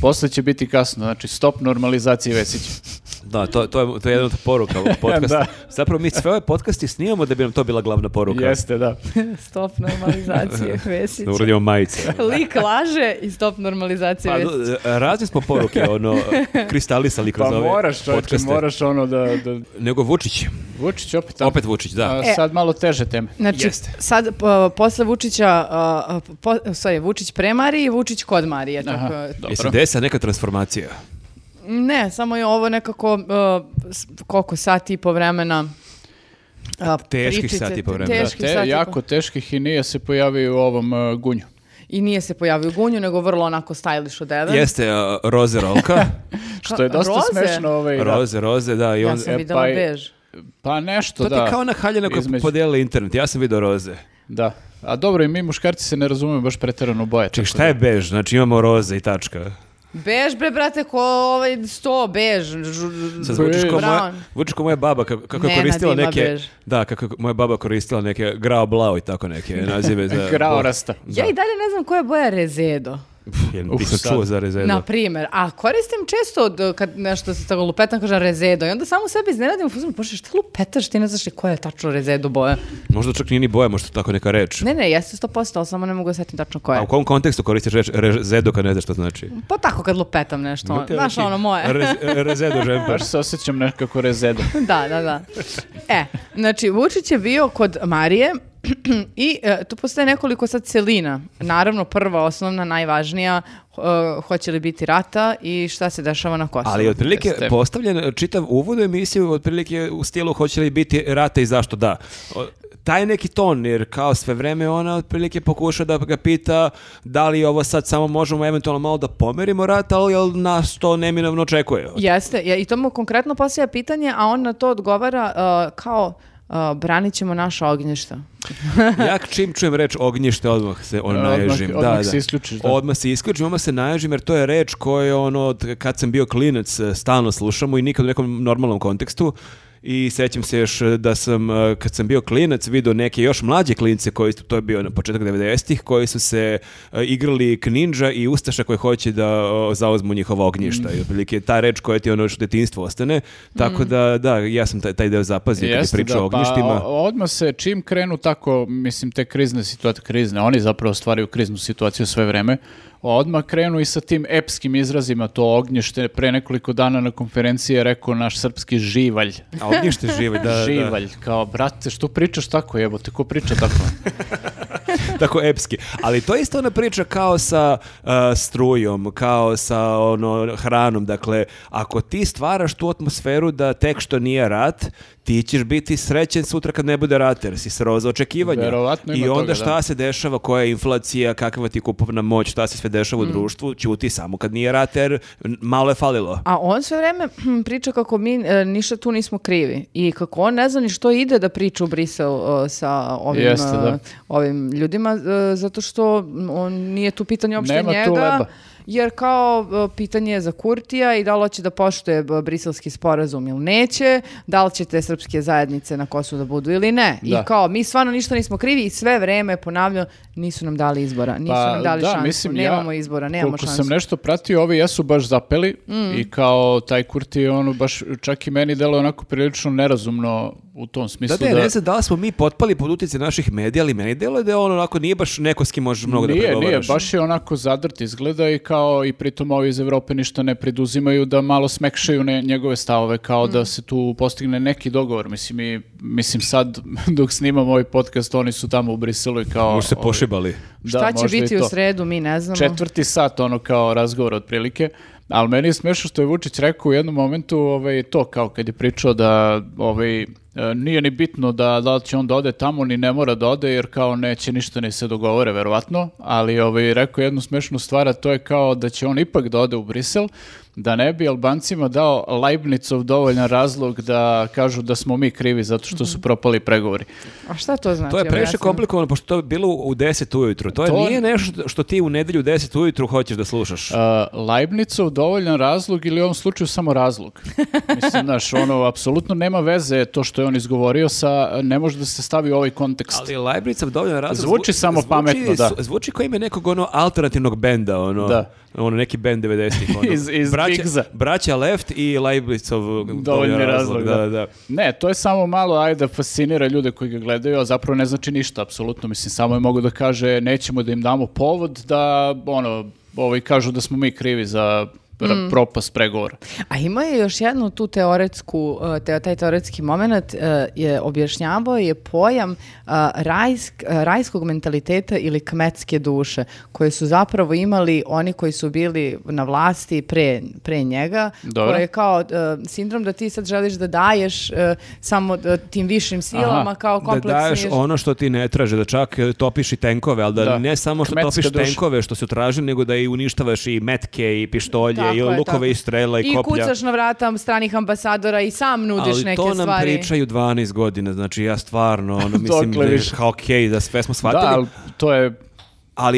Speaker 2: Posle će biti kasno, znači stop normalizaciji Vesića.
Speaker 3: Da, to, to, je, to je jedna od poruka ovog podcasta.
Speaker 2: Da.
Speaker 3: Zapravo mi sve ove podcasti snimamo da bi nam to bila glavna poruka.
Speaker 2: Jeste, da.
Speaker 1: Stop normalizacije Vesića.
Speaker 3: Da uradimo majice.
Speaker 1: Lik laže i stop normalizacije
Speaker 3: Pa,
Speaker 1: Vesića.
Speaker 3: do- razne smo poruke, ono, kristalisali kroz
Speaker 2: Pa
Speaker 3: ove
Speaker 2: moraš, čovječe,
Speaker 3: podcaste.
Speaker 2: moraš ono da... da...
Speaker 3: Nego Vučić.
Speaker 2: Vučić opet tamo.
Speaker 3: Opet Vučić, da.
Speaker 2: A,
Speaker 1: E.
Speaker 2: sad malo teže teme.
Speaker 1: Znači,
Speaker 3: Jeste.
Speaker 1: sad p- posle Vučića, a, a, po, sorry, Vučić pre Marije i Vučić kod Marije. Tako,
Speaker 2: Aha,
Speaker 3: Jesi
Speaker 2: dobro.
Speaker 3: desa neka transformacija?
Speaker 1: ne, samo je ovo nekako, a, s- koliko sati i po vremena a,
Speaker 3: Teških sat i po vremena.
Speaker 2: Da,
Speaker 1: Teških
Speaker 2: te-
Speaker 1: sat i po-
Speaker 2: jako teških i nije se pojavio u ovom uh, gunju.
Speaker 1: I nije se pojavio u Gunju, nego vrlo onako stylish odeden.
Speaker 3: Jeste a, roze rolka.
Speaker 2: Što je dosta
Speaker 1: roze?
Speaker 2: smešno. Ovaj, da.
Speaker 3: roze, roze, da. I on,
Speaker 1: Ja sam
Speaker 2: e,
Speaker 1: videla
Speaker 2: pa i-
Speaker 1: bež.
Speaker 2: Pa nešto,
Speaker 3: To
Speaker 2: da.
Speaker 3: ti kao ona haljina koja
Speaker 2: Između.
Speaker 3: podelila internet. Ja sam vidio roze.
Speaker 2: Da. A dobro, i mi muškarci se ne razumemo baš preterano u boje.
Speaker 3: Ček,
Speaker 2: tako
Speaker 3: šta je bež? Znači imamo roze i tačka.
Speaker 1: Bež, bre, brate, ko ovaj sto, bež. žu- žu-
Speaker 3: Sad zvučiš kao moja,
Speaker 1: Brown.
Speaker 3: zvučiš kao moja baba kako, kako je
Speaker 1: Nenad
Speaker 3: koristila
Speaker 1: ima
Speaker 3: neke...
Speaker 1: bež.
Speaker 3: Da, kako je moja baba koristila neke grao blau i tako neke nazive za...
Speaker 2: da. Grao rasta.
Speaker 1: Ja i dalje ne znam koja je boja rezedo.
Speaker 3: Uf,
Speaker 2: Uf,
Speaker 3: nisam
Speaker 2: sad.
Speaker 3: čuo za rezedo.
Speaker 1: Na primer, a koristim često od, kad nešto se tako lupetam, kažem rezedo i onda samo sebi iznenadim, fuzim, bože, šta lupetaš, ti ne znaš ni koja je tačno rezedo boja.
Speaker 3: Možda čak nije ni boja, možda tako neka reč.
Speaker 1: Ne, ne, jeste 100%, ali samo ne mogu da setim tačno koja
Speaker 3: A
Speaker 1: je.
Speaker 3: u kom kontekstu koristiš reč rezedo kad ne znaš što znači?
Speaker 1: Pa tako kad lupetam nešto, ono, znaš ono moje.
Speaker 3: Rez- rezedo žemper.
Speaker 2: Baš se osjećam nekako rezedo.
Speaker 1: da, da, da. E, znači, Vučić je bio kod Marije i e, tu postoje nekoliko sad celina. Naravno, prva, osnovna, najvažnija, e, hoće li biti rata i šta se dešava na Kosovu.
Speaker 3: Ali otprilike
Speaker 2: Jeste.
Speaker 3: postavljen e, čitav uvod u emisiju otprilike u stilu hoće li biti rata i zašto da. O, taj neki ton, jer kao sve vreme ona otprilike pokuša da ga pita da li ovo sad samo možemo eventualno malo da pomerimo rat, ali jel nas to neminovno očekuje.
Speaker 1: Jeste, ja, i to mu konkretno postavlja pitanje, a on na to odgovara uh, kao, a, branit ćemo naša ognjišta.
Speaker 3: ja čim čujem reč ognjište, odmah se onaježim.
Speaker 2: E, odmah
Speaker 3: da,
Speaker 2: se
Speaker 3: da.
Speaker 2: isključiš, da.
Speaker 3: Odmah se isključim, odmah se naježim, jer to je reč koju je ono, od kad sam bio klinac, e, stalno slušamo i nikad u nekom normalnom kontekstu. I sećam se još e, da sam, e, kad sam bio klinac, vidio neke još mlađe klince, koji, su- to je bio na početak 90-ih, koji su se e, igrali kninđa i ustaša koji hoće da o, zauzmu njihova ognjišta.
Speaker 2: Mm.
Speaker 3: I otprilike ta reč koja ti ono što detinjstvo ostane. Tako da, da, ja sam taj, taj deo zapazio kad je
Speaker 2: Jeste,
Speaker 3: pričao o
Speaker 2: da, pa
Speaker 3: ognjištima.
Speaker 2: o- odmah se čim krenu tako, mislim, te krizne situacije, krizne, oni zapravo stvaraju kriznu situaciju sve vreme, odmah krenu i sa tim epskim izrazima, to ognjište, pre nekoliko dana na konferenciji je rekao naš srpski živalj.
Speaker 3: A ognjište živalj, da, da.
Speaker 2: živalj, kao, brate, što pričaš tako, jebote, ko priča tako?
Speaker 3: Tako epski. Ali to je isto ona priča kao sa uh, strujom, kao sa ono, hranom. Dakle, ako ti stvaraš tu atmosferu da tek što nije rat, ti ćeš biti srećen sutra kad ne bude rat, jer si srozao očekivanja.
Speaker 2: Verovatno ima
Speaker 3: I onda
Speaker 2: toga, da.
Speaker 3: šta se dešava, koja je inflacija, kakva ti kupovna moć, šta se sve dešava
Speaker 2: Mm.
Speaker 3: u društvu, ćuti samo kad nije rat, jer malo je falilo.
Speaker 1: A on sve vreme hm, priča kako mi e, ništa tu nismo krivi i kako on ne zna ni što ide da priča u Brisel e, sa ovim,
Speaker 2: Jeste, da.
Speaker 1: e, ovim ljudima e, zato što m, on nije tu pitanje uopšte
Speaker 2: Nema tu
Speaker 1: njega.
Speaker 2: leba.
Speaker 1: Jer kao e, pitanje je za Kurtija i da li hoće da poštuje b- briselski sporazum ili neće, da li će te srpske zajednice na Kosovu da budu ili ne.
Speaker 2: Da.
Speaker 1: I kao, mi stvarno ništa nismo krivi i sve vreme ponavljam, nisu nam dali izbora, nisu
Speaker 2: Pa,
Speaker 1: nam dali
Speaker 2: da,
Speaker 1: šansu,
Speaker 2: mislim, ja-
Speaker 1: nemamo izbora, nemamo
Speaker 2: Koliko
Speaker 1: šansu. Mm.
Speaker 2: sam nešto pratio, ovi jesu baš zapeli i kao taj Kurti, ono, baš čak i meni delo onako prilično nerazumno u tom
Speaker 3: Da,
Speaker 2: smislu
Speaker 3: da, ne znam da li smo mi potpali pod utjecaj naših medija, ali meni delo je da je ono onako nije baš neko s kim možeš mnogo da
Speaker 2: nije,
Speaker 3: pregovaraš.
Speaker 2: Nije, baš je onako zadrt izgleda i kao i pritom ovi iz Evrope ništa ne preduzimaju da malo smekšaju ne, njegove stavove kao da se tu postigne neki dogovor. Mislim, i, mislim sad dok snimam ovaj podcast oni su tamo u Briselu i kao...
Speaker 3: Možda se
Speaker 2: ovi-
Speaker 3: pošibali.
Speaker 2: Da,
Speaker 1: Šta će
Speaker 2: možda i
Speaker 1: biti
Speaker 2: to.
Speaker 1: u sredu, mi ne znamo.
Speaker 2: Četvrti sat ono kao razgovor otprilike. Ali meni je smiješno što je Vučić rekao u jednom momentu ovaj, to kao kad je pričao da ovaj, e, nije ni bitno da, da li će on da ode tamo ni ne mora da ode jer kao neće ništa ni se dogovore verovatno, ali ovaj, rekao je jednu smiješnu stvar a to je kao da će on ipak da ode u Brisel da ne bi Albancima dao Leibnicov dovoljan razlog da kažu da smo mi krivi zato što su propali pregovori.
Speaker 1: A šta to znači?
Speaker 3: To je previše
Speaker 1: Objasni.
Speaker 3: komplikovano, pošto to je bilo u 10 ujutru. To, je-
Speaker 2: To-
Speaker 3: nije nešto što ti u nedelju u 10 ujutru hoćeš da slušaš.
Speaker 2: Uh, Leibnicov dovoljan razlog ili u ovom slučaju samo razlog. Mislim, znaš, ono, apsolutno nema veze to što je on izgovorio sa, ne može da se stavi u ovaj kontekst.
Speaker 3: Ali Leibnicov dovoljno razlog...
Speaker 2: Zvuči samo pametno, da.
Speaker 3: su- Zvuči kao ime nekog ono alternativnog benda, ono,
Speaker 2: Da.
Speaker 3: ono neki bend 90-ih. Ono.
Speaker 2: Iz- iz Bigza.
Speaker 3: braća Left i Leibnicov dovoljno
Speaker 2: Dovoljni razlog,
Speaker 3: razlog. Da, da. da.
Speaker 2: Ne, to je samo malo, ajde, da fascinira ljude koji ga gledaju, a zapravo ne znači ništa, apsolutno. Mislim, samo je mogu da kaže, nećemo da im damo povod da, ono, ovaj, kažu da smo mi krivi za ra- propast pregovora.
Speaker 1: A ima je još jednu tu teoretsku, uh, te, taj teoretski moment, uh, je objašnjavao je pojam uh, rajsk, uh, rajskog mentaliteta ili kmetske duše, koje su zapravo imali oni koji su bili na vlasti pre, pre njega,
Speaker 2: Dobro.
Speaker 1: koje je kao uh, sindrom da ti sad želiš da daješ uh, samo uh, tim višim silama,
Speaker 2: Aha,
Speaker 1: kao
Speaker 3: Da
Speaker 1: kompleksni...
Speaker 3: daješ ono što ti ne traže, da čak e, topiš i tenkove, ali da,
Speaker 2: Da.
Speaker 3: ne samo što
Speaker 2: Kmetska
Speaker 3: topiš
Speaker 2: duša.
Speaker 3: tenkove što su tražili, nego da i uništavaš i metke i pištolje
Speaker 1: Tako
Speaker 3: i
Speaker 1: je, tako.
Speaker 3: lukove i strela i, koplja.
Speaker 1: I kucaš na vrata stranih ambasadora i sam nudiš neke
Speaker 3: to
Speaker 1: stvari.
Speaker 3: nam pričaju 12 godina, znači ja stvarno, ono, mislim da
Speaker 2: Dokle
Speaker 3: je
Speaker 2: više?
Speaker 3: kao okej, da sve smo shvatili,
Speaker 2: Da, ali
Speaker 3: ali...
Speaker 2: to je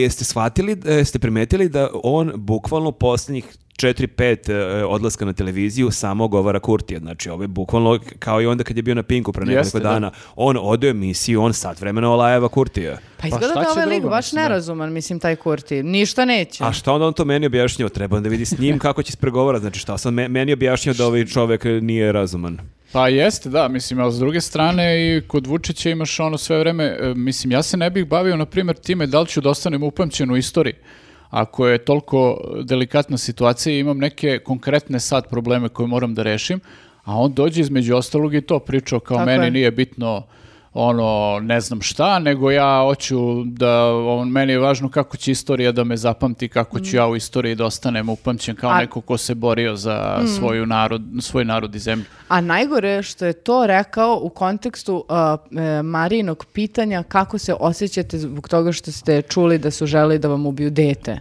Speaker 3: jeste shvatili, e, jeste primetili da on bukvalno posljednjih 4-5 odlaska na televiziju samo govara Kurtija, znači ovo je bukvalno kao i onda kad je bio na Pinku pre nekoliko
Speaker 2: Jeste, da.
Speaker 3: dana, on ode u emisiju, on sat vremena olajeva Kurtija.
Speaker 1: Pa izgleda
Speaker 2: šta
Speaker 1: da
Speaker 2: će
Speaker 1: ovaj lik
Speaker 2: drugo,
Speaker 1: baš
Speaker 2: mislim, da.
Speaker 1: nerazuman, mislim, taj Kurti. Ništa neće.
Speaker 3: A šta onda on to meni objašnjava? Treba onda vidi s njim kako će spregovarati. Znači šta sam me- meni objašnjao da ovaj čovek e, nije razuman.
Speaker 2: Pa jeste, da, mislim, ali s druge strane i kod Vučića imaš ono sve vreme, e, mislim, ja se ne bih bavio, na primjer, time da li ću da ostanem upamćen u istoriji. Ako je toliko delikatna situacija i imam neke konkretne sad probleme koje moram da rešim, a on dođe između ostalog i to pričao kao
Speaker 1: Tako
Speaker 2: meni
Speaker 1: je.
Speaker 2: nije bitno ono, ne znam šta, nego ja hoću da, on, meni je važno kako će istorija da me zapamti, kako ću ja u istoriji da ostanem upamćen kao
Speaker 1: A- Mm.
Speaker 2: neko ko se borio za svoju narod, svoj narod i zemlju.
Speaker 1: A najgore je što je to rekao u kontekstu a, e, Marijinog pitanja kako se osjećate zbog toga što ste čuli da su želi da vam ubiju dete.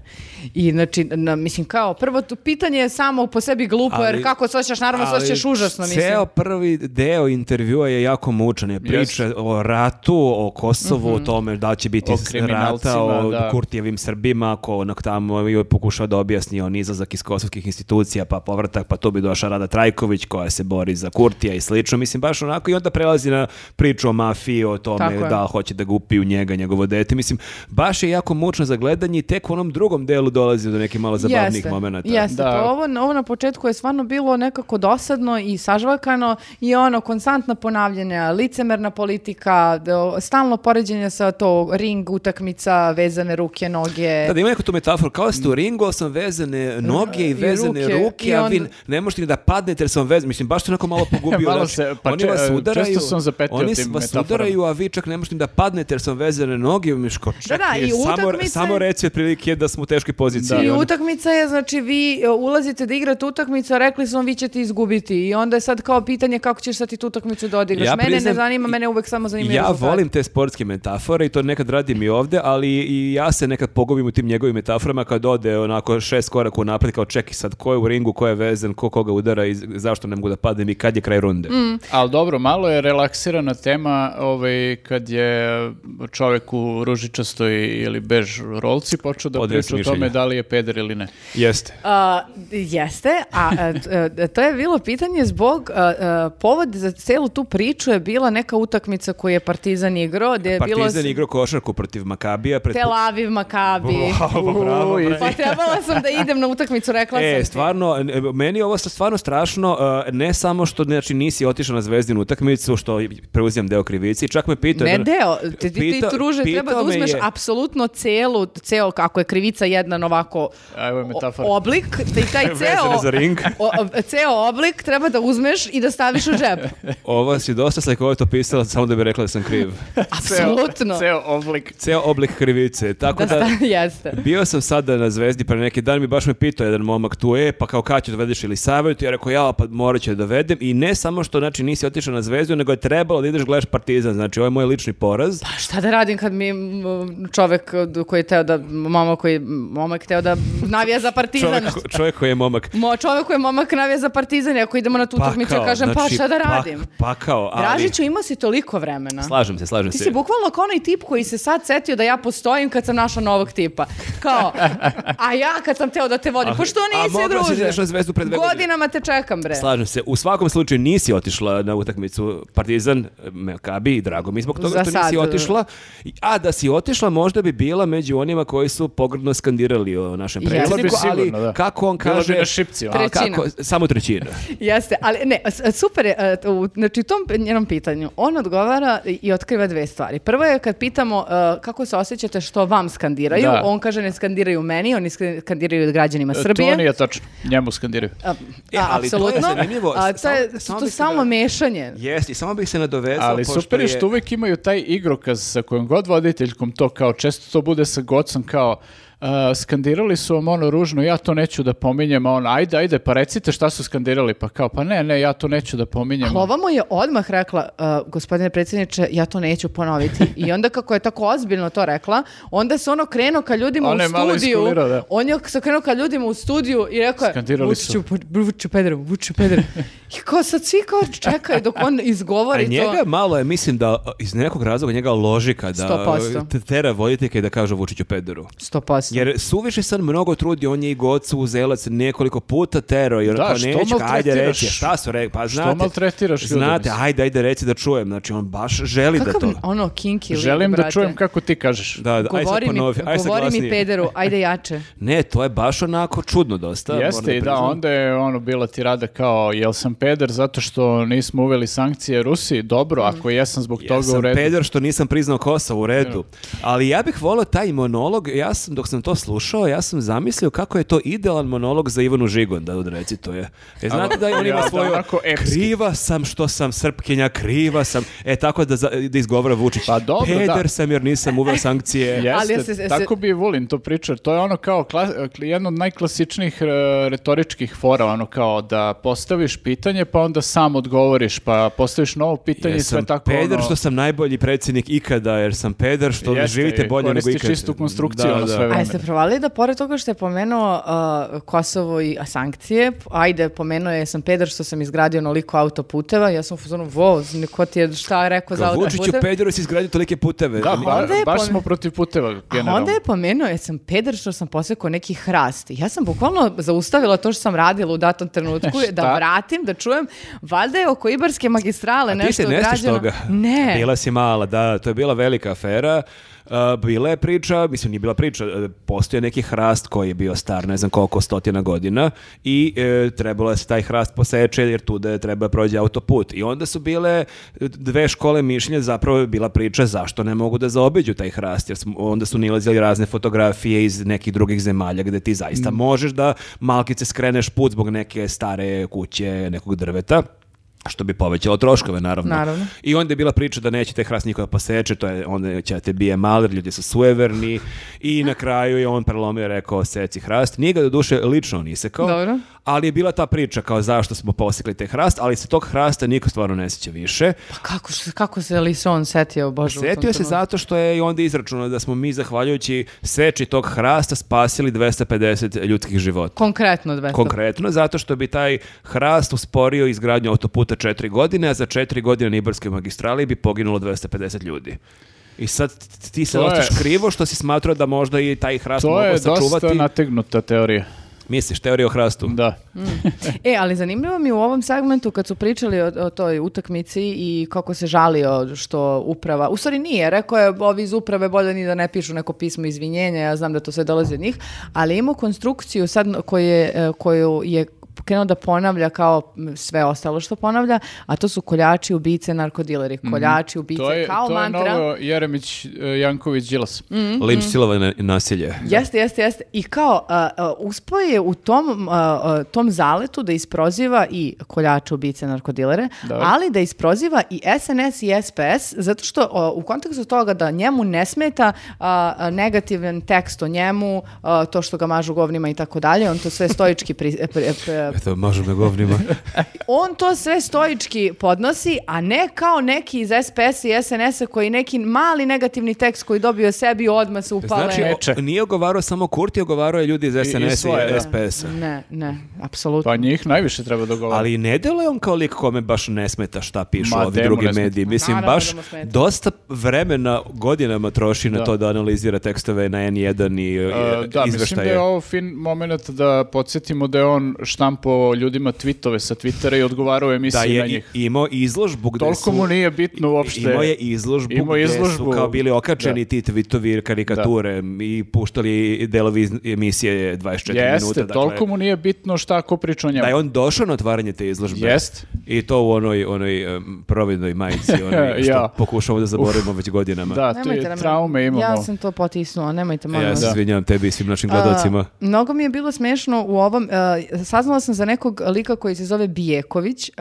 Speaker 1: I znači, na, mislim kao, prvo to pitanje je samo po sebi glupo, jer
Speaker 3: Ali-
Speaker 1: kako se osjećaš, naravno se
Speaker 3: Ali
Speaker 1: osjećaš užasno, mislim.
Speaker 3: Ceo prvi deo intervjua je jako mučan. Je priča
Speaker 2: Jeste.
Speaker 3: o ratu, o Kosovu,
Speaker 1: Mhm.
Speaker 3: o tome da će biti
Speaker 2: O
Speaker 3: s- rata,
Speaker 2: kriminalcima,
Speaker 3: o
Speaker 2: da.
Speaker 3: Kurtijevim Srbima, ko onak tamo i pokušao da objasni on izlazak iz kosovskih institucija, pa povratak, pa tu bi došla Rada Trajković koja se bori za Kurtija i slično. Mislim, baš onako i onda prelazi na priču o mafiji, o tome
Speaker 1: Tako je.
Speaker 3: da li hoće da ga upiju njega, njegovo dete. Mislim, baš je jako mučno za gledanje i tek u onom drugom delu dolazi do nekih malo zabavnih
Speaker 1: Jeste,
Speaker 3: momenata.
Speaker 1: Jeste,
Speaker 2: Da.
Speaker 1: pa ovo, ovo na početku je stvarno bilo nekako dosadno i sažvakano i ono, konstantna ponavljanja, licemerna politika, d- o- stalno poređenje sa to ring utakmica, vezane ruke, noge.
Speaker 3: Da, da ima neku tu metaforu, kao da ste u ringu, ali sam vezane noge i
Speaker 1: Mm. E, I
Speaker 3: vezane ruke,
Speaker 1: ruke, i
Speaker 3: a vi
Speaker 1: onda-
Speaker 3: ne možete ni da padnete jer sam vezan. Mislim, baš ste onako malo pogubio.
Speaker 2: Malo
Speaker 3: reč.
Speaker 2: se- pa
Speaker 3: oni
Speaker 2: če-
Speaker 3: vas
Speaker 2: često
Speaker 3: udaraju,
Speaker 2: sam zapetljao
Speaker 3: oni
Speaker 2: tim
Speaker 3: vas
Speaker 2: metaforama.
Speaker 3: udaraju, a vi čak ne možete ni da padnete jer sam vezane noge. Miško, čekaj,
Speaker 1: da, i
Speaker 3: samo,
Speaker 1: utakmice-
Speaker 3: samo reci otprilike da smo u teškoj poziciji.
Speaker 1: I
Speaker 3: ono.
Speaker 1: utakmica je, znači vi e, ulazite da igrate utakmicu, a rekli su vam vi ćete izgubiti i onda je sad kao pitanje kako ćeš sad ti tu utakmicu da odigraš.
Speaker 3: Ja
Speaker 1: mene
Speaker 3: priznam-
Speaker 1: ne zanima, mene uvek samo zanima
Speaker 3: Ja volim te sportske metafore i to nekad radim i ovde, ali i ja se nekad pogubim u tim njegovim metaforama kad ode onako šest koraka unapred kao čeki sad ko je u ringu, ko je vezan, ko koga udara i zašto ne mogu da padnem i kad je kraj runde.
Speaker 1: Mm.
Speaker 2: Ali dobro, malo je relaksirana tema ovaj, kad je čovjek u ružičastoj ili bež rolci počeo da
Speaker 3: Odvojeno
Speaker 2: priča o
Speaker 3: mišljenje.
Speaker 2: tome da li je peder ili ne.
Speaker 3: Jeste.
Speaker 1: A, jeste, a e, t- e, to je bilo pitanje zbog e, e, povod za celu tu priču je bila neka utakmica koju je Partizan igrao, gdje je bilo
Speaker 3: Partizan
Speaker 1: s-
Speaker 3: igrao košarku protiv Makabija. Pred...
Speaker 1: Tel Aviv Makabi.
Speaker 3: Bravo, bravo,
Speaker 1: Uj,
Speaker 3: bre.
Speaker 1: pa trebala sam da idem na utakmicu, rekla sam.
Speaker 3: E,
Speaker 1: ti.
Speaker 3: stvarno, e, meni je ovo sa- stvarno strašno, e, ne samo što znači, nisi otišao na zvezdinu utakmicu, što preuzimam deo krivici, čak me pitao...
Speaker 1: Ne
Speaker 3: jedan-
Speaker 1: deo, ti, ti, ti
Speaker 3: pitao-
Speaker 1: druže, treba da
Speaker 3: pitao me
Speaker 1: uzmeš
Speaker 3: je-
Speaker 1: apsolutno celu, ceo, kako je krivica jedan ovako
Speaker 2: A evo je metafora.
Speaker 1: o- oblik, da i taj
Speaker 3: Vezane
Speaker 1: ceo,
Speaker 3: za ring.
Speaker 1: o- o- ceo oblik treba da uzmeš i da staviš u džep.
Speaker 3: Ovo si dosta slikovito pisala, samo da bi rekla da sam kriv.
Speaker 1: Apsolutno.
Speaker 2: Ceo, ceo oblik.
Speaker 3: Ceo oblik krivice, tako
Speaker 1: Da,
Speaker 3: da...
Speaker 1: sta- jeste.
Speaker 3: Bio sam sada na Zvezdi pre neki dan, mi baš me pitao jedan momak tu je, pa kao kad ću dovedeš ili savjetu, ja rekao ja, pa morat ću da dovedem i ne samo što znači nisi otišao na Zvezdu, nego je trebalo da ideš gledaš Partizan, znači ovo je moj lični poraz.
Speaker 1: Pa šta da radim kad mi m, čovek d- koji je teo da, momak koji, momak teo da navija za partizan.
Speaker 3: Čovjek, čovjek koji je momak.
Speaker 1: Mo, čovek koji je momak navija za partizan, i ako idemo na tu utakmicu, ja kažem pa šta da
Speaker 3: pak-
Speaker 1: radim.
Speaker 3: pakao, znači, ali...
Speaker 1: Dražiću, imao si toliko vremena.
Speaker 3: Slažem se, slažem
Speaker 1: Ti
Speaker 3: se.
Speaker 1: si bukvalno kao onaj tip koji se sad setio da ja postojim kad sam našao novog tipa. Kao, a ja kad sam teo da te vodim.
Speaker 3: A-
Speaker 1: Pa što
Speaker 3: a
Speaker 1: nisi,
Speaker 3: mogla si da ideš na
Speaker 1: druže?
Speaker 3: Zvezdu pre dve godine.
Speaker 1: Godinama te čekam, bre.
Speaker 3: Slažem se. U svakom slučaju nisi otišla na utakmicu Partizan, Mekabi i drago mi je zbog toga
Speaker 1: Za
Speaker 3: što nisi
Speaker 1: sad.
Speaker 3: otišla. A da si otišla možda bi bila među onima koji su pogrdno skandirali o našem
Speaker 1: Bila bi
Speaker 3: predsjedniku, ali
Speaker 2: sigurno, da.
Speaker 3: kako on
Speaker 2: Bila bi
Speaker 3: kaže...
Speaker 2: na šipci, ona.
Speaker 3: A kako,
Speaker 1: Trećina.
Speaker 3: samo trećina.
Speaker 1: Jeste, ali ne, s- super je, e, t- u- znači u tom p- njenom pitanju, on odgovara i i otkriva dve stvari. Prvo je kad pitamo e, kako se osjećate što vam skandiraju,
Speaker 2: Da.
Speaker 1: on kaže ne skandiraju meni, oni sk- skandiraju građanima Srbije.
Speaker 2: To nije tačno. Njemu skandiraju.
Speaker 1: A,
Speaker 3: E, ali to je
Speaker 1: apsolutno.
Speaker 3: zanimljivo,
Speaker 1: A, to je
Speaker 3: samo- samo
Speaker 1: to je
Speaker 3: mislim
Speaker 1: stalno
Speaker 3: da-
Speaker 1: mešanje.
Speaker 3: Jeste, i samo bih se nadovezao.
Speaker 2: Ali
Speaker 3: pošto
Speaker 2: super je
Speaker 3: je-
Speaker 2: što uvek imaju taj igrokaz sa kojim god voditeljkom to kao često to bude sa gocom kao a, skandirali su vam ono ružno, ja to neću da pominjem, a on ajde, ajde, pa recite šta su skandirali, pa kao, pa ne, ne, ja to neću da pominjem.
Speaker 1: Ali ova mu je odmah rekla, "Uh, gospodine predsjedniče, ja to neću ponoviti. I onda kako je tako ozbiljno to rekla, onda se ono krenuo ka ljudima
Speaker 2: Ona
Speaker 1: u
Speaker 2: je malo
Speaker 1: studiju.
Speaker 2: iskulirao, da.
Speaker 1: On je se krenuo ka ljudima u studiju i rekao je,
Speaker 2: Skandirali
Speaker 1: vuču,
Speaker 2: su.
Speaker 1: vuču pederu, vuču pederu. I kao sad svi kao čekaju dok on
Speaker 3: A
Speaker 1: izgovori
Speaker 3: njega
Speaker 1: to.
Speaker 3: malo je, mislim da iz nekog razloga njega loži kada
Speaker 1: 100%.
Speaker 3: te- tera voditeljke da kaže Vučiću pederu.
Speaker 1: 100%.
Speaker 3: Jer suviše sam mnogo trudi, on je i gocu uzelac nekoliko puta tero i
Speaker 2: Da,
Speaker 3: rekao
Speaker 2: što
Speaker 3: neću, ajde
Speaker 2: maltretiraš?
Speaker 3: reći, šta su rekli, pa
Speaker 2: Što
Speaker 3: znate.
Speaker 2: maltretiraš ljude,
Speaker 3: Znate,
Speaker 2: mislim?
Speaker 3: ajde, ajde reci da čujem, znači on baš želi
Speaker 1: Kakav
Speaker 3: da to.
Speaker 1: ono kinky lik,
Speaker 2: Želim da
Speaker 1: brate.
Speaker 2: čujem kako ti kažeš.
Speaker 3: Da, da, aj sad
Speaker 1: Govori mi,
Speaker 3: ponovi, aj sad
Speaker 1: govori mi
Speaker 3: glasnije.
Speaker 1: pederu, ajde jače.
Speaker 3: Ne, to je baš onako čudno dosta. moram
Speaker 2: Jeste i da,
Speaker 3: priznam.
Speaker 2: onda je ono bila tirada kao jel sam peder zato što nismo uveli sankcije Rusiji, dobro,
Speaker 1: Mhm.
Speaker 2: ako jesam zbog
Speaker 3: Ja
Speaker 2: Pa toga
Speaker 3: sam
Speaker 2: u redu.
Speaker 3: peder što nisam priznao Kosovo u redu. Ali ja bih volio taj monolog, ja sam dok sam sam to slušao, ja sam zamislio kako je to idealan monolog za Ivanu Žigon, da reci to je. E, znate da on
Speaker 2: Ja,
Speaker 3: ima
Speaker 2: da,
Speaker 3: svoju,
Speaker 2: onako epski.
Speaker 3: kriva sam što sam srpkinja, kriva sam, e tako da, za- da izgovara Vučić.
Speaker 2: Pa dobro, da.
Speaker 3: Peder sam jer nisam uveo sankcije.
Speaker 1: Ali
Speaker 2: Jeste,
Speaker 1: ja se- se-
Speaker 2: tako bi i Vulin to pričao. To je ono kao kla- kli- jedna od najklasičnijih e, retoričkih fora, ono kao da postaviš pitanje pa onda sam odgovoriš, pa postaviš novo pitanje i sve
Speaker 3: Jesam
Speaker 2: tako
Speaker 3: peder
Speaker 2: ono...
Speaker 3: što sam najbolji predsjednik ikada, jer sam peder što
Speaker 2: Jeste,
Speaker 3: živite
Speaker 2: i
Speaker 3: bolje nego
Speaker 2: koristiš
Speaker 3: ikada.
Speaker 2: istu konstrukciju, ono, sve
Speaker 1: A
Speaker 2: vreme.
Speaker 1: jeste provalili da pored toga što je pomenuo uh, Kosovo i sankcije, p- ajde, pomenuo je sam peder što sam izgradio onoliko autoputeva, ja sam u fazonu, wow, niko ti je šta rekao za
Speaker 3: Kao Vučiću
Speaker 1: autoputeve.
Speaker 3: pederu si izgradio tolike puteve.
Speaker 2: Da, ba-
Speaker 1: onda je
Speaker 2: baš
Speaker 1: pon-
Speaker 2: smo protiv puteva, generalno.
Speaker 1: A onda je pomenuo, ja sam peder što sam posekao neki hrast. Ja sam bukvalno zaustavila to što sam radila u datom trenutku,
Speaker 2: Šta?
Speaker 1: da vratim, da čujem. Valjda je oko Ibarske magistrale
Speaker 3: Ti
Speaker 1: nešto
Speaker 3: se ne stiš
Speaker 1: ugrađeno.
Speaker 3: toga.
Speaker 1: Ne.
Speaker 3: Bila si mala, da, to je bila velika afera. Uh, bila je priča, mislim nije bila priča, uh, postoje neki hrast koji je bio star ne znam koliko stotina godina i e, trebalo je se taj hrast poseče jer tu da treba prođe autoput. I onda su bile e, dve škole mišljenja, zapravo je bila priča zašto ne mogu da zaobiđu taj hrast jer smo- onda su nilazili razne fotografije iz nekih drugih zemalja gde ti zaista možeš da malkice skreneš put zbog neke stare kuće, nekog drveta što bi povećalo troškove, naravno.
Speaker 1: Naravno.
Speaker 3: I onda je bila priča da neće te hrast niko da poseče, to je, onda će da te bije maler, ljudi su sueverni i na kraju je on prelomio i rekao seci hrast. Nije ga do duše lično on isekao,
Speaker 1: Dobro.
Speaker 3: ali je bila ta priča kao zašto smo posekli te hrast, ali se tog hrasta niko stvarno ne sjeća više.
Speaker 1: Pa kako, se- kako se li se on setio, Bože? u tom
Speaker 3: Sjetio se
Speaker 1: trenutku?
Speaker 3: zato što je i onda izračunao da smo mi, zahvaljujući seči tog hrasta, spasili 250 ljudskih života.
Speaker 1: Konkretno 200.
Speaker 3: Konkretno, zato što bi taj hrast usporio izgradnju autoputa četiri godine, a za četiri godine na Ibarskoj magistrali bi poginulo 250 ljudi. I sad t- ti se
Speaker 2: To je-
Speaker 3: ostaš krivo što si smatrao da možda i taj hrast
Speaker 2: To
Speaker 3: mogu
Speaker 2: je
Speaker 3: sačuvati.
Speaker 2: dosta nategnuta teorija.
Speaker 3: Misliš, teorija o hrastu?
Speaker 2: Da.
Speaker 1: E, ali zanimljivo mi je u ovom segmentu kad su pričali o, o toj utakmici i kako se žalio što uprava, u stvari nije, rekao je ovi iz uprave bolje ni da ne pišu neko pismo izvinjenja, ja znam da to sve dolazi od njih, ali je imao konstrukciju sad koje, e, koju je krenuo da ponavlja kao m, sve ostalo što ponavlja, a to su koljači, ubice, narkodileri, koljači, ubice,
Speaker 2: Mhm. To je,
Speaker 1: kao
Speaker 2: to je
Speaker 1: mantra.
Speaker 2: novo Jeremić, e, Janković, Đilas.
Speaker 3: Mhm. Linč silovanje i nasilje.
Speaker 1: Jeste, jeste, jeste. I kao, a, a, uspeo je u tom, a, a, tom zaletu da isproziva i koljače, ubice, narkodilere,
Speaker 2: Dobro.
Speaker 1: ali da isproziva i SNS i SPS, zato što a, u kontekstu toga da njemu ne smeta a, a, negativan tekst o njemu, a, to što ga mažu govnima i tako dalje, on to sve stoički pri- e, pri- e, pre-
Speaker 3: Eto, mažu me govnima.
Speaker 1: on to sve stoički podnosi, a ne kao neki iz SPS i SNS-a koji neki mali negativni tekst koji dobio sebi odmah se upale.
Speaker 3: Znači, o-
Speaker 2: Meče.
Speaker 3: nije ogovarao samo Kurti, ogovarao je ljudi iz SNS-a
Speaker 2: svoje,
Speaker 3: i,
Speaker 2: da.
Speaker 3: SPS-a.
Speaker 1: Ne, ne, apsolutno.
Speaker 2: Pa njih najviše treba dogovoriti.
Speaker 3: Ali ne deluje on kao lik kome baš ne smeta šta pišu
Speaker 2: Ma,
Speaker 3: ovi
Speaker 2: demu
Speaker 3: drugi
Speaker 2: ne smeta.
Speaker 3: mediji. Mislim,
Speaker 1: Naravno
Speaker 3: baš
Speaker 1: da mu smeta.
Speaker 3: dosta vremena godinama troši na
Speaker 2: Da.
Speaker 3: to da analizira tekstove na N1 i,
Speaker 2: E,
Speaker 3: i
Speaker 2: da, mislim da
Speaker 3: izveštaje.
Speaker 2: je ovo fin moment da podsjetimo da je on štampo ljudima tweetove sa Twittera i odgovarao u emisiji
Speaker 3: Da
Speaker 2: na
Speaker 3: je i-
Speaker 2: njih.
Speaker 3: imao izložbu gde
Speaker 2: Toliko
Speaker 3: su...
Speaker 2: mu nije bitno uopšte.
Speaker 3: Imao je izložbu
Speaker 2: Imao je
Speaker 3: gde su
Speaker 2: izložbu.
Speaker 3: kao bili okačeni ti tweetovi, karikature i puštali delovi iz emisije 24 minuta.
Speaker 2: Jeste,
Speaker 3: Dakle,
Speaker 2: toliko mu nije bitno šta ko priča o njemu.
Speaker 3: Da je on došao na otvaranje te izložbe.
Speaker 2: Jest.
Speaker 3: I to u onoj, onoj um, providnoj majici, onoj što
Speaker 2: Ja.
Speaker 3: pokušavamo da zaboravimo već godinama.
Speaker 2: Da, tu
Speaker 1: Nemojte
Speaker 2: je
Speaker 1: nam-
Speaker 2: traume imamo.
Speaker 1: Ja sam to potisnula, nemojte molim
Speaker 3: Ja
Speaker 1: vas.
Speaker 3: se izvinjavam tebi i svim našim gledalcima.
Speaker 1: Ono A, mnogo mi je bilo smešno u ovom, e, saznala sam za nekog lika koji se zove Bijeković, e,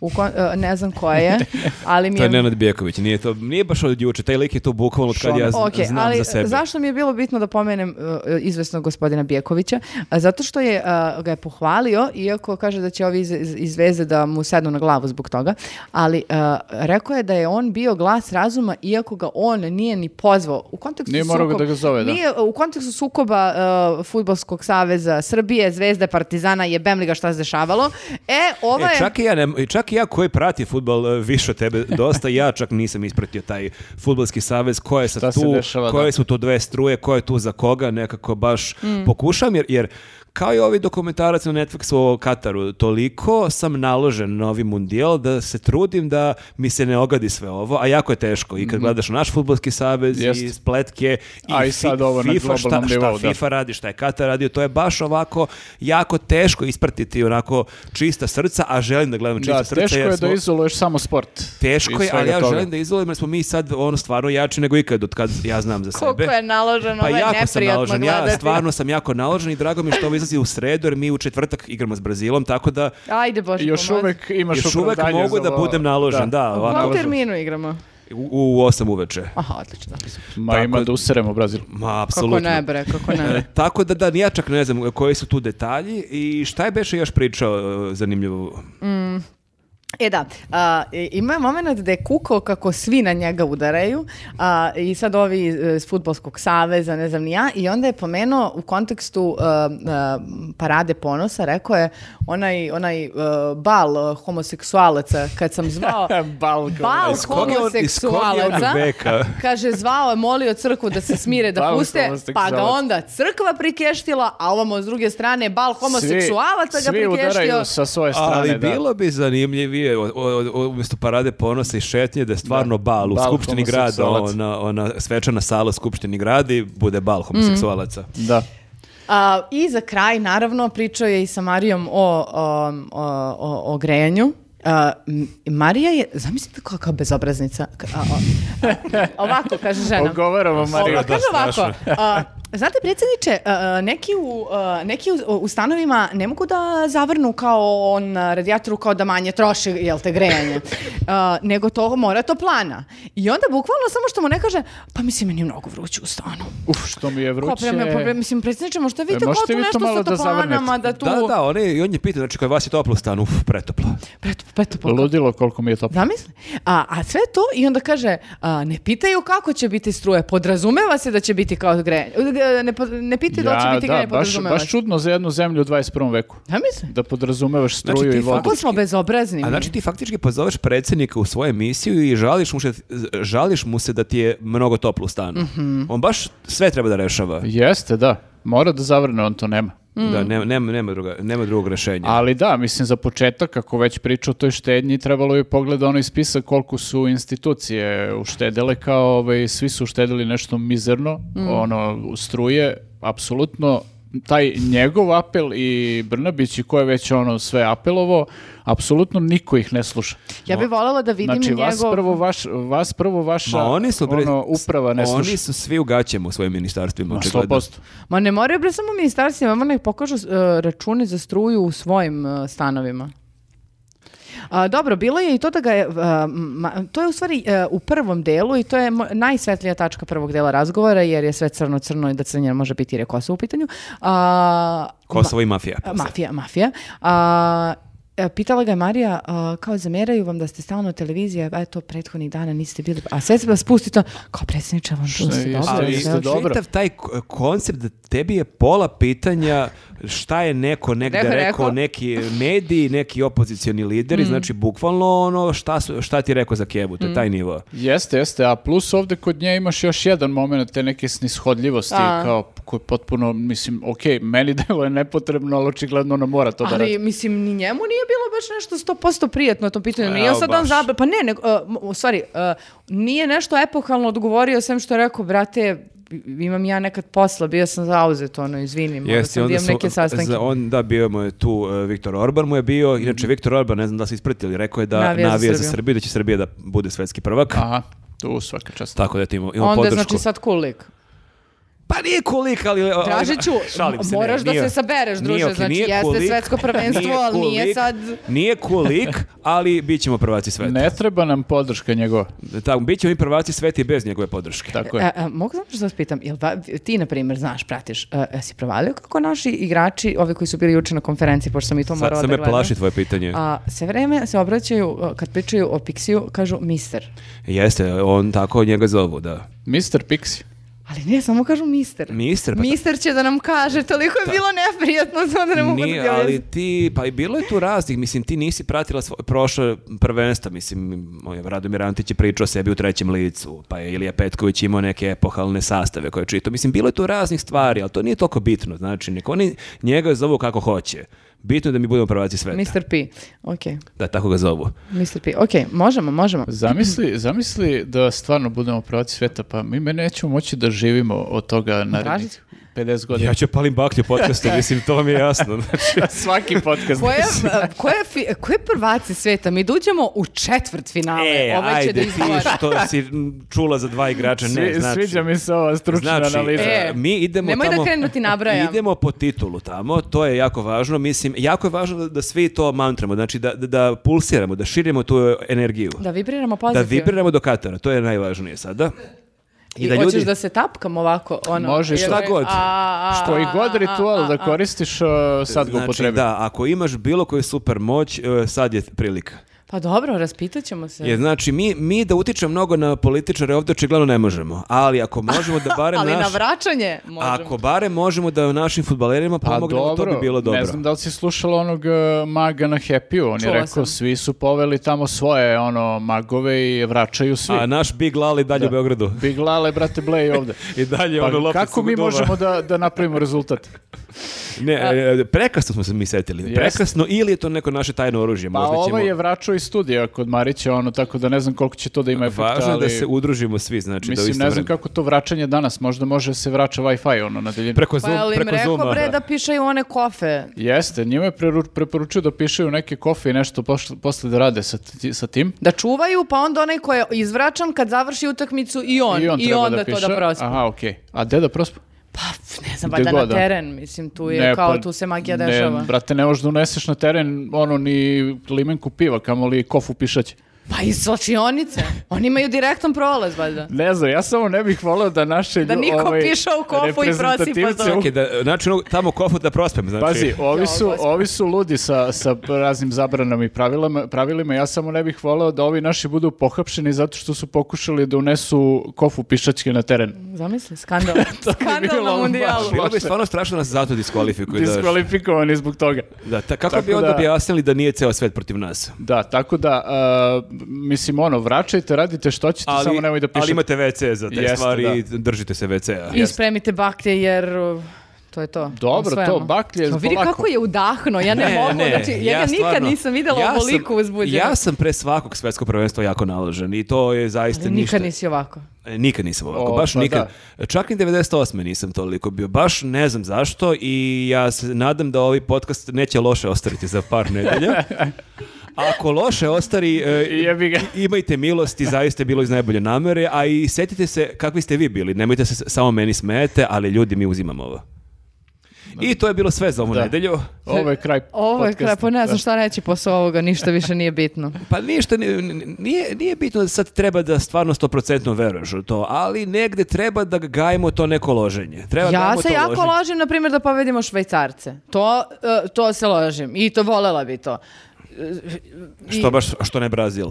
Speaker 1: u ko- e, ne znam ko je, ali mi
Speaker 3: to je
Speaker 1: je...
Speaker 3: Nenad Bijeković, nije, to, nije baš od juče, taj lik je tu bukvalno od kad ja z-
Speaker 1: Ok,
Speaker 3: znam
Speaker 1: ali
Speaker 3: za sebe.
Speaker 1: zašto mi je bilo bitno da pomenem e, izvesnog gospodina Bijekovića? A, Zato što je, e, ga je pohvalio, iako kaže da će ovi iz, iz- iz veze da mu sednu na glavu zbog toga, ali e, rekao je da je on bio glas razuma, iako ga on nije ni pozvao. U kontekstu
Speaker 2: Nije morao ga
Speaker 1: sukob-
Speaker 2: da ga zove, da.
Speaker 1: Nije, u kontekstu sukoba e, Fudbalskog saveza Srbije, Zvezde, Partizana, je ga šta se dešavalo. E, ova
Speaker 3: E,
Speaker 1: je...
Speaker 3: čak, i ja ne, čak i ja koji prati futbal e, više od tebe dosta, ja čak nisam ispratio taj futbalski savez, koje je sad
Speaker 2: Šta se
Speaker 3: tu,
Speaker 2: dešava,
Speaker 3: koje
Speaker 2: da.
Speaker 3: su tu dve struje, koje je tu za koga, nekako baš pokušam, jer, jer kao i ovi dokumentarac na Netflixu o Kataru, toliko sam naložen na ovi mundijal da se trudim da mi se ne ogadi sve ovo, a jako je teško. I kad gledaš naš futbalski savez
Speaker 2: Mhm. Jest.
Speaker 3: i spletke i,
Speaker 2: A i
Speaker 3: fi-
Speaker 2: sad ovo na
Speaker 3: FIFA, šta,
Speaker 2: globalnom
Speaker 3: pa šta
Speaker 2: nivou, da.
Speaker 3: FIFA radi, šta je Katar radio, to je baš ovako jako teško ispratiti prihvatiti onako čista srca, a želim da gledam čista
Speaker 2: Da,
Speaker 3: srca.
Speaker 2: teško
Speaker 3: jer
Speaker 2: je
Speaker 3: smo-
Speaker 2: da izoluješ samo sport.
Speaker 3: Teško
Speaker 2: i
Speaker 3: je, ali
Speaker 2: svega
Speaker 3: ja
Speaker 2: toga.
Speaker 3: želim da izvolim jer smo mi sad ono stvarno jači nego ikad od kad ja znam za
Speaker 4: Koliko
Speaker 3: sebe.
Speaker 4: je naloženo,
Speaker 1: ono,
Speaker 3: Pa
Speaker 1: ovaj
Speaker 4: ovo je
Speaker 3: jako sam
Speaker 4: neprijatno
Speaker 3: naložen,
Speaker 4: gledati.
Speaker 3: ja stvarno sam jako naložen i drago mi je što ovo izlazi u sredu jer mi u četvrtak igramo s Brazilom, tako da
Speaker 1: Ajde, Bože,
Speaker 2: Još
Speaker 1: pomozi.
Speaker 2: uvek imaš
Speaker 3: još uvek
Speaker 2: opravdanje
Speaker 3: mogu
Speaker 2: za
Speaker 3: da
Speaker 2: ovo.
Speaker 3: budem naložen, da,
Speaker 1: U
Speaker 3: ovako,
Speaker 1: kom terminu igramo?
Speaker 3: u, u 8 uveče.
Speaker 1: Aha, hát odlično.
Speaker 2: Ma ima da useremo Brazil.
Speaker 3: Ma,
Speaker 1: Kako
Speaker 3: apsolutno. E,
Speaker 1: ne, bre, kako ne.
Speaker 3: Tako da, da, ni ja čak ne znam koji su tu detalji i šta je Beše još pričao e, zanimljivo.
Speaker 1: E da, a, i- ima moment da je kukao kako svi na njega udaraju a, i sad ovi iz, iz Futbolskog saveza, ne znam ni ja, i onda je pomenuo u kontekstu a, a, parade ponosa, rekao je onaj, onaj a, bal a, homoseksualaca, kad sam zvao...
Speaker 2: Bal,
Speaker 1: Bal
Speaker 3: Iz kog je on- iz kog je on
Speaker 1: homoseksualaca,
Speaker 3: veka?
Speaker 1: kaže, zvao je, molio crkvu da se smire, da
Speaker 2: Bal
Speaker 1: puste, pa ga
Speaker 2: homoseksualac.
Speaker 1: onda crkva prikeštila, a ovamo s druge strane bal homoseksualaca ga
Speaker 2: Svi
Speaker 1: prikeštio.
Speaker 2: udaraju sa svoje strane.
Speaker 3: Ali
Speaker 2: da.
Speaker 3: bilo bi zanimljivije o- o- o- umjesto parade ponosa i šetnje da je stvarno bal u
Speaker 2: Bal
Speaker 3: Skupštini grada,
Speaker 2: homoseksualaca.
Speaker 3: ona, ona svečana sala u Skupštini grada i bude
Speaker 2: Mm.
Speaker 3: bal homoseksualaca.
Speaker 2: Da.
Speaker 1: A, I za kraj, naravno, pričao je i sa Marijom o, o, o, o, o grejanju. A, m- Marija je, zamislite kakva bezobraznica. K- a, o- ovako, kaže žena.
Speaker 2: Ogovaramo Mariju.
Speaker 1: Ovo, kaže ovako.
Speaker 3: strašno.
Speaker 1: a, znate, predsjedniče, a, a, neki, u, a, neki u, u stanovima ne mogu da zavrnu kao on a, radijatoru kao da manje troši, jel te, grejanje. A, nego to mora to plana. I onda bukvalno samo što mu ne kaže, pa mislim, meni je mnogo vruće u stanu.
Speaker 2: Uf, što mi je
Speaker 1: Pa
Speaker 2: vruće.
Speaker 1: prema, pa prema- mislim, predsjedniče, možda vidite kao
Speaker 2: E, možete
Speaker 1: tu
Speaker 2: vi to
Speaker 1: nešto sa
Speaker 2: malo da
Speaker 1: toplanama,
Speaker 2: zavrnete?
Speaker 1: da tu...
Speaker 3: Da, da, on je, i on je pitao, znači kod vas je toplo u stanu, uf, pretoplo.
Speaker 1: Preto, preto,
Speaker 2: Ludilo koliko mi je to.
Speaker 1: Zamisli. A, a sve to i onda kaže, a, ne pitaju kako će biti struje, podrazumeva se da će biti kao grejanje. Ne, po- ne pitaju da li će biti grejanje,
Speaker 2: baš,
Speaker 1: podrazumeva
Speaker 2: baš
Speaker 1: se.
Speaker 2: čudno za jednu zemlju u 21. veku.
Speaker 1: Zamisli.
Speaker 2: Da podrazumevaš struju
Speaker 3: Znači, ti
Speaker 2: i vodu.
Speaker 1: Kako smo bezobrazni.
Speaker 3: A
Speaker 1: mi.
Speaker 3: znači ti faktički pozoveš predsjednika u svoju emisiju i žališ mu, se, žališ mu se da ti je mnogo toplo u stanu.
Speaker 2: Mhm.
Speaker 3: On baš sve treba da rešava.
Speaker 2: Jeste, da. Mora da zavrne, on to nema.
Speaker 3: Da, nema, nema, nema, druga, nema drugog rešenja.
Speaker 2: Ali da, mislim za početak, ako već priča o toj štednji, trebalo bi pogleda onaj spisak koliko su institucije uštedele, kao ovaj, svi su uštedili nešto mizerno,
Speaker 1: Mm.
Speaker 2: ono, struje, apsolutno, taj njegov apel i Brnabić i ko je već ono sve apelovo, apsolutno niko ih ne sluša.
Speaker 1: ja bih voljela da vidim
Speaker 2: Znači,
Speaker 1: njegov...
Speaker 2: vas prvo, vaš, vas prvo vaša
Speaker 3: Ma oni su bre-
Speaker 2: ono, uprava ne sluša.
Speaker 3: Oni su svi u gaćama u svojim ministarstvima.
Speaker 2: Ma,
Speaker 3: očigledno.
Speaker 2: 100%.
Speaker 1: Ma ne moraju bre samo ministarstvima, ma nek pokažu e, račune za struju u svojim e, stanovima. A, dobro, bilo je i to da ga je, e, ma- to je u stvari e, u prvom delu i to je mo- najsvetlija tačka prvog dela razgovora jer je sve crno-crno i da crnje može biti jer je Kosovo u pitanju. A,
Speaker 3: Kosovo i mafija.
Speaker 1: ma- mafija, mafija. A, e, Pitala ga je Marija, a, kao zameraju vam da ste stalno televizija, eto, prethodnih dana niste bili, a sve se vas pusti to, kao predsjedniče, vam tu ste
Speaker 2: jeste,
Speaker 1: dobro.
Speaker 2: Ali
Speaker 3: Ali
Speaker 1: sve
Speaker 2: jeste
Speaker 1: ok."
Speaker 2: do- dobro.
Speaker 3: Znači, čitav taj k- koncept da tebi je pola pitanja šta je neko negde
Speaker 1: Neko
Speaker 3: rekao,
Speaker 1: je rekao. Mm.
Speaker 3: neki mediji, neki opozicioni lideri, znači bukvalno ono šta, su, šta ti je rekao za Kevu, to je taj nivo.
Speaker 2: Jeste, jeste, a plus ovde kod nje imaš još jedan moment te neke snishodljivosti
Speaker 1: A.
Speaker 2: kao koji potpuno, mislim, ok, meni deluje nepotrebno, ali očigledno ona mora to da
Speaker 1: Ali,
Speaker 2: radi.
Speaker 1: mislim, ni njemu nije bilo baš nešto 100% prijatno na tom pitanju. Nije
Speaker 3: Evo,
Speaker 1: sad on
Speaker 3: baš.
Speaker 1: zabra... Pa ne, ne u stvari, e, nije nešto epohalno odgovorio, sem što je rekao, brate, imam ja nekad posla, bio sam zauzet, ono, izvini, morao
Speaker 3: Jeste,
Speaker 1: sam da imam
Speaker 3: su-
Speaker 1: neke sastanke. Mhm.
Speaker 3: za- on, da, bio mu je tu e, Viktor Orban mu je bio, inače Viktor Orban, ne znam da li se ispratili, rekao je da
Speaker 1: Navija
Speaker 3: navija,
Speaker 1: za
Speaker 3: za
Speaker 1: Srbiju.
Speaker 3: Srbiju, da će Srbija da bude svetski prvak.
Speaker 2: Aha, tu svaka čast.
Speaker 3: Tako da ti imamo, imamo
Speaker 1: Onda je,
Speaker 3: podršku.
Speaker 1: znači, sad kulik.
Speaker 3: Pa nije kolik, ali... ali-
Speaker 1: Tražiću,
Speaker 3: šalim se, ne,
Speaker 1: moraš da
Speaker 3: nije-
Speaker 1: se sabereš, druže,
Speaker 3: nije ok,
Speaker 1: znači,
Speaker 3: nije
Speaker 1: jeste
Speaker 3: kolik,
Speaker 1: svetsko prvenstvo, ali nije sad-
Speaker 3: Nije kolik, ali bit ćemo prvaci sveta.
Speaker 2: Ne treba nam podrška njegova.
Speaker 3: Tako, bit ćemo i prvaci sveta i bez njegove podrške.
Speaker 2: Tako je.
Speaker 1: E, e, mogu samo što vas pitam, jel ba- ti, na primjer, znaš, pratiš, e, e, si provalio kako naši igrači, ovi koji su bili juče na konferenciji, pošto sam i to
Speaker 3: Sad
Speaker 1: morala
Speaker 3: sad
Speaker 1: da
Speaker 3: me
Speaker 1: gledam,
Speaker 3: plaši tvoje pitanje.
Speaker 1: A, sve vreme se obraćaju, a, kad pričaju o Pixiju, kažu mister.
Speaker 3: Jeste, on tako njega zovu, da.
Speaker 2: Mr. Pixi.
Speaker 1: Ali ne, samo kažu mister.
Speaker 3: Mister, pa
Speaker 1: mister će da nam kaže, toliko je bilo neprijatno, sad ne mogu
Speaker 3: Nije,
Speaker 1: da ti
Speaker 3: ali
Speaker 1: objasnim.
Speaker 3: ti, pa i bilo je tu raznih, mislim, ti nisi pratila svoje prošle prvenstva, mislim, moj Radomir Antić je pričao o sebi u trećem licu, pa je Ilija Petković imao neke epohalne sastave koje je čitao, mislim, bilo je tu raznih stvari, ali to nije toliko bitno, znači, nek oni njega zovu kako hoće, bitno je da mi budemo prvaci sveta,
Speaker 1: Mister P. Ok,
Speaker 3: da tako ga zovu.
Speaker 1: Mister P. Ok, možemo, možemo.
Speaker 2: Zamisli, zamisli da stvarno budemo prvaci sveta, pa mi me nećemo moći da živimo od toga narednih
Speaker 1: Tražit-
Speaker 2: 50 godina.
Speaker 3: Ja ću palim baklju podcastu, mislim, to mi je jasno.
Speaker 2: Svaki podcast.
Speaker 1: Koje, koje, fi- koje prvaci sveta? Mi duđemo u četvrt finale.
Speaker 3: E,
Speaker 1: Ovaj će da
Speaker 3: ajde, ti
Speaker 1: izgovara.
Speaker 3: što si m, čula za dva igrača, ne,
Speaker 2: Svi-
Speaker 3: znači...
Speaker 2: Sviđa mi se ova stručna
Speaker 3: Znači,
Speaker 2: analiza.
Speaker 1: E,
Speaker 3: mi idemo
Speaker 1: nemoj da
Speaker 3: tamo...
Speaker 1: krenuti nabrajam.
Speaker 3: Idemo po titulu tamo, to je jako važno. Mislim, jako je važno da, da svi to mantramo, znači da, da, da pulsiramo, da širimo tu energiju.
Speaker 1: Da vibriramo
Speaker 3: Da
Speaker 1: pozitivno.
Speaker 3: vibriramo do Katara, to je najvažnije sada.
Speaker 1: I, hoćeš da se tapkam ovako? Ono,
Speaker 2: Može,
Speaker 1: jel-
Speaker 3: šta god.
Speaker 1: A, a, a,
Speaker 2: Koji god
Speaker 1: a,
Speaker 2: ritual
Speaker 1: a,
Speaker 2: da
Speaker 1: a.
Speaker 2: koristiš, uh, sad ga
Speaker 3: Znači,
Speaker 2: upotrebi.
Speaker 3: da, ako imaš bilo koju super moć, e, sad je prilika.
Speaker 1: Pa dobro, raspitat ćemo se.
Speaker 3: Jer znači mi, mi da utičemo mnogo na političare ovdje očigledno ne možemo, ali ako možemo da barem
Speaker 1: Ali na
Speaker 3: naš,
Speaker 1: vraćanje možemo.
Speaker 3: ako barem možemo da našim fudbalerima pomognemo, to bi bilo dobro.
Speaker 2: Pa Ne znam da li si slušala onog e, maga na happy on
Speaker 1: Čula
Speaker 2: je rekao
Speaker 1: sam.
Speaker 2: svi su poveli tamo svoje ono magove i vraćaju svi.
Speaker 3: A naš Big Lali dalje u Beogradu.
Speaker 2: Big Lale, brate, blej ovde.
Speaker 3: I dalje ono
Speaker 2: Pa,
Speaker 3: loptica
Speaker 2: kako mi
Speaker 3: gudova.
Speaker 2: možemo da, da napravimo rezultat?
Speaker 3: Ne, e, prekasno smo se mi setili.
Speaker 2: Jeste.
Speaker 3: Prekasno ili je to neko naše tajno oružje.
Speaker 2: Pa
Speaker 3: Možda ćemo...
Speaker 2: ovaj je vraćao iz studija kod Marića, ono, tako da ne znam koliko će to da ima efekta,
Speaker 3: Važno je
Speaker 2: ali...
Speaker 3: da se udružimo svi, znači da u
Speaker 2: Mislim,
Speaker 3: isto
Speaker 2: ne znam
Speaker 3: vreme.
Speaker 2: kako to vraćanje danas, možda može se vraća Wi-Fi ono na daljinu.
Speaker 3: Preko,
Speaker 1: Pa
Speaker 3: zoom,
Speaker 1: jel im
Speaker 3: preko
Speaker 1: rekao
Speaker 3: Zooma.
Speaker 1: bre da pišaju one kofe?
Speaker 2: Jeste, njima je preru- preporučio da pišaju neke kofe i nešto pošle- posle da rade sa, ti- sa tim.
Speaker 1: Da čuvaju, pa onda onaj ko je izvračan kad završi utakmicu i on. I,
Speaker 2: treba
Speaker 1: onda to
Speaker 2: piše.
Speaker 1: da prospe.
Speaker 2: Aha, okej. A gde da prospe?
Speaker 1: Pa f- ne znam,
Speaker 2: Gde
Speaker 1: valjda na
Speaker 2: god da.
Speaker 1: teren, mislim, tu je
Speaker 2: Ne,
Speaker 1: kao,
Speaker 2: pa
Speaker 1: tu se magija
Speaker 2: ne,
Speaker 1: dešava.
Speaker 2: brate, ne možeš da uneseš na teren ono ni limenku piva, kamoli kofu pišaće.
Speaker 1: Pa iz sočionice. Oni imaju direktan prolaz, valjda.
Speaker 2: Ne znam, ja samo ne bih volio da naše
Speaker 1: Da
Speaker 2: lju-
Speaker 1: niko
Speaker 2: ovaj,
Speaker 1: piše u kofu i pa prosipa
Speaker 2: reprezentativce
Speaker 1: to.
Speaker 2: u-
Speaker 3: Čekaj, da, znači ono, tamo kofut da prospem, znači.
Speaker 2: Pazi, ovi
Speaker 1: Jao,
Speaker 2: su,
Speaker 1: gospod.
Speaker 2: ovi su ludi sa, sa raznim zabranama i pravilama, pravilima. Ja samo ne bih voleo da ovi naši budu pohapšeni zato što su pokušali da unesu kofu pišačke na teren.
Speaker 1: Zamisli, skandal. skandal na
Speaker 2: bilo ono
Speaker 1: mundijalu.
Speaker 2: baš
Speaker 3: Bilo bi
Speaker 2: loše.
Speaker 3: stvarno strašno da nas zato diskvalifikuju. da-
Speaker 2: Diskvalifikovani zbog toga.
Speaker 3: Da, ta, kako
Speaker 2: Tako
Speaker 3: bi onda
Speaker 2: da-
Speaker 3: objasnili da nije ceo svet protiv nas?
Speaker 2: Da, tako da, a, mislim, ono, vraćajte, radite što ćete,
Speaker 3: Ali,
Speaker 2: samo nemoj da
Speaker 3: ali
Speaker 2: pišete.
Speaker 3: imate WC za te
Speaker 2: Jeste,
Speaker 3: stvari i držite se WC-a.
Speaker 1: I spremite baklje jer uh, to je to.
Speaker 2: Dobro,
Speaker 1: Osvajamo.
Speaker 2: to baklje
Speaker 1: Samo Vidi
Speaker 2: polako.
Speaker 1: kako je udahno, ja ne, mogu, znači ja, ga nikad
Speaker 3: stvarno-
Speaker 1: nisam videla
Speaker 3: ja sam-
Speaker 1: ovoliko uzbuđena.
Speaker 3: Ja sam pre svakog svetskog prvenstva jako naložen i to je zaista
Speaker 1: Ali
Speaker 3: ništa.
Speaker 1: nikad nisi ovako.
Speaker 3: E, Nikad nisam ovako,
Speaker 2: O,
Speaker 3: baš
Speaker 2: pa
Speaker 3: nikad. Čak ni 98. nisam toliko bio, baš ne znam zašto i ja se nadam da ovaj podcast neće loše ostariti za par nedelja. Ako loše ostari, e,
Speaker 2: Jebi ga.
Speaker 3: imajte milosti, zaista je bilo iz najbolje namere, a i setite se kakvi ste vi bili. Nemojte se s- samo meni smijete, ali ljudi mi uzimamo ovo. I to je bilo sve za ovu
Speaker 2: Da.
Speaker 3: nedelju.
Speaker 2: Ovo je kraj
Speaker 1: Ovo je kraj,
Speaker 2: podcasta.
Speaker 1: pa ne znam
Speaker 2: Da.
Speaker 1: šta reći posle ovoga, ništa više nije bitno.
Speaker 3: Pa ništa, ni- ni- nije, nije bitno da sad treba da stvarno 100% veruješ u to, ali negde treba da gajimo to neko loženje. Treba
Speaker 1: Ja
Speaker 3: gajimo
Speaker 1: se
Speaker 3: to
Speaker 1: jako
Speaker 3: loženje.
Speaker 1: ložim, na primjer, da povedimo švajcarce. To, e, to se ložim i to volela bi to.
Speaker 3: Što baš, što ne Brazil?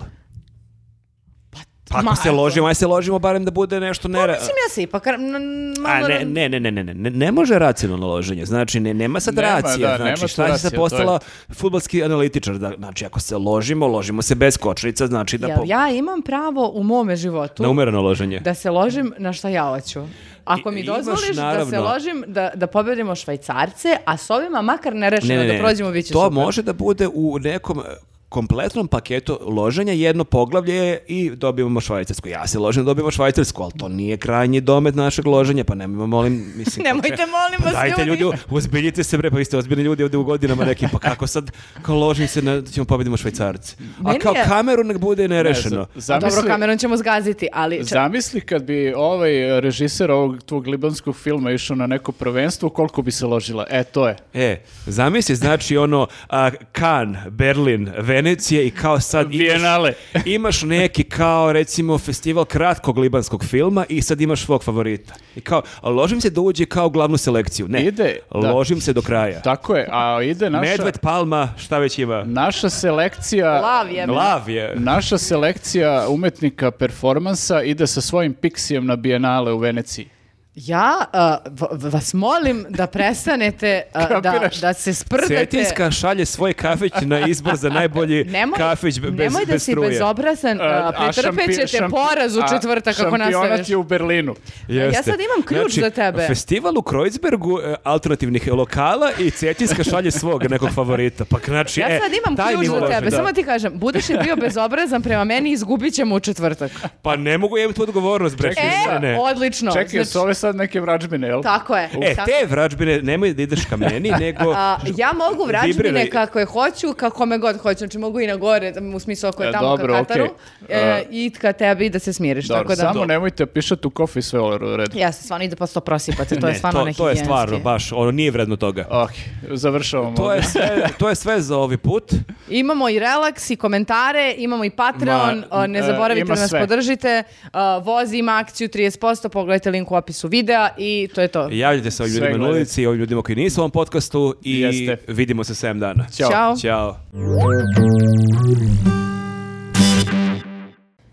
Speaker 3: Pa, ako
Speaker 1: ma,
Speaker 3: se ložimo, aj se ložimo barem da bude nešto ne...
Speaker 1: Mislim, ja se ipak... n- n-
Speaker 3: A
Speaker 1: malo-
Speaker 3: ne, ne, ne, ne, ne, ne, ne, ne može racionalno loženje, znači ne, nema sad
Speaker 2: Nema,
Speaker 3: racija,
Speaker 2: da, nema
Speaker 3: znači
Speaker 2: tu
Speaker 3: šta si
Speaker 2: racija,
Speaker 3: sad
Speaker 2: to
Speaker 3: postala futbalski analitičar, da, znači ako se ložimo, ložimo se bez kočnica, znači da
Speaker 1: Jel
Speaker 3: po-
Speaker 1: ja imam pravo u mome životu
Speaker 3: na umereno loženje.
Speaker 1: da se ložim na šta ja hoću. Ako mi
Speaker 3: I- imaš,
Speaker 1: dozvoliš da se
Speaker 3: naravno.
Speaker 1: ložim da, da pobedimo švajcarce, a s ovima makar ne rešimo da prođemo, bit će
Speaker 3: to
Speaker 1: super.
Speaker 3: može da bude u nekom e, kompletnom paketu loženja, jedno poglavlje je i dobivamo švajcarsku. Ja se ložim da dobijemo švajcarsku, ali to nije krajnji domet našeg loženja, pa nemojmo, molim, mislim...
Speaker 1: Nemojte, molim
Speaker 3: Pa
Speaker 1: vas,
Speaker 3: dajte
Speaker 1: ljudi.
Speaker 3: ljudi, uzbiljite se bre, pa vi ste ozbiljni ljudi ovdje u godinama neki, pa kako sad, kao ložim se na, da ćemo pobedimo švajcarce. A
Speaker 1: Meni
Speaker 3: kao
Speaker 1: je-
Speaker 3: kameru nek bude nerešeno.
Speaker 2: Ne, za-
Speaker 1: A Dobro,
Speaker 2: zamisli-
Speaker 1: kamerom ćemo zgaziti, ali... ča-
Speaker 2: Zamisli kad bi ovaj režiser ovog tvog libanskog filma išao na neko prvenstvo, koliko bi se ložila. E, to je.
Speaker 3: E, zamisli, znači ono, a, Kan, Berlin, Venecija i kao sad imaš-
Speaker 2: Bijenale.
Speaker 3: imaš neki kao recimo festival kratkog libanskog filma i sad imaš svog favorita. I kao, a ložim se da uđe kao u glavnu selekciju. Ne,
Speaker 2: Ide, da.
Speaker 3: ložim se do kraja.
Speaker 2: Tako je, a ide naša...
Speaker 3: Medved, Palma, šta već ima?
Speaker 2: Naša selekcija...
Speaker 1: Lav je.
Speaker 3: Lav je.
Speaker 2: Naša selekcija umetnika performansa ide sa svojim piksijem na Bienale u Veneciji.
Speaker 1: Ja a, v- v- vas molim da prestanete a, da,
Speaker 2: Kapiraš?
Speaker 1: da se sprdate.
Speaker 3: Cetinska šalje svoj kafić na izbor za najbolji
Speaker 1: Nemoj,
Speaker 3: kafić be- bez,
Speaker 1: nemoj da
Speaker 3: bez
Speaker 1: si
Speaker 3: struje.
Speaker 1: bezobrazan, a, pretrpet ćete poraz u četvrtak ako nastaviš.
Speaker 2: Šampionat je u Berlinu.
Speaker 3: Jeste.
Speaker 1: Ja sad imam ključ
Speaker 3: Znači,
Speaker 1: za tebe.
Speaker 3: Festival u Kreuzbergu e, alternativnih lokala i Cetinska šalje svog nekog favorita. Pa znači,
Speaker 1: Ja
Speaker 3: e,
Speaker 1: sad imam
Speaker 3: taj
Speaker 1: ključ
Speaker 3: nivo
Speaker 1: za
Speaker 3: loženja.
Speaker 1: tebe, samo ti kažem, budeš li bio bezobrazan prema meni, izgubit ćemo u četvrtak.
Speaker 3: Pa ne mogu ja imati tu odgovornost, bre.
Speaker 1: E,
Speaker 3: Ne, ne.
Speaker 1: odlično.
Speaker 2: Čekaj,
Speaker 1: Znači,
Speaker 2: jesu ove sad sad neke vrađbine, jel?
Speaker 1: Tako je.
Speaker 3: E,
Speaker 1: tako
Speaker 3: te vrađbine, nemoj da ideš ka meni, nego...
Speaker 1: A, ja mogu vraćbine
Speaker 3: Vibriraj.
Speaker 1: kako je hoću, kako kome god hoću. Znači mogu i na gore, u smislu ako je
Speaker 2: E,
Speaker 1: tamo
Speaker 2: dobro,
Speaker 1: ka Kataru.
Speaker 2: okej.
Speaker 1: e,
Speaker 2: E,
Speaker 1: I ka tebi da se smiriš.
Speaker 2: Dobro,
Speaker 1: tako da,
Speaker 2: samo nemojte pišati u kofi sve all u redu.
Speaker 1: Ja se stvarno ide pa sto prosipate, to je
Speaker 3: Ne,
Speaker 1: stvarno
Speaker 3: to, to je
Speaker 1: nehigijenski.
Speaker 3: stvarno, baš, ono nije vredno toga.
Speaker 2: Ok, završavamo.
Speaker 3: To je
Speaker 2: ovdje.
Speaker 3: sve, to je sve za ovaj put.
Speaker 1: Imamo i relaks i komentare, imamo i Patreon,
Speaker 2: Ma,
Speaker 1: o, ne
Speaker 2: e,
Speaker 1: zaboravite
Speaker 2: ima
Speaker 1: da nas
Speaker 2: sve.
Speaker 1: podržite. O, Voz ima akciju 30%, pogledajte link u opisu videa i to je to.
Speaker 3: Javljajte se ovim
Speaker 2: Sve
Speaker 3: ljudima na
Speaker 2: gledajte.
Speaker 3: ulici, ovim ljudima koji nisu u ovom podcastu i
Speaker 2: Jeste.
Speaker 3: vidimo se 7 dana.
Speaker 2: Ćao.
Speaker 1: Ćao.
Speaker 3: Ćao.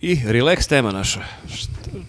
Speaker 3: I relax tema naša.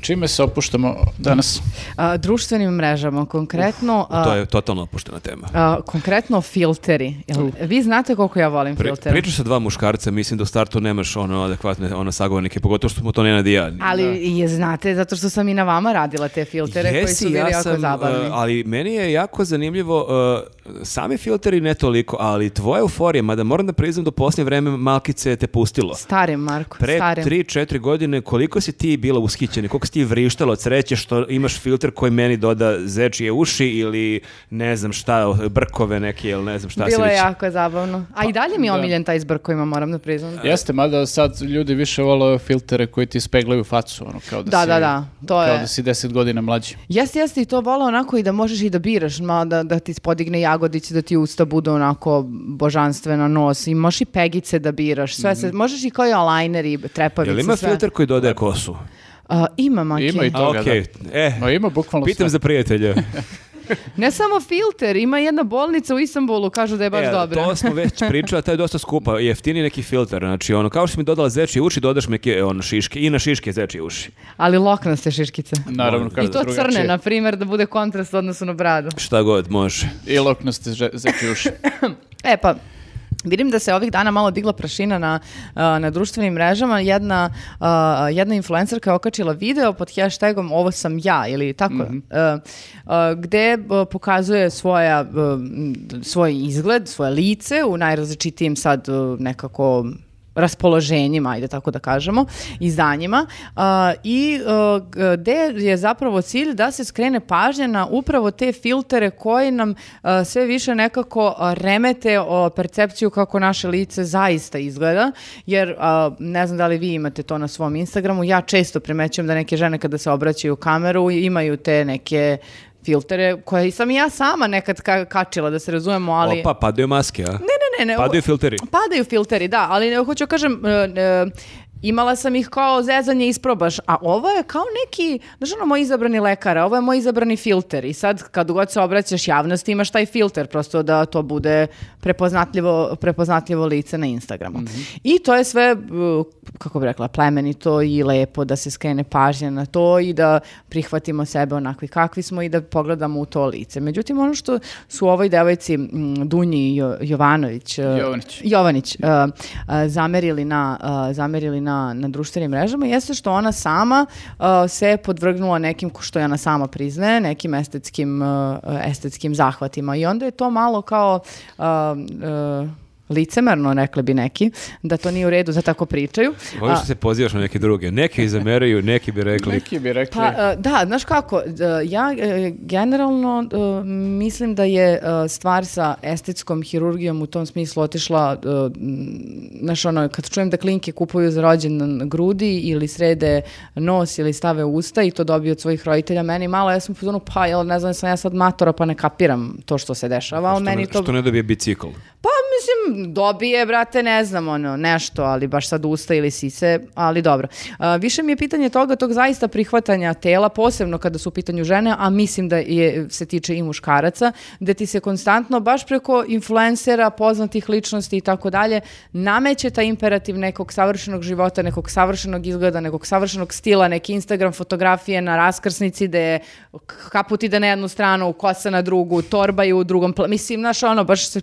Speaker 2: Čime se opuštamo danas?
Speaker 1: A, društvenim mrežama, konkretno... a,
Speaker 3: To je totalno opuštena tema.
Speaker 1: a, konkretno filteri. Jel, vi znate koliko ja volim
Speaker 3: Pri,
Speaker 1: filtere.
Speaker 3: pričaš sa dva muškarca, mislim da u startu nemaš ono adekvatne ono sagovornike, pogotovo što smo to Nenad i ja.
Speaker 1: Ali je, znate, zato što sam i na vama radila te filtere koji su
Speaker 3: Jesi,
Speaker 1: bili
Speaker 3: ja
Speaker 1: jako
Speaker 3: sam,
Speaker 1: zabavni.
Speaker 3: e, ali meni je jako zanimljivo, e, sami filteri ne toliko, ali tvoja euforija, mada moram da priznam do posljednje vreme malkice te pustilo.
Speaker 1: Starim, Marko,
Speaker 3: Pre
Speaker 1: starim.
Speaker 3: 3-4 godine koliko si ti bila ushićena, koliko si ti vrištala od sreće što imaš filter koji meni doda zečije uši ili ne znam šta, brkove neke ili ne znam šta si
Speaker 1: Bilo je
Speaker 3: već.
Speaker 1: jako zabavno. A i dalje mi je
Speaker 2: da.
Speaker 1: omiljen taj izbor kojima moram da priznam.
Speaker 2: Jeste, mada sad ljudi više vole filtere koji ti speglaju facu, ono, kao da,
Speaker 1: Da,
Speaker 2: si,
Speaker 1: da, da, to
Speaker 2: kao
Speaker 1: je.
Speaker 2: da si 10 godina mlađi.
Speaker 1: Jeste, jeste i to vola onako i da možeš i da biraš, ma, da, da ti spodigne jagodić, da ti usta budu onako božanstvena nos i možeš i pegice da biraš, sve se, možeš i kao i aligner i trepavice,
Speaker 3: Mhm. Jel ima
Speaker 1: sve.
Speaker 3: filter koji dodaje kosu?
Speaker 1: A, ima, Maki.
Speaker 2: Ima i
Speaker 3: A,
Speaker 2: toga,
Speaker 3: okej. E,
Speaker 2: da. Ma ima bukvalno
Speaker 3: pitam
Speaker 2: sve.
Speaker 3: za prijatelja.
Speaker 1: Ne samo filter, ima jedna bolnica u Istanbulu, kažu da je baš
Speaker 3: E,
Speaker 1: dobra.
Speaker 3: To smo već pričali, a to je dosta skupa. Jeftini neki filter, znači ono, kao što si mi dodala zečije uši, dodaš mi neke ono, šiške i na šiške zečije uši.
Speaker 1: Ali loknaste šiškice.
Speaker 2: Naravno, kako
Speaker 1: I to crne,
Speaker 2: drugačije.
Speaker 1: na primjer, da bude kontrast u odnosu na bradu.
Speaker 3: Šta god, može.
Speaker 2: I loknaste že- zakljuši.
Speaker 1: E pa, Vidim da se ovih dana malo digla prašina na, a, na društvenim mrežama. Jedna, a, jedna influencerka je okačila video pod hashtagom ovo sam ja ili tako,
Speaker 3: Mhm.
Speaker 1: e, a, gde b, pokazuje svoja, b, m, svoj izgled, svoje lice u najrazličitijim sad e, nekako raspoloženjima, ajde tako da kažemo, izdanjima a, i a, gde je zapravo cilj da se skrene pažnja na upravo te filtere koji nam a, sve više nekako a, remete o, percepciju kako naše lice zaista izgleda, jer a, ne znam da li vi imate to na svom Instagramu, ja često primećujem da neke žene kada se obraćaju u kameru imaju te neke filtere koje sam i ja sama nekad ka- kačila, da se razumemo, ali...
Speaker 3: Opa, padaju maske, a?
Speaker 1: Ne, ne, ne, ne.
Speaker 3: Padaju filteri.
Speaker 1: Padaju filteri, da, ali ne, hoću kažem, e, e, imala sam ih kao zezanje isprobaš, a ovo je kao neki, znaš ono, moj izabrani lekar, a ovo je moj izabrani filter i sad kad god se obraćaš javnosti imaš taj filter, prosto da to bude prepoznatljivo, prepoznatljivo lice na Instagramu. I to je sve, b- kako bi rekla, plemenito i lepo da se skrene pažnja na to i da prihvatimo sebe onakvi kakvi smo i da pogledamo u to lice. Međutim, ono što su ovoj devojci mm, Dunji Jo- Jovanović, e,
Speaker 2: Jovanić.
Speaker 1: Jovanić e, e, zamerili, na, e, zamerili na, na društvenim mrežama jeste što ona sama e, se podvrgnula nekim, ko- što je ona sama priznaje, nekim estetskim, e, estetskim zahvatima. I onda je to malo kao... e, e, licemerno, rekli bi neki, da to nije u redu, za tako pričaju.
Speaker 3: Ovi
Speaker 1: A-
Speaker 3: što se pozivaš na neke druge. Neki i zameraju, neki bi rekli.
Speaker 2: Neki bi rekli,
Speaker 1: Pa, e, da, znaš kako, d- ja e, generalno e, mislim da je e, stvar sa estetskom hirurgijom u tom smislu otišla, e, m, znaš ono, kad čujem da klinke kupuju za rođendan grudi ili srede nos ili stave usta i to dobiju od svojih roditelja, meni malo, ja sam u fazonu, pa jel ne znam, sam ja sad matora pa ne kapiram to što se dešava, ali
Speaker 3: Što
Speaker 1: meni
Speaker 3: ne,
Speaker 1: to...
Speaker 3: što ne dobije bicikl.
Speaker 1: Pa mislim, dobije, brate, ne znam, ono, nešto, ali baš sad usta ili sise, ali dobro. A, više mi je pitanje toga, tog zaista prihvatanja tela, posebno kada su u pitanju žene, a mislim da je, se tiče i muškaraca, da ti se konstantno, baš preko influencera, poznatih ličnosti i tako dalje, nameće taj imperativ nekog savršenog života, nekog savršenog izgleda, nekog savršenog stila, neke Instagram fotografije na raskrsnici da je kaput ide na jednu stranu, kosa na drugu, torba je u drugom pla- Mislim, znaš, ono, baš se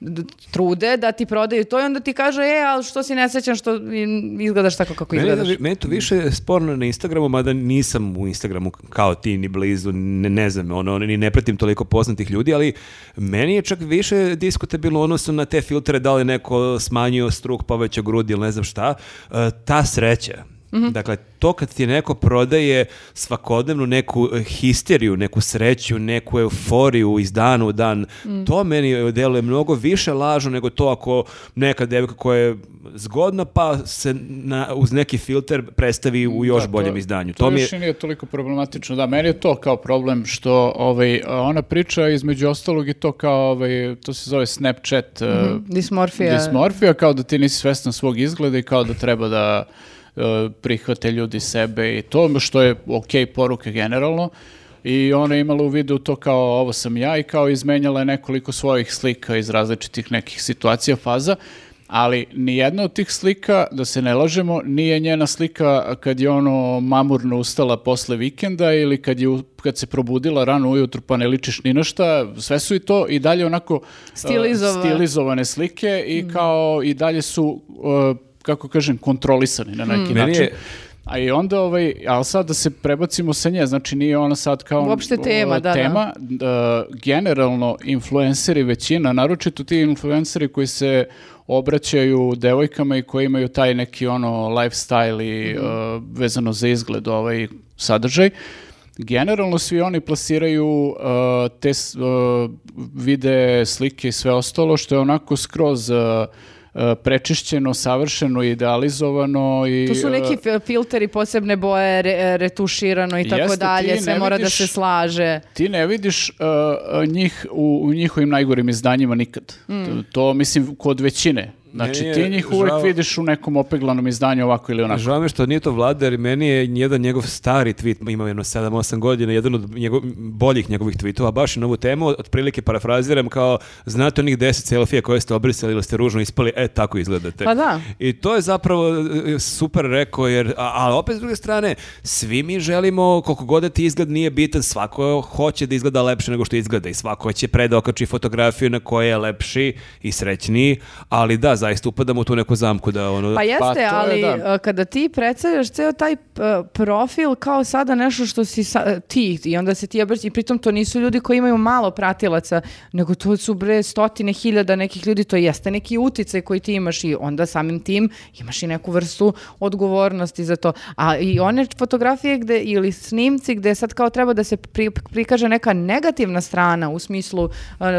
Speaker 1: d- trude da ti prodaju to i onda ti kaže, e, ali što si nesrećan što i- izgledaš tako kako
Speaker 3: Meni,
Speaker 1: izgledaš.
Speaker 3: je- meni je to više sporno na Instagramu, mada nisam u Instagramu kao ti, ni blizu, ne, ne znam, ono, ni ne pratim toliko poznatih ljudi, ali meni je čak više diskutabilno u odnosu na te filtere, da li je neko smanjio struk, povećao grudi ili ne znam šta, E, ta sreća.
Speaker 2: Mhm.
Speaker 3: Dakle, to kad ti neko prodaje svakodnevnu neku eh, histeriju, neku sreću, neku euforiju iz dana u dan,
Speaker 2: Mhm.
Speaker 3: to meni eh, deluje mnogo više lažno nego to ako neka devika koja je zgodna pa se na, uz neki filter predstavi u još
Speaker 2: Mm, Da, to-
Speaker 3: boljem izdanju.
Speaker 2: To,
Speaker 3: To mi je,
Speaker 2: još i nije toliko problematično. Da, meni je to kao problem što ovaj, ona priča između ostalog i to kao, ovaj, to se zove Snapchat eh,
Speaker 1: Dismorfija.
Speaker 2: dismorfija, kao da ti nisi svestan svog izgleda i kao da treba da eh, prihvate ljudi sebe i to što je ok poruka generalno. I ona je imala u vidu to kao ovo sam ja i kao izmenjala je nekoliko svojih slika iz različitih nekih situacija, faza. Ali nijedna od tih slika, da se ne lažemo, nije njena slika kad je ono mamurno ustala posle vikenda ili kad, je, u- kad se probudila rano ujutru pa ne ličiš ni na šta. Sve su i to i dalje onako uh,
Speaker 1: Stilizova-
Speaker 2: stili- stilizowane slike i kao i dalje su uh, kako kažem kontrolisani na
Speaker 1: Hmm.
Speaker 2: neki
Speaker 3: Meni
Speaker 2: način.
Speaker 3: je-
Speaker 2: A i onda ovaj, ali sad da se prebacimo sa nje, znači nije ona sad kao...
Speaker 1: Uopšte tema, da,
Speaker 2: o,
Speaker 1: da.
Speaker 2: tema. Uh, generalno, influenceri većina, naročito ti influenceri koji se obraćaju devojkama i koji imaju taj neki ono lifestyle i
Speaker 1: Mhm.
Speaker 2: uh, vezano za izgled ovaj sadržaj, Generalno svi oni plasiraju uh, te s- uh, vide, slike i sve ostalo što je onako skroz uh, uh, prečišćeno, savršeno, idealizovano i
Speaker 1: Tu su
Speaker 2: uh,
Speaker 1: neki fil- filteri, posebne boje, re- ratuširano i tako
Speaker 2: Jeste, ti
Speaker 1: dalje, sve
Speaker 2: ne
Speaker 1: mora da
Speaker 2: vidiš-
Speaker 1: se slaže.
Speaker 2: Ti ne vidiš uh, uh, njih u, u njihovim najgorim izdanjima nikad.
Speaker 1: Hmm.
Speaker 2: To, to, mislim kod većine. Znači
Speaker 3: Meni je
Speaker 2: ti njih uvek
Speaker 3: žao-
Speaker 2: vidiš u nekom opeglanom izdanju ovako ili onako.
Speaker 3: Žao mi je što nije to vlada, jer meni je jedan njegov stari tweet, ima jedno 7-8 godina, jedan od njegov, boljih njegovih tweetova, baš na ovu temu, otprilike parafraziram kao, znate onih 10 selfija koje ste obrisali ili ste ružno ispali, e, tako izgledate.
Speaker 1: Pa da.
Speaker 3: I to je zapravo e, super rekao, jer, a, ali opet s druge strane, svi mi želimo, koliko god da ti izgled nije bitan, svako hoće da izgleda lepše nego što izgleda i svako će pre da okači fotografiju na kojoj je lepši i srećniji, ali da, zaista upadamo u tu neku zamku da ono...
Speaker 1: Pa jeste,
Speaker 2: to je,
Speaker 1: ali
Speaker 2: da.
Speaker 1: uh, kada ti predstavljaš ceo taj uh, profil kao sada nešto što si sa- e, ti i onda se ti obrći i pritom to nisu ljudi koji imaju malo pratilaca, nego to su bre stotine hiljada nekih ljudi, to jeste neki uticaj koji ti imaš i onda samim tim imaš i neku vrstu odgovornosti za to. A i one fotografije gde, ili snimci gde sad kao treba da se pri- prikaže neka negativna strana u smislu uh,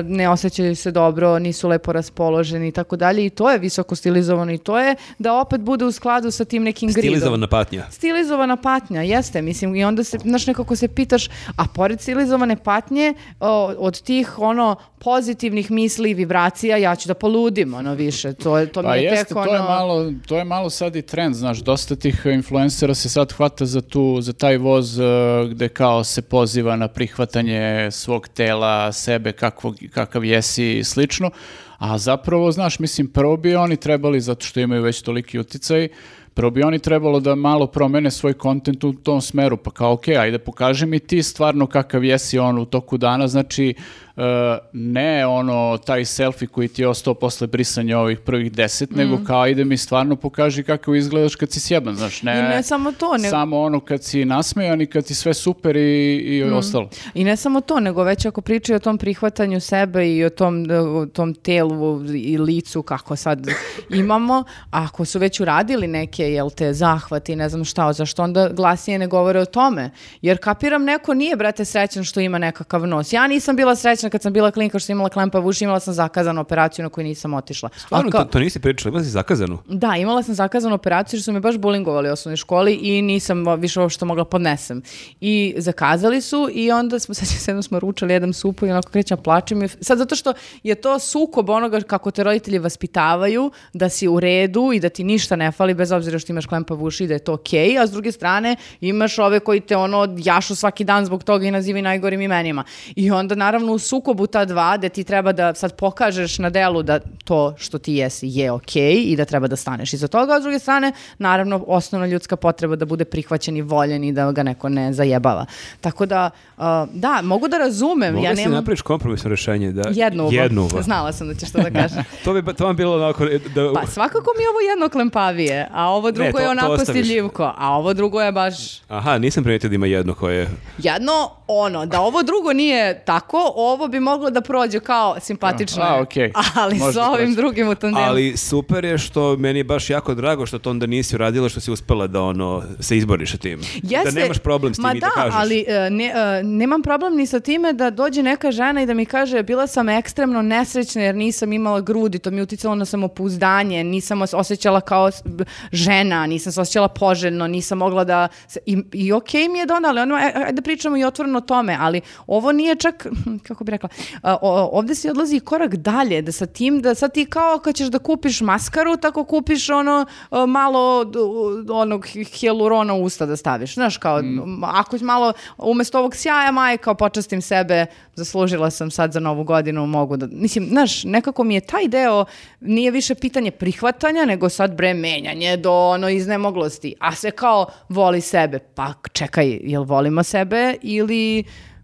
Speaker 1: ne osjećaju se dobro, nisu lepo raspoloženi i tako dalje i to je visoko stilizovano i to je da opet bude u skladu sa tim nekim gridom.
Speaker 3: Stilizovana patnja.
Speaker 1: Stilizovana patnja, jeste, mislim, i onda se, znaš, nekako se pitaš, a pored stilizovane patnje, o, od tih, ono, pozitivnih misli i vibracija, ja ću da poludim, ono, više, to, je- to mi
Speaker 2: Pa
Speaker 1: je
Speaker 2: jeste,
Speaker 1: tek,
Speaker 2: to,
Speaker 1: ono...
Speaker 2: je malo, to je malo sad i trend, znaš, dosta tih influencera se sad hvata za, tu, za taj voz e, gde kao se poziva na prihvatanje svog tela, sebe, kakvog, kakav jesi i slično, a zapravo, znaš, mislim, prvo bi oni trebali, zato što imaju već toliki uticaj, prvo bi oni trebalo da malo promene svoj kontent u tom smeru, pa kao, ok, ajde pokaži mi ti stvarno kakav jesi on u toku dana, znači, e, ne ono, taj selfie koji ti je ostao posle brisanja ovih prvih deset,
Speaker 1: Mhm.
Speaker 2: nego kao, ajde mi stvarno pokaži kako izgledaš kad si sjeban, znaš, ne...
Speaker 1: I ne samo to, nego-
Speaker 2: Samo ono kad si nasmejan i kad si sve super i, i
Speaker 1: Mhm.
Speaker 2: ostalo.
Speaker 1: I ne samo to, nego već ako pričaju o tom prihvatanju sebe i o tom, e, o tom telu i licu kako sad imamo, ako su već uradili neke, jel te, zahvati, ne znam šta, zašto onda glasnije ne govore o tome? Jer kapiram, neko nije, brate, srećan što ima nekakav nos. Ja nisam bila srećna kad sam bila klinka što sam imala klempav uši, imala sam zakazanu operaciju na koju nisam otišla. A
Speaker 3: Stvarno,
Speaker 1: kao-
Speaker 3: to, to nisi pričala, imala si zakazanu.
Speaker 1: da, imala sam zakazanu operaciju jer su me baš bulingovali u osnovnoj školi i nisam o- više ovo što mogla podnesem. I zakazali su i onda smo, sad se jednom smo ručali, jedem supu i onako krećem, plačem. i f- Sad zato što je to sukob onoga kako te roditelji vaspitavaju, da si u redu i da ti ništa ne fali bez obzira što imaš klempav uši i da je to okej, a s druge strane imaš ove koji te ono jašu svaki dan zbog toga i nazivi najgorim imenima. I onda naravno u sukobu ta dva gde ti treba da sad pokažeš na delu da to što ti jesi je okej i da treba da staneš iza toga, a s druge strane naravno osnovna ljudska potreba da bude prihvaćen i voljen i da ga neko ne zajebava. Tako da, uh, da, mogu da razumem.
Speaker 3: Mogla
Speaker 1: ja
Speaker 3: si
Speaker 1: nemam
Speaker 3: napraviš kompromisno rješenje. Da...
Speaker 1: jednu uvo.
Speaker 3: Jednu uvo.
Speaker 1: Znala sam da ćeš to da kažeš.
Speaker 3: To bi, to vam bilo onako... e, Da,
Speaker 1: Pa svakako mi je ovo jedno klempavije, a ovo drugo
Speaker 3: to-
Speaker 1: je
Speaker 3: to
Speaker 1: onako
Speaker 3: ostaviš.
Speaker 1: stiljivko, a ovo drugo je baš...
Speaker 3: Aha, nisam primijetio da ima jedno koje...
Speaker 1: Jedno, ono, da ovo drugo nije tako, ovo ovo bi moglo da prođe kao simpatično.
Speaker 2: A,
Speaker 1: je.
Speaker 2: okej.
Speaker 1: Ali
Speaker 2: Može
Speaker 1: sa
Speaker 2: da
Speaker 1: ovim
Speaker 2: prođe.
Speaker 1: drugim u tandemu.
Speaker 3: Ali super je što meni je baš jako drago što to onda nisi uradila, što si uspela da ono se izboriš sa tim. Da
Speaker 1: Jeste-
Speaker 3: nemaš problem s tim
Speaker 1: Ma
Speaker 3: i da, kažeš.
Speaker 1: ali e, ne, e, nemam problem ni sa time da dođe neka žena i da mi kaže bila sam ekstremno nesrećna jer nisam imala grudi, to mi je uticalo na samopouzdanje, nisam os- osjećala kao s- b- žena, nisam se osjećala poželjno, nisam mogla da... se- I, i okej mi je da ona, ali ono, e, ajde da pričamo i otvoreno o tome, ali ovo nije čak, hm, kako bi rekla, a, o- ovde se odlazi i korak dalje, da sa tim, da sad ti kao kad ćeš da kupiš maskaru, tako kupiš ono e, malo d- u- onog hijelurona u usta da staviš, znaš, kao
Speaker 2: Mm.
Speaker 1: m, ako malo umesto ovog sjaja maje kao počastim sebe, zaslužila sam sad za novu godinu, mogu da, mislim, znaš, nekako mi je taj deo, nije više pitanje prihvatanja, nego sad bre menjanje do ono iznemoglosti, a se kao voli sebe, pa čekaj, jel volimo sebe ili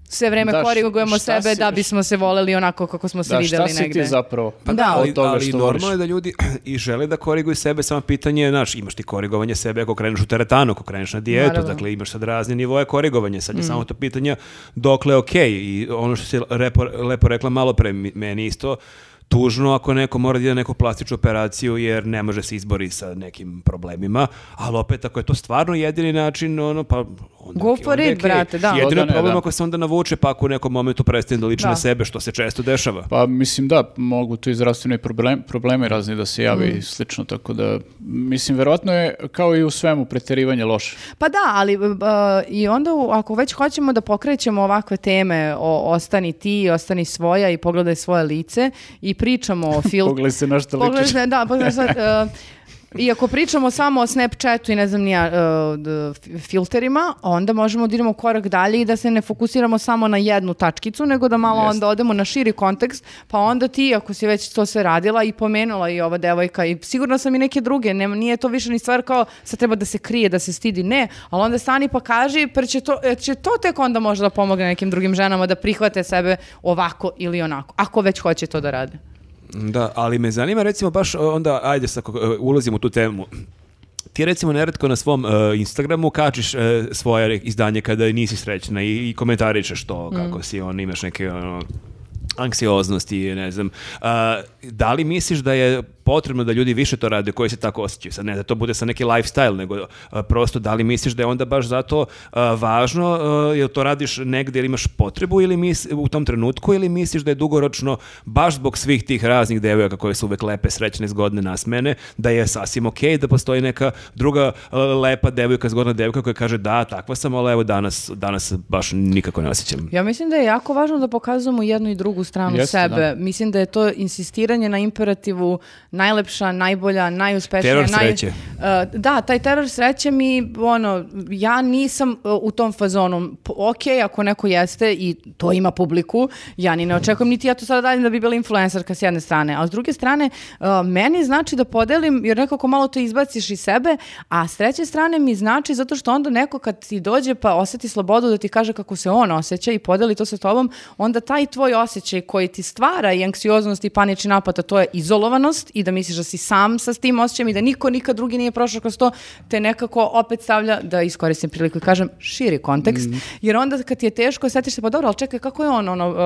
Speaker 1: sve vreme
Speaker 2: Da, š-
Speaker 1: korigujemo
Speaker 2: šta
Speaker 1: sebe
Speaker 2: si-
Speaker 1: da bismo se voleli onako kako smo se
Speaker 2: Da,
Speaker 1: videli
Speaker 2: šta
Speaker 1: negde.
Speaker 2: si ti zapravo?
Speaker 1: Pa da,
Speaker 2: od
Speaker 3: ali,
Speaker 2: toga
Speaker 3: ali
Speaker 2: što
Speaker 3: normalno
Speaker 2: voliš?
Speaker 3: je da ljudi i žele da koriguju sebe, samo pitanje je, znaš, imaš ti korigovanje sebe ako kreneš u teretanu, ako kreneš na dijetu,
Speaker 1: Naravno. Mm.
Speaker 3: dakle imaš sad razne nivoje korigovanja, sad je samo to pitanje dokle je okej i ono što si repo, lepo rekla malo pre mi- meni isto, tužno ako neko mora da ide na neku plastičnu operaciju jer ne može se izbori sa nekim problemima, ali opet ako je to stvarno jedini način, ono, pa onda,
Speaker 1: Go
Speaker 3: ok-
Speaker 1: for
Speaker 3: onda je
Speaker 1: it,
Speaker 3: okej.
Speaker 1: brate, da.
Speaker 3: Jedino je
Speaker 2: Onda ne,
Speaker 3: problem
Speaker 2: da.
Speaker 3: ako se onda navuče pa ako u nekom momentu prestane da liči
Speaker 1: Da.
Speaker 3: na sebe, što se često dešava.
Speaker 2: Pa mislim da, mogu tu i zdravstveni problem, problemi razni da se javi
Speaker 1: Mhm.
Speaker 2: i slično, tako da mislim verovatno je kao i u svemu preterivanje loše.
Speaker 1: Pa da, ali b- b- i onda u- ako već hoćemo da pokrećemo ovakve teme o ostani ti, ostani svoja i pogledaj svoje lice i pričamo o filtru.
Speaker 2: Pogledaj se na što ličiš.
Speaker 1: Pogledaj, da, pogledaj sad, e, I ako pričamo samo o Snapchatu i ne znam nija, e, d- f- filterima, onda možemo da idemo korak dalje i da se ne fokusiramo samo na jednu tačkicu, nego da malo
Speaker 2: Jeste.
Speaker 1: onda odemo na širi kontekst, pa onda ti, ako si već to sve radila i pomenula i ova devojka i sigurno sam i neke druge, nema, nije to više ni stvar kao sad treba da se krije, da se stidi, ne, ali onda stani pa kaži, pa će to, e, će to tek onda možda da pomogne nekim drugim ženama da prihvate sebe ovako ili onako, ako već hoće to da rade.
Speaker 3: Da, ali me zanima recimo baš e, onda, ajde sad kako, e, ulazim u tu temu. Ti recimo neretko na svom e, Instagramu kačiš e, svoje re- izdanje kada nisi srećna i, i komentarišeš to kako si, on imaš neke ono, anksioznosti, ne znam. A, da li misliš da je potrebno da ljudi više to rade koji se tako osjećaju? Sad ne da to bude sa neki lifestyle, nego a, prosto da li misliš da je onda baš zato a, važno, a, jel to radiš negde ili imaš potrebu ili mis, u tom trenutku ili misliš da je dugoročno baš zbog svih tih raznih devojaka koje su uvek lepe, srećne, zgodne, nasmene, da je sasvim okej da postoji neka druga e, lepa devojka, zgodna devojka koja kaže da, takva sam, ali evo danas, danas baš nikako ne osjećam.
Speaker 1: Ja mislim da je jako važno da pokazujemo jednu i drugu stranu
Speaker 2: Jeste,
Speaker 1: sebe.
Speaker 2: da.
Speaker 1: Mislim da je to insistiranje na imperativu najlepša, najbolja, najuspešnija.
Speaker 3: Teror
Speaker 1: naj-
Speaker 3: sreće.
Speaker 1: E, da, taj teror sreće mi, ono, ja nisam e, u tom fazonu. P- ok, ako neko jeste i to ima publiku, ja ni ne očekujem, niti ja to sada radim da bi bila influencerka s jedne strane. A s druge strane, e, meni znači da podelim, jer nekako malo to izbaciš iz sebe, a s treće strane mi znači zato što onda neko kad ti dođe pa osjeti slobodu da ti kaže kako se on osjeća i podeli to sa tobom, onda taj tvoj osjećaj koji ti stvara i anksioznost i panični napad, a to je izolovanost i da misliš da si sam sa tim osjećajem i da niko nikad drugi nije prošao kroz to, te nekako opet stavlja, da iskoristim priliku i kažem, širi kontekst. Jer onda kad ti je teško, setiš se, pa dobro, ali čekaj, kako je on ono uh,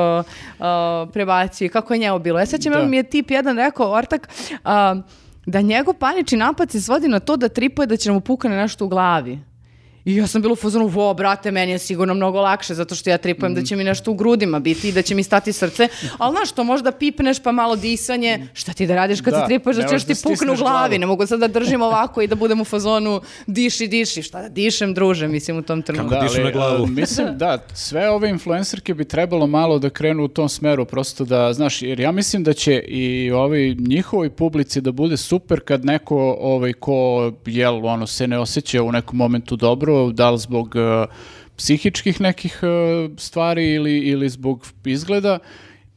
Speaker 1: uh, prebacio i kako je njemu bilo. Ja sećam,
Speaker 2: Da.
Speaker 1: mi je tip jedan rekao, ortak, uh, da njegov panični napad se svodi na to da tripuje da će mu pukne nešto u glavi. I ja sam bila u fazonu, vo, brate, meni je sigurno mnogo lakše, zato što ja tripujem da će mi nešto u grudima biti i da će mi stati srce. Ali znaš, to možda pipneš pa malo disanje, šta ti da radiš kad
Speaker 2: Da,
Speaker 1: se tripuješ da
Speaker 2: ne
Speaker 1: ćeš
Speaker 2: možeš
Speaker 1: ti
Speaker 2: da
Speaker 1: pukne u
Speaker 2: stisneš
Speaker 1: glavi,
Speaker 2: glavu.
Speaker 1: ne mogu sad da držim ovako i da budem u fazonu diši, diši, šta da dišem, druže, mislim u tom trenutku.
Speaker 3: dišu na
Speaker 2: ali,
Speaker 3: glavu.
Speaker 2: a, mislim, da, sve ove influencerke bi trebalo malo da krenu u tom smeru, prosto da, znaš, jer ja mislim da će i ovi njihovoj publici da bude super kad neko, ovaj, ko, jel, ono, se ne osjeća u nekom momentu dobro, da li zbog e, psihičkih nekih e, stvari ili, ili zbog izgleda,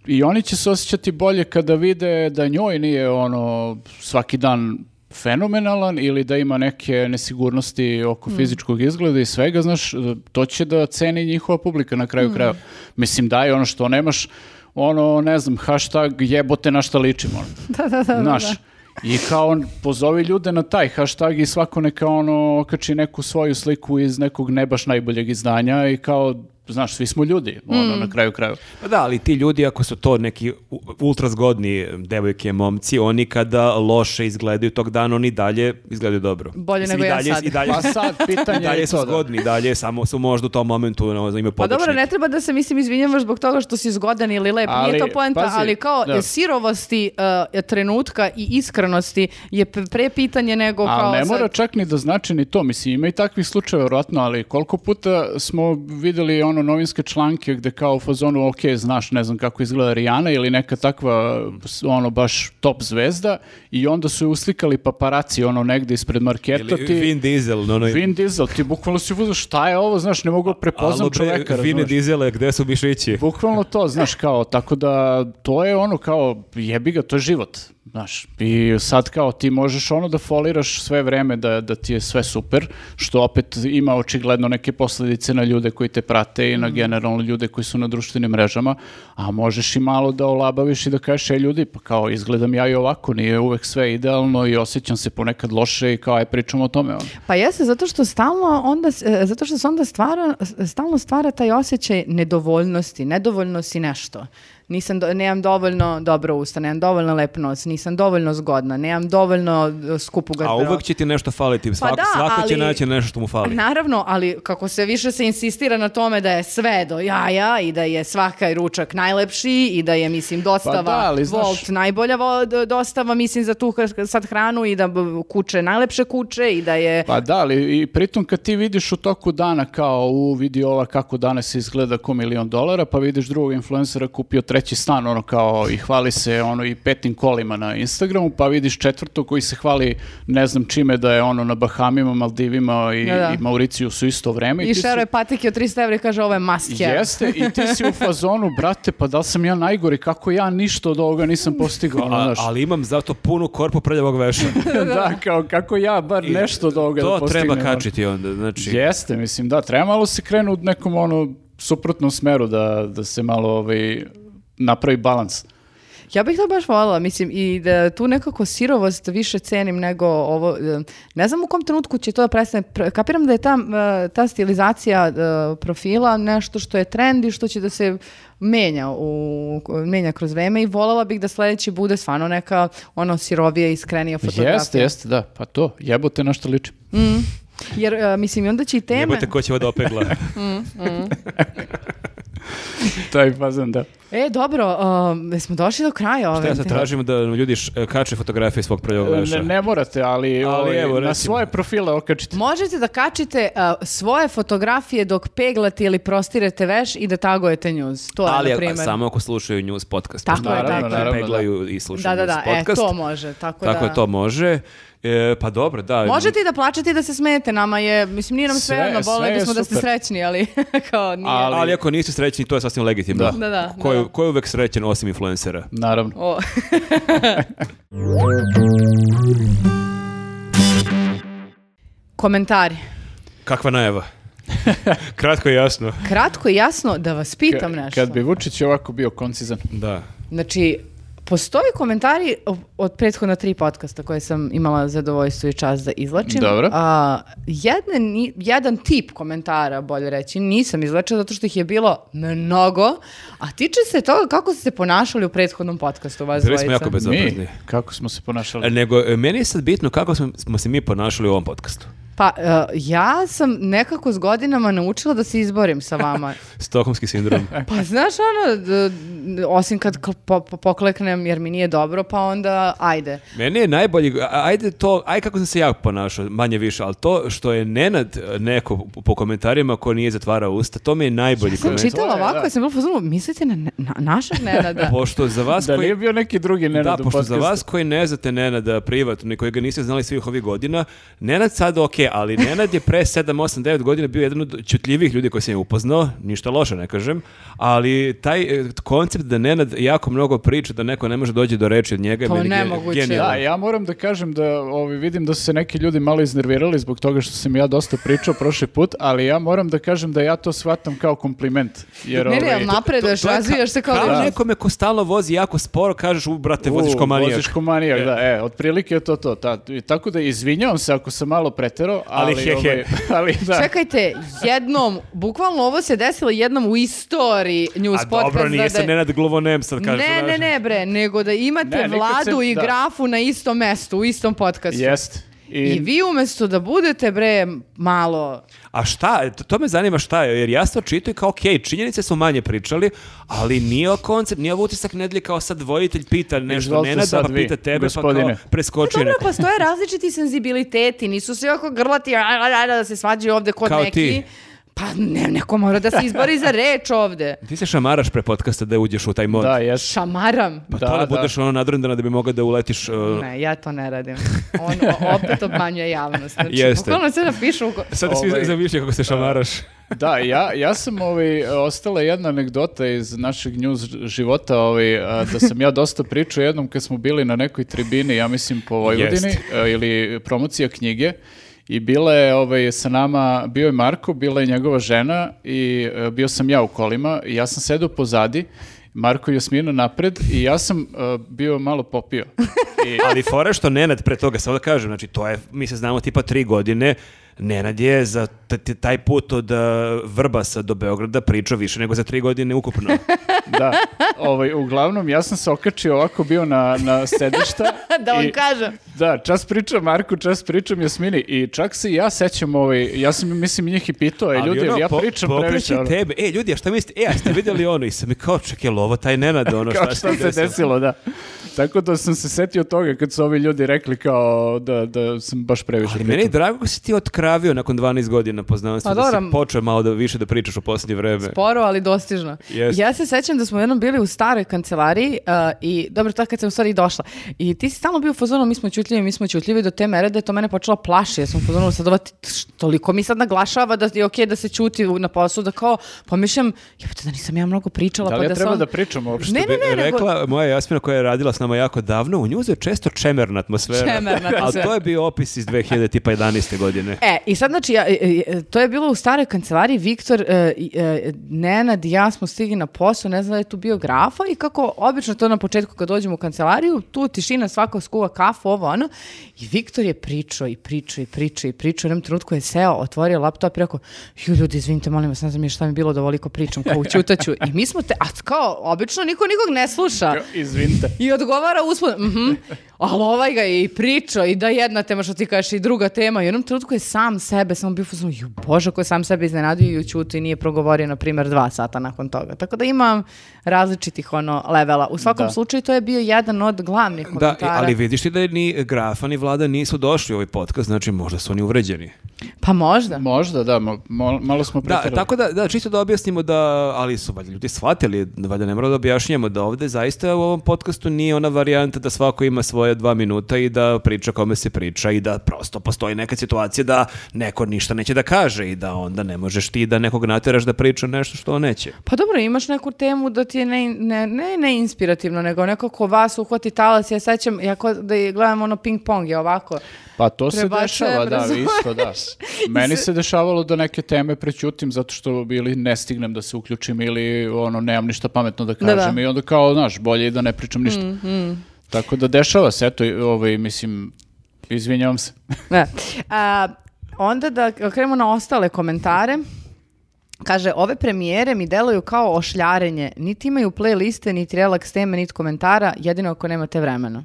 Speaker 2: I oni će se osjećati bolje kada vide da njoj nije ono svaki dan fenomenalan ili da ima neke nesigurnosti oko
Speaker 1: Mm.
Speaker 2: fizičkog izgleda i svega, znaš, to će da ceni njihova publika na
Speaker 1: Mm.
Speaker 2: kraju krajeva. Mislim, daj ono što nemaš, ono, ne znam, hashtag jebote na šta ličim, ono.
Speaker 1: Da, da, da, da,
Speaker 2: Znaš,
Speaker 1: da.
Speaker 2: i kao on pozovi ljude na taj hashtag i svako neka ono okači neku svoju sliku iz nekog ne baš najboljeg izdanja i kao znaš, svi smo ljudi, ono,
Speaker 1: Mm.
Speaker 2: na kraju kraju.
Speaker 3: Pa da, ali ti ljudi ako su to neki u- ultrazgodni devojke, momci, oni kada loše izgledaju tog dana, oni dalje izgledaju dobro.
Speaker 1: Bolje nego
Speaker 3: i
Speaker 1: ja
Speaker 3: dalje,
Speaker 1: sad.
Speaker 3: I dalje,
Speaker 2: Pa sad,
Speaker 3: i
Speaker 2: pitanje
Speaker 3: dalje
Speaker 2: je
Speaker 3: su
Speaker 2: to. Da.
Speaker 3: zgodni, i dalje samo su možda u tom momentu no, imaju
Speaker 1: Pa dobro,
Speaker 3: podočnik.
Speaker 1: ne treba da se, mislim, izvinjavaš zbog toga što si zgodan ili lep,
Speaker 2: Ali,
Speaker 1: nije to poenta,
Speaker 2: pazi,
Speaker 1: ali kao
Speaker 2: da.
Speaker 1: sirovosti e, trenutka i iskrenosti je p- pre pitanje nego kao...
Speaker 2: Ali ne
Speaker 1: sad-
Speaker 2: mora čak ni da znači ni to, mislim, ima i takvih slučajeva vjerojatno, ali koliko puta smo vidjeli ono novinske članke gde kao u fazonu, ok, znaš, ne znam kako izgleda Rijana ili neka takva, s- ono, baš top zvezda i onda su je uslikali paparaci, ono, negde ispred marketa
Speaker 3: Ili
Speaker 2: ti...
Speaker 3: Vin Diesel, ono, no, no,
Speaker 2: Vin Diesel, ti bukvalno si uzeo šta je ovo, znaš, ne mogu da prepoznam čoveka,
Speaker 3: Vin
Speaker 2: razumeš?
Speaker 3: Diesel, gde su mišići?
Speaker 2: Bukvalno to, znaš, kao, tako da to je ono kao, jebi ga, to je život, znaš. I sad kao ti možeš ono da foliraš sve vreme da, da ti je sve super, što opet ima očigledno neke posljedice na ljude koji te prate i na generalno ljude koji su na društvenim mrežama, a možeš i malo da olabaviš i da kažeš, e ljudi, pa kao izgledam ja i ovako, nije uvek sve idealno i osjećam se ponekad loše i kao, aj pričamo o tome. Ono.
Speaker 1: Pa jeste, zato što stalno onda, s- e, zato što se onda stvara, s- stalno stvara taj osjećaj nedovoljnosti, nedovoljno si nešto. Nisam, do, nemam dovoljno dobro usta, nemam dovoljno lep nos, nisam dovoljno zgodna, nemam dovoljno e, skupu
Speaker 3: A
Speaker 1: garderobu.
Speaker 3: uvek će ti nešto faliti, svako,
Speaker 1: Pa da,
Speaker 3: svako će
Speaker 1: ali-
Speaker 3: naći nešto što mu fali.
Speaker 1: Naravno, ali kako se više se insistira na tome da je sve do jaja i da je svakaj ručak najlepši i da je, mislim, dostava
Speaker 2: Pa da, ali znaš-
Speaker 1: Volt najbolja vo- d- dostava, mislim, za tu h- sad hranu i da b- kuće najlepše kuće i da je...
Speaker 2: Pa da, ali i pritom kad ti vidiš u toku dana kao u vidi ova kako danas izgleda ko milion dolara, pa vidiš drugog influencera kupio treći stan, ono kao i hvali se ono i petim kolima na Instagramu, pa vidiš četvrtog koji se hvali ne znam čime da je ono na Bahamima, Maldivima i,
Speaker 1: Da, da.
Speaker 2: i Mauricijusu isto vreme.
Speaker 1: I
Speaker 2: ti si-
Speaker 1: šero je patike od 300 evra i kaže ovo je must have.
Speaker 2: Jeste, i ti si u fazonu, brate, pa da li sam ja najgori, kako ja ništa od ovoga nisam postigao, ono,
Speaker 3: A-
Speaker 2: znaš.
Speaker 3: ali imam zato punu korpu prljavog veša.
Speaker 2: da, kao kako ja bar nešto od ovoga da
Speaker 3: to
Speaker 2: postignem.
Speaker 3: treba
Speaker 2: ono.
Speaker 3: kačiti onda, znači...
Speaker 2: Jeste, mislim, da, treba malo se krenu u nekom ono suprotnom smeru da, da se malo ovaj, napravi balans.
Speaker 1: Ja bih to baš voljela, mislim, i da tu nekako sirovost više cenim nego ovo, e, ne znam u kom trenutku će to da prestane, Pr- kapiram da je ta, e, ta stilizacija e, profila nešto što je trend i što će da se menja, u, menja kroz vreme i voljela bih da sledeći bude stvarno neka ono sirovija i skrenija fotografija.
Speaker 2: Jeste, jeste, da, pa to, jebote na što liči.
Speaker 1: Jer, e, mislim, i onda će i teme...
Speaker 3: Jebote ko će ovo da opegla.
Speaker 2: Taj fazan, da.
Speaker 1: E, dobro, um, smo došli do kraja ove
Speaker 3: Šta ja sad
Speaker 1: te-
Speaker 3: tražim da ljudi š- kače fotografije svog prljavog veša?
Speaker 2: Ne, ne morate, ali,
Speaker 3: Ali
Speaker 2: ovaj,
Speaker 3: evo, recimo.
Speaker 2: na svoje profile okačite.
Speaker 1: Možete da kačite uh, svoje fotografije dok peglate ili prostirete veš i da tagujete njuz. To je,
Speaker 3: ali
Speaker 1: na
Speaker 3: ako-
Speaker 1: primjer.
Speaker 3: samo ako slušaju news podcast.
Speaker 1: Tako
Speaker 3: pošto
Speaker 1: je,
Speaker 3: naravno,
Speaker 1: tako je.
Speaker 3: naravno, peglaju i slušaju
Speaker 1: Da, da, da,
Speaker 3: news
Speaker 1: e,
Speaker 3: podcast.
Speaker 1: to može. Tako,
Speaker 3: Tako
Speaker 1: da.
Speaker 3: je, to može. E, pa dobro, da.
Speaker 1: Možete i da plačete i da se smete, nama je, mislim, nije nam
Speaker 2: Sve-
Speaker 1: sve, jedno,
Speaker 2: sve
Speaker 1: voleli
Speaker 2: je
Speaker 1: bismo da ste
Speaker 2: super.
Speaker 1: srećni, ali kao nije.
Speaker 2: Ali-
Speaker 3: Ali, ako niste srećni, to je sasvim legitimno.
Speaker 2: Da.
Speaker 1: Da, da,
Speaker 3: Ko je,
Speaker 1: da.
Speaker 3: ko je uvek srećen osim influencera?
Speaker 2: Naravno.
Speaker 1: O. Komentari.
Speaker 3: Kakva najava? Kratko i jasno.
Speaker 1: Kratko i jasno da vas pitam
Speaker 2: Ka-
Speaker 1: nešto.
Speaker 2: Kad bi Vučić ovako bio koncizan.
Speaker 3: Da.
Speaker 1: Znači, postoji komentari o- od prethodna tri podcasta koje sam imala zadovoljstvo i čast da izlačim.
Speaker 2: Dobro.
Speaker 1: A, jedne ni- jedan tip komentara, bolje reći, nisam izlačila zato što ih je bilo mnogo, a tiče se toga kako ste se ponašali u prethodnom podcastu, vas
Speaker 3: Bili smo
Speaker 1: dvojica.
Speaker 3: jako bez- Zapravo.
Speaker 2: Mi, kako smo se ponašali.
Speaker 3: E, Nego, e, meni je sad bitno kako smo, smo se mi ponašali u ovom podcastu.
Speaker 1: Pa, e, ja sam nekako s godinama naučila da se izborim sa vama.
Speaker 3: Stokholmski sindrom.
Speaker 1: Pa znaš ono, d- d- osim kad k- po- po- pokleknem jer mi nije dobro, pa onda ajde.
Speaker 3: Meni je najbolji, a- ajde to, aj kako sam se ja ponašao, manje više, ali to što je Nenad e, neko po- po komentarima ko nije zatvarao usta, to mi je najbolji
Speaker 1: Sam
Speaker 3: komentar.
Speaker 1: čitala
Speaker 2: To je,
Speaker 1: ovako,
Speaker 2: da.
Speaker 1: ja sam bila u fazonu, mislite na, ne- na našeg Nenada?
Speaker 3: Pošto za vas
Speaker 2: Da
Speaker 3: koji...
Speaker 2: nije bio neki drugi
Speaker 3: Da,
Speaker 2: Nenad u
Speaker 3: pošto za
Speaker 2: podcastu.
Speaker 3: vas koji ne znate Nenada privatno i koji ga niste znali svih ovih godina, Nenad sada ok, ali Nenad je pre 7, 8, 9 godina bio jedan od čutljivih ljudi koji sam je upoznao, ništa loše ne kažem, ali taj e, koncept da Nenad jako mnogo priča, da neko ne može doći do reči od njega, je
Speaker 1: To
Speaker 3: meni ge-
Speaker 1: nemoguće.
Speaker 3: genijalno.
Speaker 2: Da, ja moram da kažem da ovi, vidim da su se neki ljudi malo iznervirali zbog toga što sam ja dosta pričao prošli put, ali ja moram da kažem da ja to shvatam kao kompliment. Jer,
Speaker 1: Ne, ne,
Speaker 2: ovaj,
Speaker 1: ali napreduješ,
Speaker 3: To je ka-
Speaker 1: razvijaš se kao
Speaker 3: Kao
Speaker 1: ličnost.
Speaker 3: nekome ko stalno vozi jako sporo, kažeš, u, brate, voziš
Speaker 2: u,
Speaker 3: ko manijak.
Speaker 2: e, voziš ko manijak, da, e, otprilike je to to. Ta, i tako da izvinjavam se ako sam malo preterao, dobro, ali...
Speaker 3: Ali he, he.
Speaker 2: ovaj, ali da.
Speaker 1: Čekajte, jednom, bukvalno ovo se desilo jednom u istoriji news
Speaker 3: A
Speaker 1: podcasta.
Speaker 3: dobro, nije se
Speaker 1: da-
Speaker 3: Nenad Glovonem sad kažeš.
Speaker 1: Ne, ne, ne, bre, nego da imate
Speaker 2: Ne, nikad
Speaker 1: vladu
Speaker 2: se-
Speaker 1: i
Speaker 2: da.
Speaker 1: grafu na istom mestu, u istom podcastu.
Speaker 2: Jest.
Speaker 1: I... vi umesto da budete, bre, malo...
Speaker 3: A šta, to- to me zanima šta je, jer ja sam čitao i kao, okej, činjenice su manje pričali, ali nije o koncept, nije ovo utisak nedelje kao sad vojitelj pita nešto
Speaker 2: Izvolite
Speaker 3: Nenada,
Speaker 2: sad
Speaker 3: pa
Speaker 2: vi,
Speaker 3: pita tebe, pa
Speaker 2: gospodine.
Speaker 3: kao preskoči
Speaker 1: Pa Dobro,
Speaker 3: neko.
Speaker 1: postoje različiti senzibiliteti, nisu svi oko grlati a, a, a, da se svađaju ovde kod
Speaker 3: Kao
Speaker 1: neki.
Speaker 3: ti.
Speaker 1: Pa ne, neko mora da se izbori za reč ovde.
Speaker 3: Ti se šamaraš pre podcasta da uđeš u taj mod.
Speaker 2: Da, jest.
Speaker 1: Šamaram.
Speaker 3: Pa
Speaker 2: Da,
Speaker 3: to
Speaker 2: da.
Speaker 3: da, budeš ono nadrendana da bi mogao da uletiš... uh,
Speaker 1: Ne, ja to ne radim. On o- opet obmanjuje javnost. Znači,
Speaker 3: Jeste.
Speaker 1: bukvalno se napišu... u ko-
Speaker 3: Sad
Speaker 2: Ovaj,
Speaker 3: svi zamišljaju kako se šamaraš.
Speaker 2: Da, ja, ja sam ovaj, ostala jedna anegdota iz našeg news života, ovaj, a, da sam ja dosta pričao jednom kad smo bili na nekoj tribini, ja mislim po Vojvodini,
Speaker 3: Jest.
Speaker 2: a, ili promocija knjige, i bila je ovaj, sa nama, bio je Marko, bila je njegova žena i e, bio sam ja u kolima i ja sam sedao pozadi, Marko i Jasmina napred i ja sam e, bio malo popio. I,
Speaker 3: Ali fora je što Nenad pre toga, samo da kažem, znači to je, mi se znamo tipa tri godine, Nenad je za t- t- taj put od uh, Vrbasa do Beograda pričao više nego za tri godine ukupno.
Speaker 2: da, ovaj, uglavnom ja sam se okačio ovako bio na, na sedišta.
Speaker 1: da vam
Speaker 2: i-
Speaker 1: kažem.
Speaker 2: Da, čas pričam Marku, čas pričam Jasmini i čak se i ja sećam ovaj, ja sam mislim njih i pitao, e, ljudi,
Speaker 3: ono,
Speaker 2: jel ja
Speaker 3: po-
Speaker 2: pričam
Speaker 3: pokreće
Speaker 2: previše. ono,
Speaker 3: tebe, e ljudi, a šta mislite, e, a ste vidjeli ono, i sam mi kao, čekaj, jel ovo taj Nenad, ono,
Speaker 2: kao
Speaker 3: šta,
Speaker 2: šta se
Speaker 3: desilo?
Speaker 2: desilo, da. Tako da sam se setio toga kad su ovi ljudi rekli kao da, da sam baš previše
Speaker 3: Ali meni je drago kako si ti otkravio nakon 12 godina poznanstva,
Speaker 1: Pa
Speaker 3: da si
Speaker 1: dobro.
Speaker 3: počeo malo da više da pričaš u posljednje vreme.
Speaker 1: Sporo, ali dostižno.
Speaker 3: Jeste.
Speaker 1: Ja se sećam da smo jednom bili u staroj kancelariji uh, i dobro, tad kad sam u stvari i došla. I ti si stalno bio u fazonu, mi smo ćutljivi, mi smo ćutljivi do te mere da je to mene počelo plaši. Ja sam u fazonu, sad ova ti- š- toliko mi sad naglašava da je okej da se ćuti u- na poslu, da kao pomišljam, jebote da nisam ja mnogo pričala.
Speaker 2: Da
Speaker 1: pa
Speaker 2: li ja
Speaker 1: da
Speaker 2: treba
Speaker 1: sam...
Speaker 2: da pričam uopšte?
Speaker 1: Ne, ne, ne, nego-
Speaker 3: rekla moja Jasmina koja je radila s nama jako davno, u njuzu je često čemerna atmosfera.
Speaker 1: Čemerna atmosfera.
Speaker 3: Ali to je bio opis iz 2011. godine.
Speaker 1: E, i sad znači, ja, e, e, to je bilo u staroj kancelariji, Viktor, e, i, e, Nenad i ja smo stigli na posao, ne znam da je tu bio grafa i kako obično to na početku kad dođemo u kancelariju, tu tišina, svako skuva kafu, ovo ono, i Viktor je pričao i pričao i pričao i pričao, u jednom trenutku je seo, otvorio laptop i rekao, ju ljudi, izvinite, molim vas, ne znam je šta mi je bilo da ovoliko pričam, kao ućutaću, i mi smo te, a kao, obično niko nikog ne sluša.
Speaker 2: Izvinite.
Speaker 1: I odgovara uspod, mhm, ali ovaj ga je i pričao i da jedna tema što ti kažeš i druga tema. I u jednom trenutku je sam sebe, samo bio fuzon, ju bože ko je sam sebe iznenadio i ućutu i nije progovorio, na primjer, dva sata nakon toga. Tako da imam različitih ono levela. U svakom
Speaker 2: Da.
Speaker 1: slučaju to je bio jedan od glavnih
Speaker 3: Da, i-
Speaker 1: komentara.
Speaker 3: ali vidiš ti da ni Grafa ni Vlada nisu došli u ovaj podcast, znači možda su oni uvređeni.
Speaker 1: Pa možda.
Speaker 2: Možda, da, mo- mo- malo smo
Speaker 3: Da,
Speaker 2: preterali.
Speaker 3: tako da, da, čisto da objasnimo da, ali su valjda ljudi shvatili, valjda ne moramo da objašnjamo da ovde zaista u ovom podcastu nije ona varijanta da svako ima svoje dva minuta i da priča kome se priča i da prosto postoji neka situacija da neko ništa neće da kaže i da onda ne možeš ti da nekog nateraš da priča nešto što on neće.
Speaker 1: Pa dobro, imaš neku temu da ti je ne, ne, ne, ne inspirativno, nego nekako vas uhvati talas. Ja sećam, ja ko- da je- gledam ono ping pong je ovako.
Speaker 2: Pa to se
Speaker 1: Prebacujem,
Speaker 2: dešava, da,
Speaker 1: razumeš?
Speaker 2: isto, da. Meni se dešavalo da neke teme prećutim zato što ili ne stignem da se uključim ili ono, nemam ništa pametno da
Speaker 1: Da, Mm,
Speaker 2: kažem
Speaker 1: da.
Speaker 2: i onda kao, znaš, bolje i da ne pričam ništa. Tako da dešava se, eto, ovaj, mislim, izvinjavam se.
Speaker 1: Da. A, onda da krenemo na ostale komentare. Kaže, ove premijere mi deluju kao ošljarenje. Niti imaju playliste, niti relax teme, niti komentara, jedino ako nemate vremena.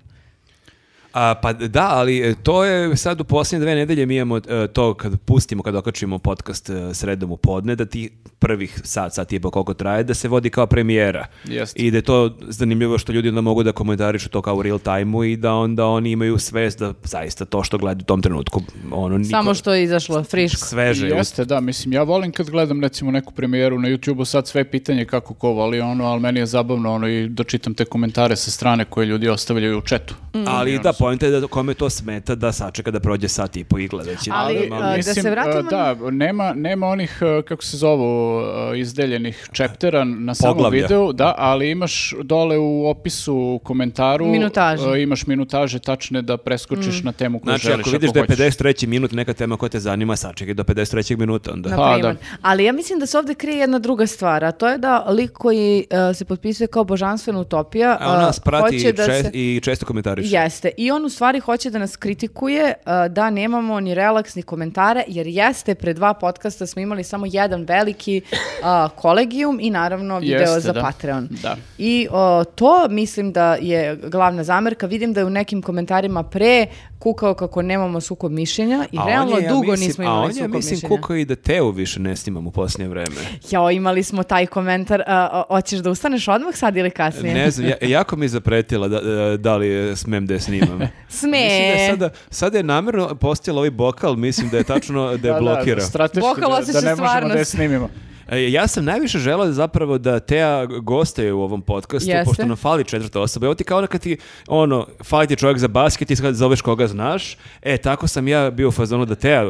Speaker 3: A, pa da, ali e, to je sad u posljednje dve nedelje mi imamo e, to kad pustimo, kad okačimo podcast e, sredom u podne, da ti prvih sat, sat i po koliko traje, da se vodi kao premijera.
Speaker 2: Jeste.
Speaker 3: I da je to zanimljivo što ljudi onda mogu da komentarišu to kao u real time-u i da onda oni imaju svest da zaista to što gledaju u tom trenutku, ono niko...
Speaker 1: Samo što je izašlo friško.
Speaker 3: Sveže. je.
Speaker 2: Jeste, da, mislim, ja volim kad gledam recimo neku premijeru na YouTube-u, sad sve je pitanje kako ko voli ono, ali meni je zabavno ono i da čitam te komentare sa strane koje ljudi ostavljaju u četu.
Speaker 1: Mm.
Speaker 3: Ali da, pojenta je da kome to smeta da sačeka da prođe sat i po i gledaći.
Speaker 1: Ali,
Speaker 3: Naravno,
Speaker 1: a, da se
Speaker 2: Mislim,
Speaker 1: vratimo
Speaker 2: e, Da, nema, nema onih, e, kako se zovu, e, izdeljenih chaptera na samom
Speaker 3: Poglavlja.
Speaker 2: videu, da, ali imaš dole u opisu, u komentaru,
Speaker 1: Minutaže.
Speaker 2: e, imaš minutaže tačne da preskočiš
Speaker 1: Mm.
Speaker 2: na temu koju
Speaker 3: Znači,
Speaker 2: želiš.
Speaker 3: ako vidiš da je
Speaker 2: hoćeš.
Speaker 3: 53. minut neka tema koja te zanima, sačekaj do 53. minuta onda.
Speaker 1: Na
Speaker 2: Pa,
Speaker 1: primer. Ali ja mislim da se ovdje krije jedna druga stvar, a to je da lik koji e, se potpisuje kao božanstvena utopija
Speaker 3: A ona nas
Speaker 1: e,
Speaker 3: prati
Speaker 1: hoće
Speaker 3: i,
Speaker 1: da
Speaker 3: če-
Speaker 1: se...
Speaker 3: i često komentariše.
Speaker 1: Jeste. I I on u stvari hoće da nas kritikuje uh, da nemamo ni relaks ni komentare, jer jeste pre dva podcasta smo imali samo jedan veliki uh, kolegijum i naravno video
Speaker 2: Jeste,
Speaker 1: za
Speaker 2: da.
Speaker 1: Patreon.
Speaker 2: Da.
Speaker 1: I o, to mislim da je glavna zamerka. Vidim da je u nekim komentarima pre kukao kako nemamo sukob mišljenja i
Speaker 3: A on
Speaker 1: realno
Speaker 3: je, ja
Speaker 1: dugo
Speaker 3: mislim-
Speaker 1: nismo imali
Speaker 3: A on
Speaker 1: sukob
Speaker 3: je, mislim,
Speaker 1: mišljenja.
Speaker 3: kukao i da Teo više ne snimam u posljednje vreme.
Speaker 1: Jao, imali smo taj komentar. A, o- hoćeš da ustaneš odmah sad ili kasnije?
Speaker 3: Ne znam, ja, jako mi je zapretila da, da, da li smem da je snimam.
Speaker 1: Sme.
Speaker 3: Mislim da je sada, sada je namjerno postila ovaj bokal, mislim da je tačno da je blokirao.
Speaker 2: strateški
Speaker 1: Bokal
Speaker 2: da, da
Speaker 1: osjeća
Speaker 2: ne možemo da je
Speaker 1: stvarnost.
Speaker 2: snimimo.
Speaker 3: E, Ja sam najviše želeo zapravo da Teja gostaje u ovom podcastu,
Speaker 1: Jeste.
Speaker 3: pošto nam fali četvrta osoba. Evo ti kao ono kad ti, ono, fali ti čovjek za basket i sad zoveš koga znaš. E, tako sam ja bio u fazonu da Teja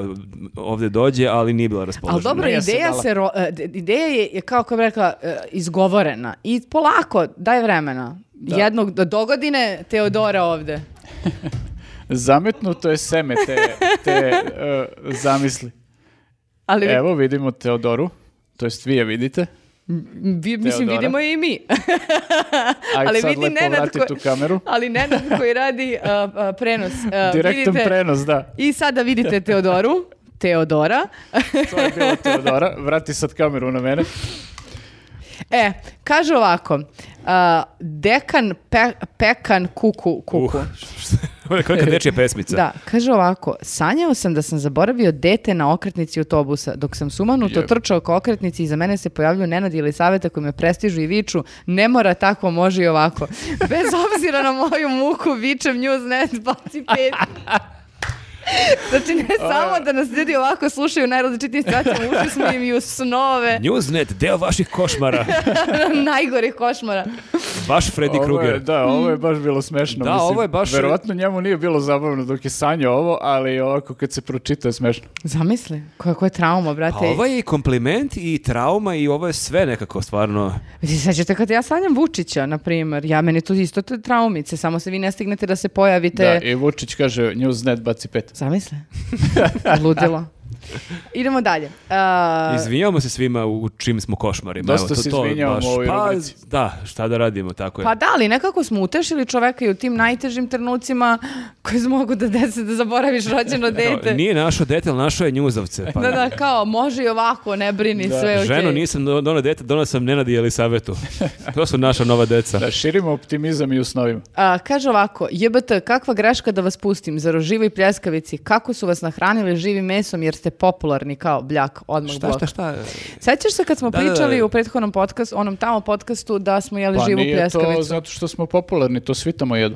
Speaker 3: ovdje dođe, ali nije bila raspoložena.
Speaker 1: Ali dobro,
Speaker 2: Ne, ja sam
Speaker 1: ideja,
Speaker 2: dala.
Speaker 1: se ro- e, d- ideja je, je kao kako bih rekla, e, izgovorena. I polako, daj vremena. Jednog do dogodine Teodora ovde.
Speaker 2: Zametnuto je seme te, te e, zamisli.
Speaker 1: Ali vi-
Speaker 2: Evo vidimo Teodoru, to jest vi je vidite.
Speaker 1: vi- mislim,
Speaker 2: Teodora.
Speaker 1: vidimo je i mi.
Speaker 2: Ajde
Speaker 1: Ali
Speaker 2: sad
Speaker 1: vidi
Speaker 2: lepo
Speaker 1: Nenad
Speaker 2: vrati
Speaker 1: koji-
Speaker 2: tu kameru.
Speaker 1: Ali Nenad koji radi a, a, prenos. a,
Speaker 2: Direktan
Speaker 1: vidite-
Speaker 2: prenos, da.
Speaker 1: I sada vidite Teodoru. Teodora.
Speaker 2: To je bilo Teodora. Vrati sad kameru na mene.
Speaker 1: E, kaže ovako. a, dekan pe- pekan kuku
Speaker 2: Uh.
Speaker 1: kuku.
Speaker 3: Ovo je kakva dečija pesmica.
Speaker 1: Da, kaže ovako, sanjao sam da sam zaboravio dete na okretnici autobusa, dok sam sumanuto
Speaker 2: Jeb.
Speaker 1: trčao ka okretnici i za mene se pojavljuju Nenad ili Saveta koji me prestižu i viču, ne mora tako, može i ovako. Bez obzira na moju muku, vičem nju net, baci pet. Znači ne samo da nas ljudi ovako slušaju u najrazličitijim situacijama, ušli smo im i u snove
Speaker 3: Newsnet, deo vaših košmara.
Speaker 1: najgorih košmara.
Speaker 3: Vaš Freddy
Speaker 2: Ovo je,
Speaker 3: Krueger.
Speaker 2: da, ovo je baš bilo smešno.
Speaker 3: Da,
Speaker 2: mislim,
Speaker 3: ovo je baš-
Speaker 2: Verovatno njemu nije bilo zabavno dok je sanjao ovo, ali ovako kad se pročita je smešno.
Speaker 1: Zamisli, kako je trauma, brate.
Speaker 3: A Pa ovo je i kompliment i trauma i ovo je sve nekako stvarno.
Speaker 1: Vi se sećate kad ja sanjam Vučića, na primjer, ja meni to isto te traumice, samo se vi ne stignete da se pojavite.
Speaker 2: Da, i Vučić kaže Newsnet baci pet.
Speaker 1: Zamisle. Ludilo. Idemo dalje. Uh, A,
Speaker 3: Izvinjavamo se svima u čim smo košmarima.
Speaker 2: Dosta
Speaker 3: Evo, to-
Speaker 2: se
Speaker 3: to
Speaker 2: izvinjavamo
Speaker 3: baš-
Speaker 2: u ovoj
Speaker 3: pa,
Speaker 2: rubrici.
Speaker 3: Da, šta da radimo, tako je.
Speaker 1: pa da, ali nekako smo utešili čoveka i u tim najtežim trenucima koji se mogu da desi da zaboraviš rođeno
Speaker 3: Kao,
Speaker 1: dete.
Speaker 3: Nije našo dete, ali našo je njuzavce. Pa,
Speaker 1: Da, da, kao, može i ovako, ne brini, sve je okej.
Speaker 3: Ženo, nisam do- donao dete, donao sam Nenadi i Elisavetu. To su naša nova deca.
Speaker 2: Da, širimo optimizam i u snovima.
Speaker 1: A, Uh, kaže ovako, JBT, kakva greška da vas pustim, zar o živoj pljeskavici, kako su vas nahranili živim mesom jer ste popularni kao bljak, odmah
Speaker 3: Šta,
Speaker 1: blok.
Speaker 3: šta, šta?
Speaker 1: Sećaš se kad smo
Speaker 3: Da, da, da.
Speaker 1: pričali u prethodnom podcastu, onom tamo podcastu, da smo jeli
Speaker 2: Pa
Speaker 1: živu
Speaker 2: nije to
Speaker 1: pljeskavicu?
Speaker 2: zato što smo popularni, to svi tamo jedu.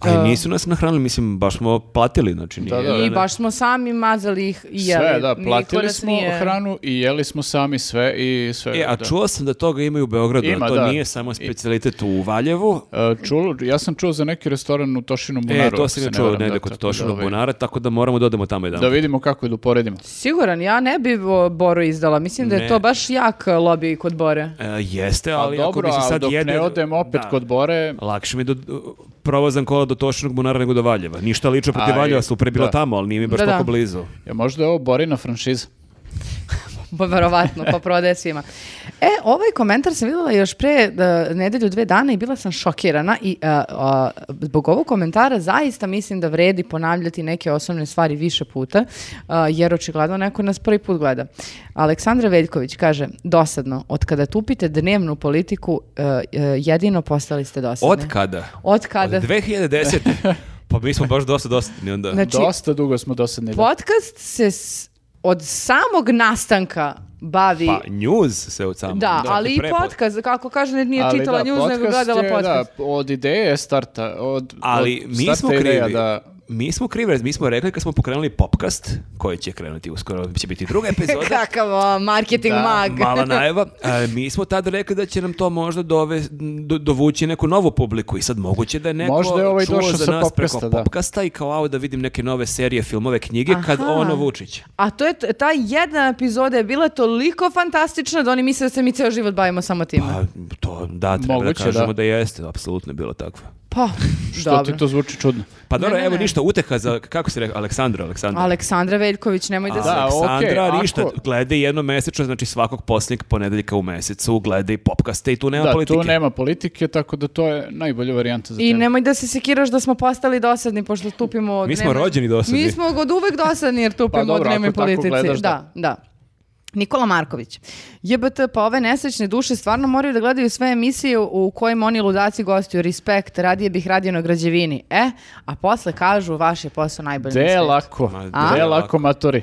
Speaker 3: Ali nisu nas nahranili, mislim, baš smo platili, znači nije.
Speaker 2: Da, da, da.
Speaker 1: I baš smo sami mazali ih i jeli.
Speaker 2: Sve, da,
Speaker 1: Niko
Speaker 2: platili
Speaker 1: nas
Speaker 2: smo
Speaker 1: nije-
Speaker 2: hranu i jeli smo sami sve i sve.
Speaker 3: E, a
Speaker 2: da.
Speaker 3: čuo sam da toga ima i u Beogradu,
Speaker 2: Ima,
Speaker 3: a to
Speaker 2: da.
Speaker 3: nije samo specijalitet u Valjevu.
Speaker 2: E, čulo- ja sam čuo za neki restoran u Tošinu Bunaru.
Speaker 3: E, to
Speaker 2: ako
Speaker 3: sam
Speaker 2: se
Speaker 3: ja
Speaker 2: ne
Speaker 3: čuo
Speaker 2: varam, da,
Speaker 3: negdje kod
Speaker 2: tako da,
Speaker 3: Tošinog
Speaker 2: ovaj,
Speaker 3: bunara, tako da moramo da odemo tamo jedan.
Speaker 2: Da vidimo kako je da uporedimo.
Speaker 1: Siguran, ja ne bi o, Boru izdala. Mislim da je
Speaker 3: Ne.
Speaker 1: to baš jak lobby kod Bore.
Speaker 3: E, jeste,
Speaker 2: Pa
Speaker 3: ali ako
Speaker 2: dobro,
Speaker 3: bi se
Speaker 2: ali
Speaker 3: sad
Speaker 2: dok
Speaker 3: jede-
Speaker 2: ne odem opet
Speaker 3: Da.
Speaker 2: kod Bore,
Speaker 3: Lakše mi je do, provozan kola do Tošinog bunara nego do Valjeva. Ništa lično protiv
Speaker 2: Aj,
Speaker 3: Valjeva, super je bilo
Speaker 2: da.
Speaker 3: tamo, ali nije mi baš
Speaker 1: Da, da.
Speaker 3: tako blizu.
Speaker 2: ja možda je ovo Borina franšiza.
Speaker 3: Znači-
Speaker 1: Pa verovatno, pa prodaje svima. E, ovaj komentar sam vidjela još pre uh, nedelju, dve dana i bila sam šokirana i e, a, zbog ovog komentara zaista mislim da vredi ponavljati neke osnovne stvari više puta, a, jer očigledno neko nas prvi put gleda. Aleksandra Veljković kaže, dosadno, od kada tupite dnevnu politiku, e, e, jedino postali ste dosadni.
Speaker 3: Od kada?
Speaker 1: Od
Speaker 3: Od
Speaker 1: kada?
Speaker 3: 2010. pa mi smo baš dosta dosadni onda.
Speaker 1: Znači,
Speaker 2: Dosta dugo smo dosadni. da.
Speaker 1: podcast se s- od samog nastanka bavi
Speaker 3: Pa news se od samog.
Speaker 1: Da,
Speaker 3: dakle,
Speaker 1: ali i
Speaker 3: pre-
Speaker 1: podcast, kako kaže, nije
Speaker 2: Ali
Speaker 1: čitala
Speaker 2: da,
Speaker 1: news, nego
Speaker 2: podcast
Speaker 1: gledala
Speaker 2: je,
Speaker 1: podcast.
Speaker 2: Da, od ideje starta. Od,
Speaker 3: Ali
Speaker 2: od
Speaker 3: mi
Speaker 2: starta
Speaker 3: smo
Speaker 2: ideja
Speaker 3: krivi.
Speaker 2: Da,
Speaker 3: Mi smo krivi, jer mi smo rekli kad smo pokrenuli popcast, koji će krenuti uskoro, će biti druga epizoda.
Speaker 1: Kakav a, marketing
Speaker 2: Da,
Speaker 1: mag.
Speaker 3: Mala najava. E, mi smo tad rekli da će nam to možda dove, do- dovući neku novu publiku i sad moguće da je neko
Speaker 2: Možda je ovaj
Speaker 3: čuo
Speaker 2: došao
Speaker 3: za
Speaker 2: sa
Speaker 3: nas preko
Speaker 2: popcasta, da.
Speaker 3: popcasta i kao au da vidim neke nove serije, filmove, knjige kad
Speaker 1: Aha.
Speaker 3: ono Vučić.
Speaker 1: A to je, t- ta jedna epizoda je bila toliko fantastična da oni misle da se mi ceo život bavimo samo time.
Speaker 3: Pa to da, treba
Speaker 2: Moguće,
Speaker 3: da kažemo da,
Speaker 2: da.
Speaker 3: jeste, apsolutno je bilo takvo.
Speaker 1: Pa,
Speaker 2: Što
Speaker 1: dobro.
Speaker 2: ti to zvuči čudno?
Speaker 3: Pa dobro,
Speaker 1: ne,
Speaker 3: evo
Speaker 1: ne.
Speaker 3: ništa, uteha za, kako se rekao, Aleksandra, Aleksandra.
Speaker 1: Aleksandra Veljković, nemoj da,
Speaker 2: Da,
Speaker 1: se...
Speaker 3: Aleksandra
Speaker 2: okej, ako-
Speaker 3: ništa, gleda jedno mesečno, znači svakog posljednjeg ponedeljka u mesecu, gleda i popkaste i tu nema
Speaker 2: da,
Speaker 3: politike.
Speaker 2: tu nema politike, tako da to je najbolja varijanta za
Speaker 1: I
Speaker 2: tebe.
Speaker 1: nemoj da se sekiraš da smo postali dosadni, pošto tupimo... od
Speaker 3: Mi smo
Speaker 1: dnevne-
Speaker 3: rođeni dosadni.
Speaker 1: Mi smo od uvek dosadni jer tupimo
Speaker 2: Pa dobro,
Speaker 1: od dnevne
Speaker 2: ako tako
Speaker 1: politici.
Speaker 2: gledaš, da.
Speaker 1: da, da. Nikola Marković. JBT, pa ove nesrećne duše stvarno moraju da gledaju sve emisije u kojim oni ludaci gostuju. Respekt, radije bih radio na građevini. E, a posle kažu, vaš je posao najbolji na
Speaker 2: Gde
Speaker 1: svijetu.
Speaker 2: lako,
Speaker 3: Ma,
Speaker 1: A?
Speaker 2: gde
Speaker 3: gde
Speaker 2: lako
Speaker 3: lako?
Speaker 2: matori.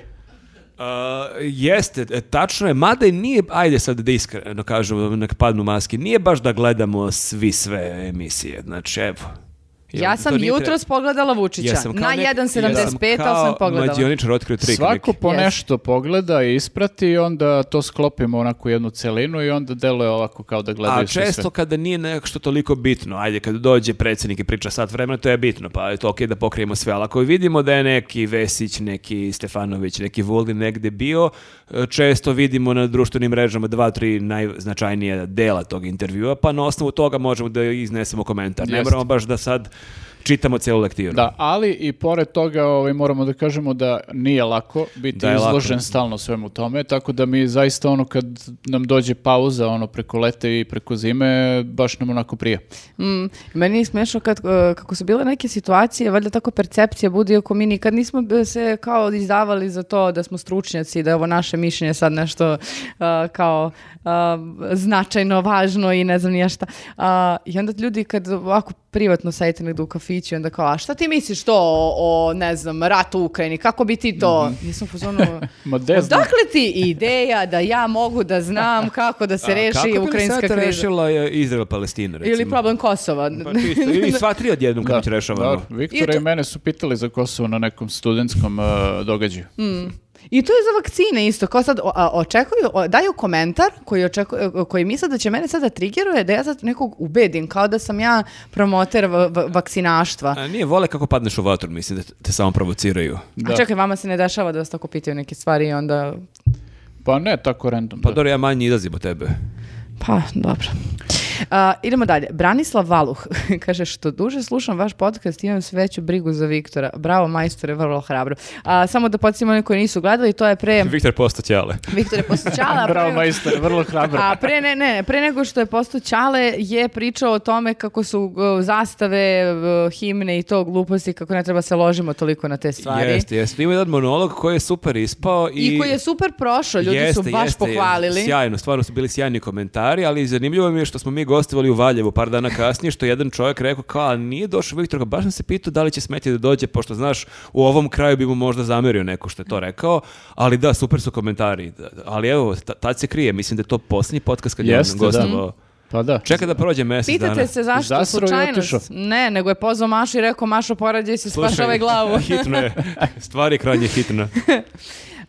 Speaker 3: A, jeste, e, tačno je, mada i nije, ajde sad da iskreno kažem, nek padnu maske, nije baš da gledamo svi sve emisije, znači evo.
Speaker 1: Ja
Speaker 3: Jel, to
Speaker 1: sam
Speaker 3: nije tre-
Speaker 1: jutros pogledala Vučića.
Speaker 3: Jesam kao
Speaker 1: na
Speaker 3: nek-
Speaker 1: 1.75,
Speaker 3: jesam
Speaker 1: ali sam
Speaker 3: kao
Speaker 1: pogledala.
Speaker 3: Mlađioničar otkrio trik.
Speaker 2: Svako
Speaker 3: neki.
Speaker 2: po
Speaker 1: Yes.
Speaker 2: nešto pogleda i isprati i onda to sklopimo onako u jednu celinu i onda deluje ovako kao da
Speaker 3: A
Speaker 2: gledaju svi
Speaker 3: često
Speaker 2: sve.
Speaker 3: kada nije nešto toliko bitno, ajde, kada dođe predsjednik i priča sat vremena, to je bitno, pa je to okej da pokrijemo sve, ali ako vidimo da je neki Vesić, neki Stefanović, neki Vulin negde bio, e, često vidimo na društvenim mrežama dva, tri najznačajnija dela tog intervjua, pa na osnovu toga možemo da iznesemo komentar. Ne
Speaker 2: Jeste.
Speaker 3: moramo baš da sad čitamo celu lektiru.
Speaker 2: Da, ali i pored toga ovaj, moramo da kažemo da nije lako biti
Speaker 3: Da je lako.
Speaker 2: izložen stalno svemu tome, tako da mi zaista ono kad nam dođe pauza ono preko lete i preko zime, baš nam onako prije.
Speaker 1: Mm, meni je smešno kad, e, kako su bile neke situacije, valjda tako percepcija bude, iako mi nikad nismo b- se kao izdavali za to da smo stručnjaci, da je ovo naše mišljenje sad nešto e, kao e, značajno, važno i ne znam ni ja šta. A, I onda ljudi kad ovako privatno sajte negdje u kafiću, onda kao, a šta ti misliš to o, o, ne znam, ratu u Ukrajini, kako bi ti to?
Speaker 3: Mhm.
Speaker 1: Ja sam u fazonu,
Speaker 2: Ma de znam.
Speaker 1: Odakle ti ideja da ja mogu da znam kako da se
Speaker 3: A
Speaker 1: reši
Speaker 3: kako bi
Speaker 1: ukrajinska
Speaker 3: sad
Speaker 1: kriza?
Speaker 3: rešila e, Izrael-Palestina, recimo?
Speaker 1: Ili problem Kosova.
Speaker 3: Pa čisto, ili sva tri odjednom kad će rešavano.
Speaker 2: da. Viktora i,
Speaker 1: I to-
Speaker 2: mene su pitali za Kosovo na nekom studentskom eh, događaju.
Speaker 1: Mm. I to je za vakcine isto, kao sad o- a, očekuju, o- daju komentar koji, očekuju, koji misle da će mene sada triggeruje, da ja sad nekog ubedim, kao da sam ja promoter va- va- vakcinaštva.
Speaker 3: A nije vole kako padneš u vatru, mislim da te samo provociraju.
Speaker 1: A čekaj, vama se ne dešava da vas tako pitaju neke stvari i onda...
Speaker 2: Pa ne tako random.
Speaker 3: Pa
Speaker 2: da.
Speaker 3: dobro, ja manje izlazim od tebe.
Speaker 1: Pa, dobro. A, idemo dalje. Branislav Valuh kaže, što duže slušam vaš podcast, imam sve veću brigu za Viktora. Bravo, majstore, vrlo hrabro. A, samo da podsjetimo one koji nisu gledali, to je pre...
Speaker 3: Viktor postao ćale.
Speaker 1: Viktore Posućala.
Speaker 2: Bravo majster, vrlo hrabro.
Speaker 1: A pre, ne, ne, pre nego što je postao Ćale je pričao o tome kako su uh, zastave, uh, himne i to gluposti, kako ne treba se ložimo toliko na te stvari.
Speaker 3: Jeste, jeste. Ima jedan monolog koji je super ispao. I,
Speaker 1: I koji je super prošao, ljudi su
Speaker 3: Jeste,
Speaker 1: baš
Speaker 3: jeste,
Speaker 1: pohvalili.
Speaker 3: Sjajno, stvarno su bili sjajni komentari, ali zanimljivo mi je što smo mi gostovali u Valjevu par dana kasnije, što je jedan čovjek rekao kao, "A nije došao Viktor, kao, baš sam se pitao da li će smeti da dođe, pošto znaš, u ovom kraju bi mu možda zamerio neko što je to rekao, ali da, super su komentari. Da, da, Ali evo, ta- tad se krije, mislim da je to posljednji podcast kad je on
Speaker 2: Jeste, da.
Speaker 3: gostovao.
Speaker 2: Pa da.
Speaker 3: Čeka da prođe mjesec dana.
Speaker 1: Pitate se zašto
Speaker 2: Zasrao i otišao.
Speaker 1: slučajnost. Ne, nego je pozvao Mašu i rekao Mašo porađaj se, spašavaj ovaj glavu.
Speaker 3: hitno je. Stvar je krajnje hitna.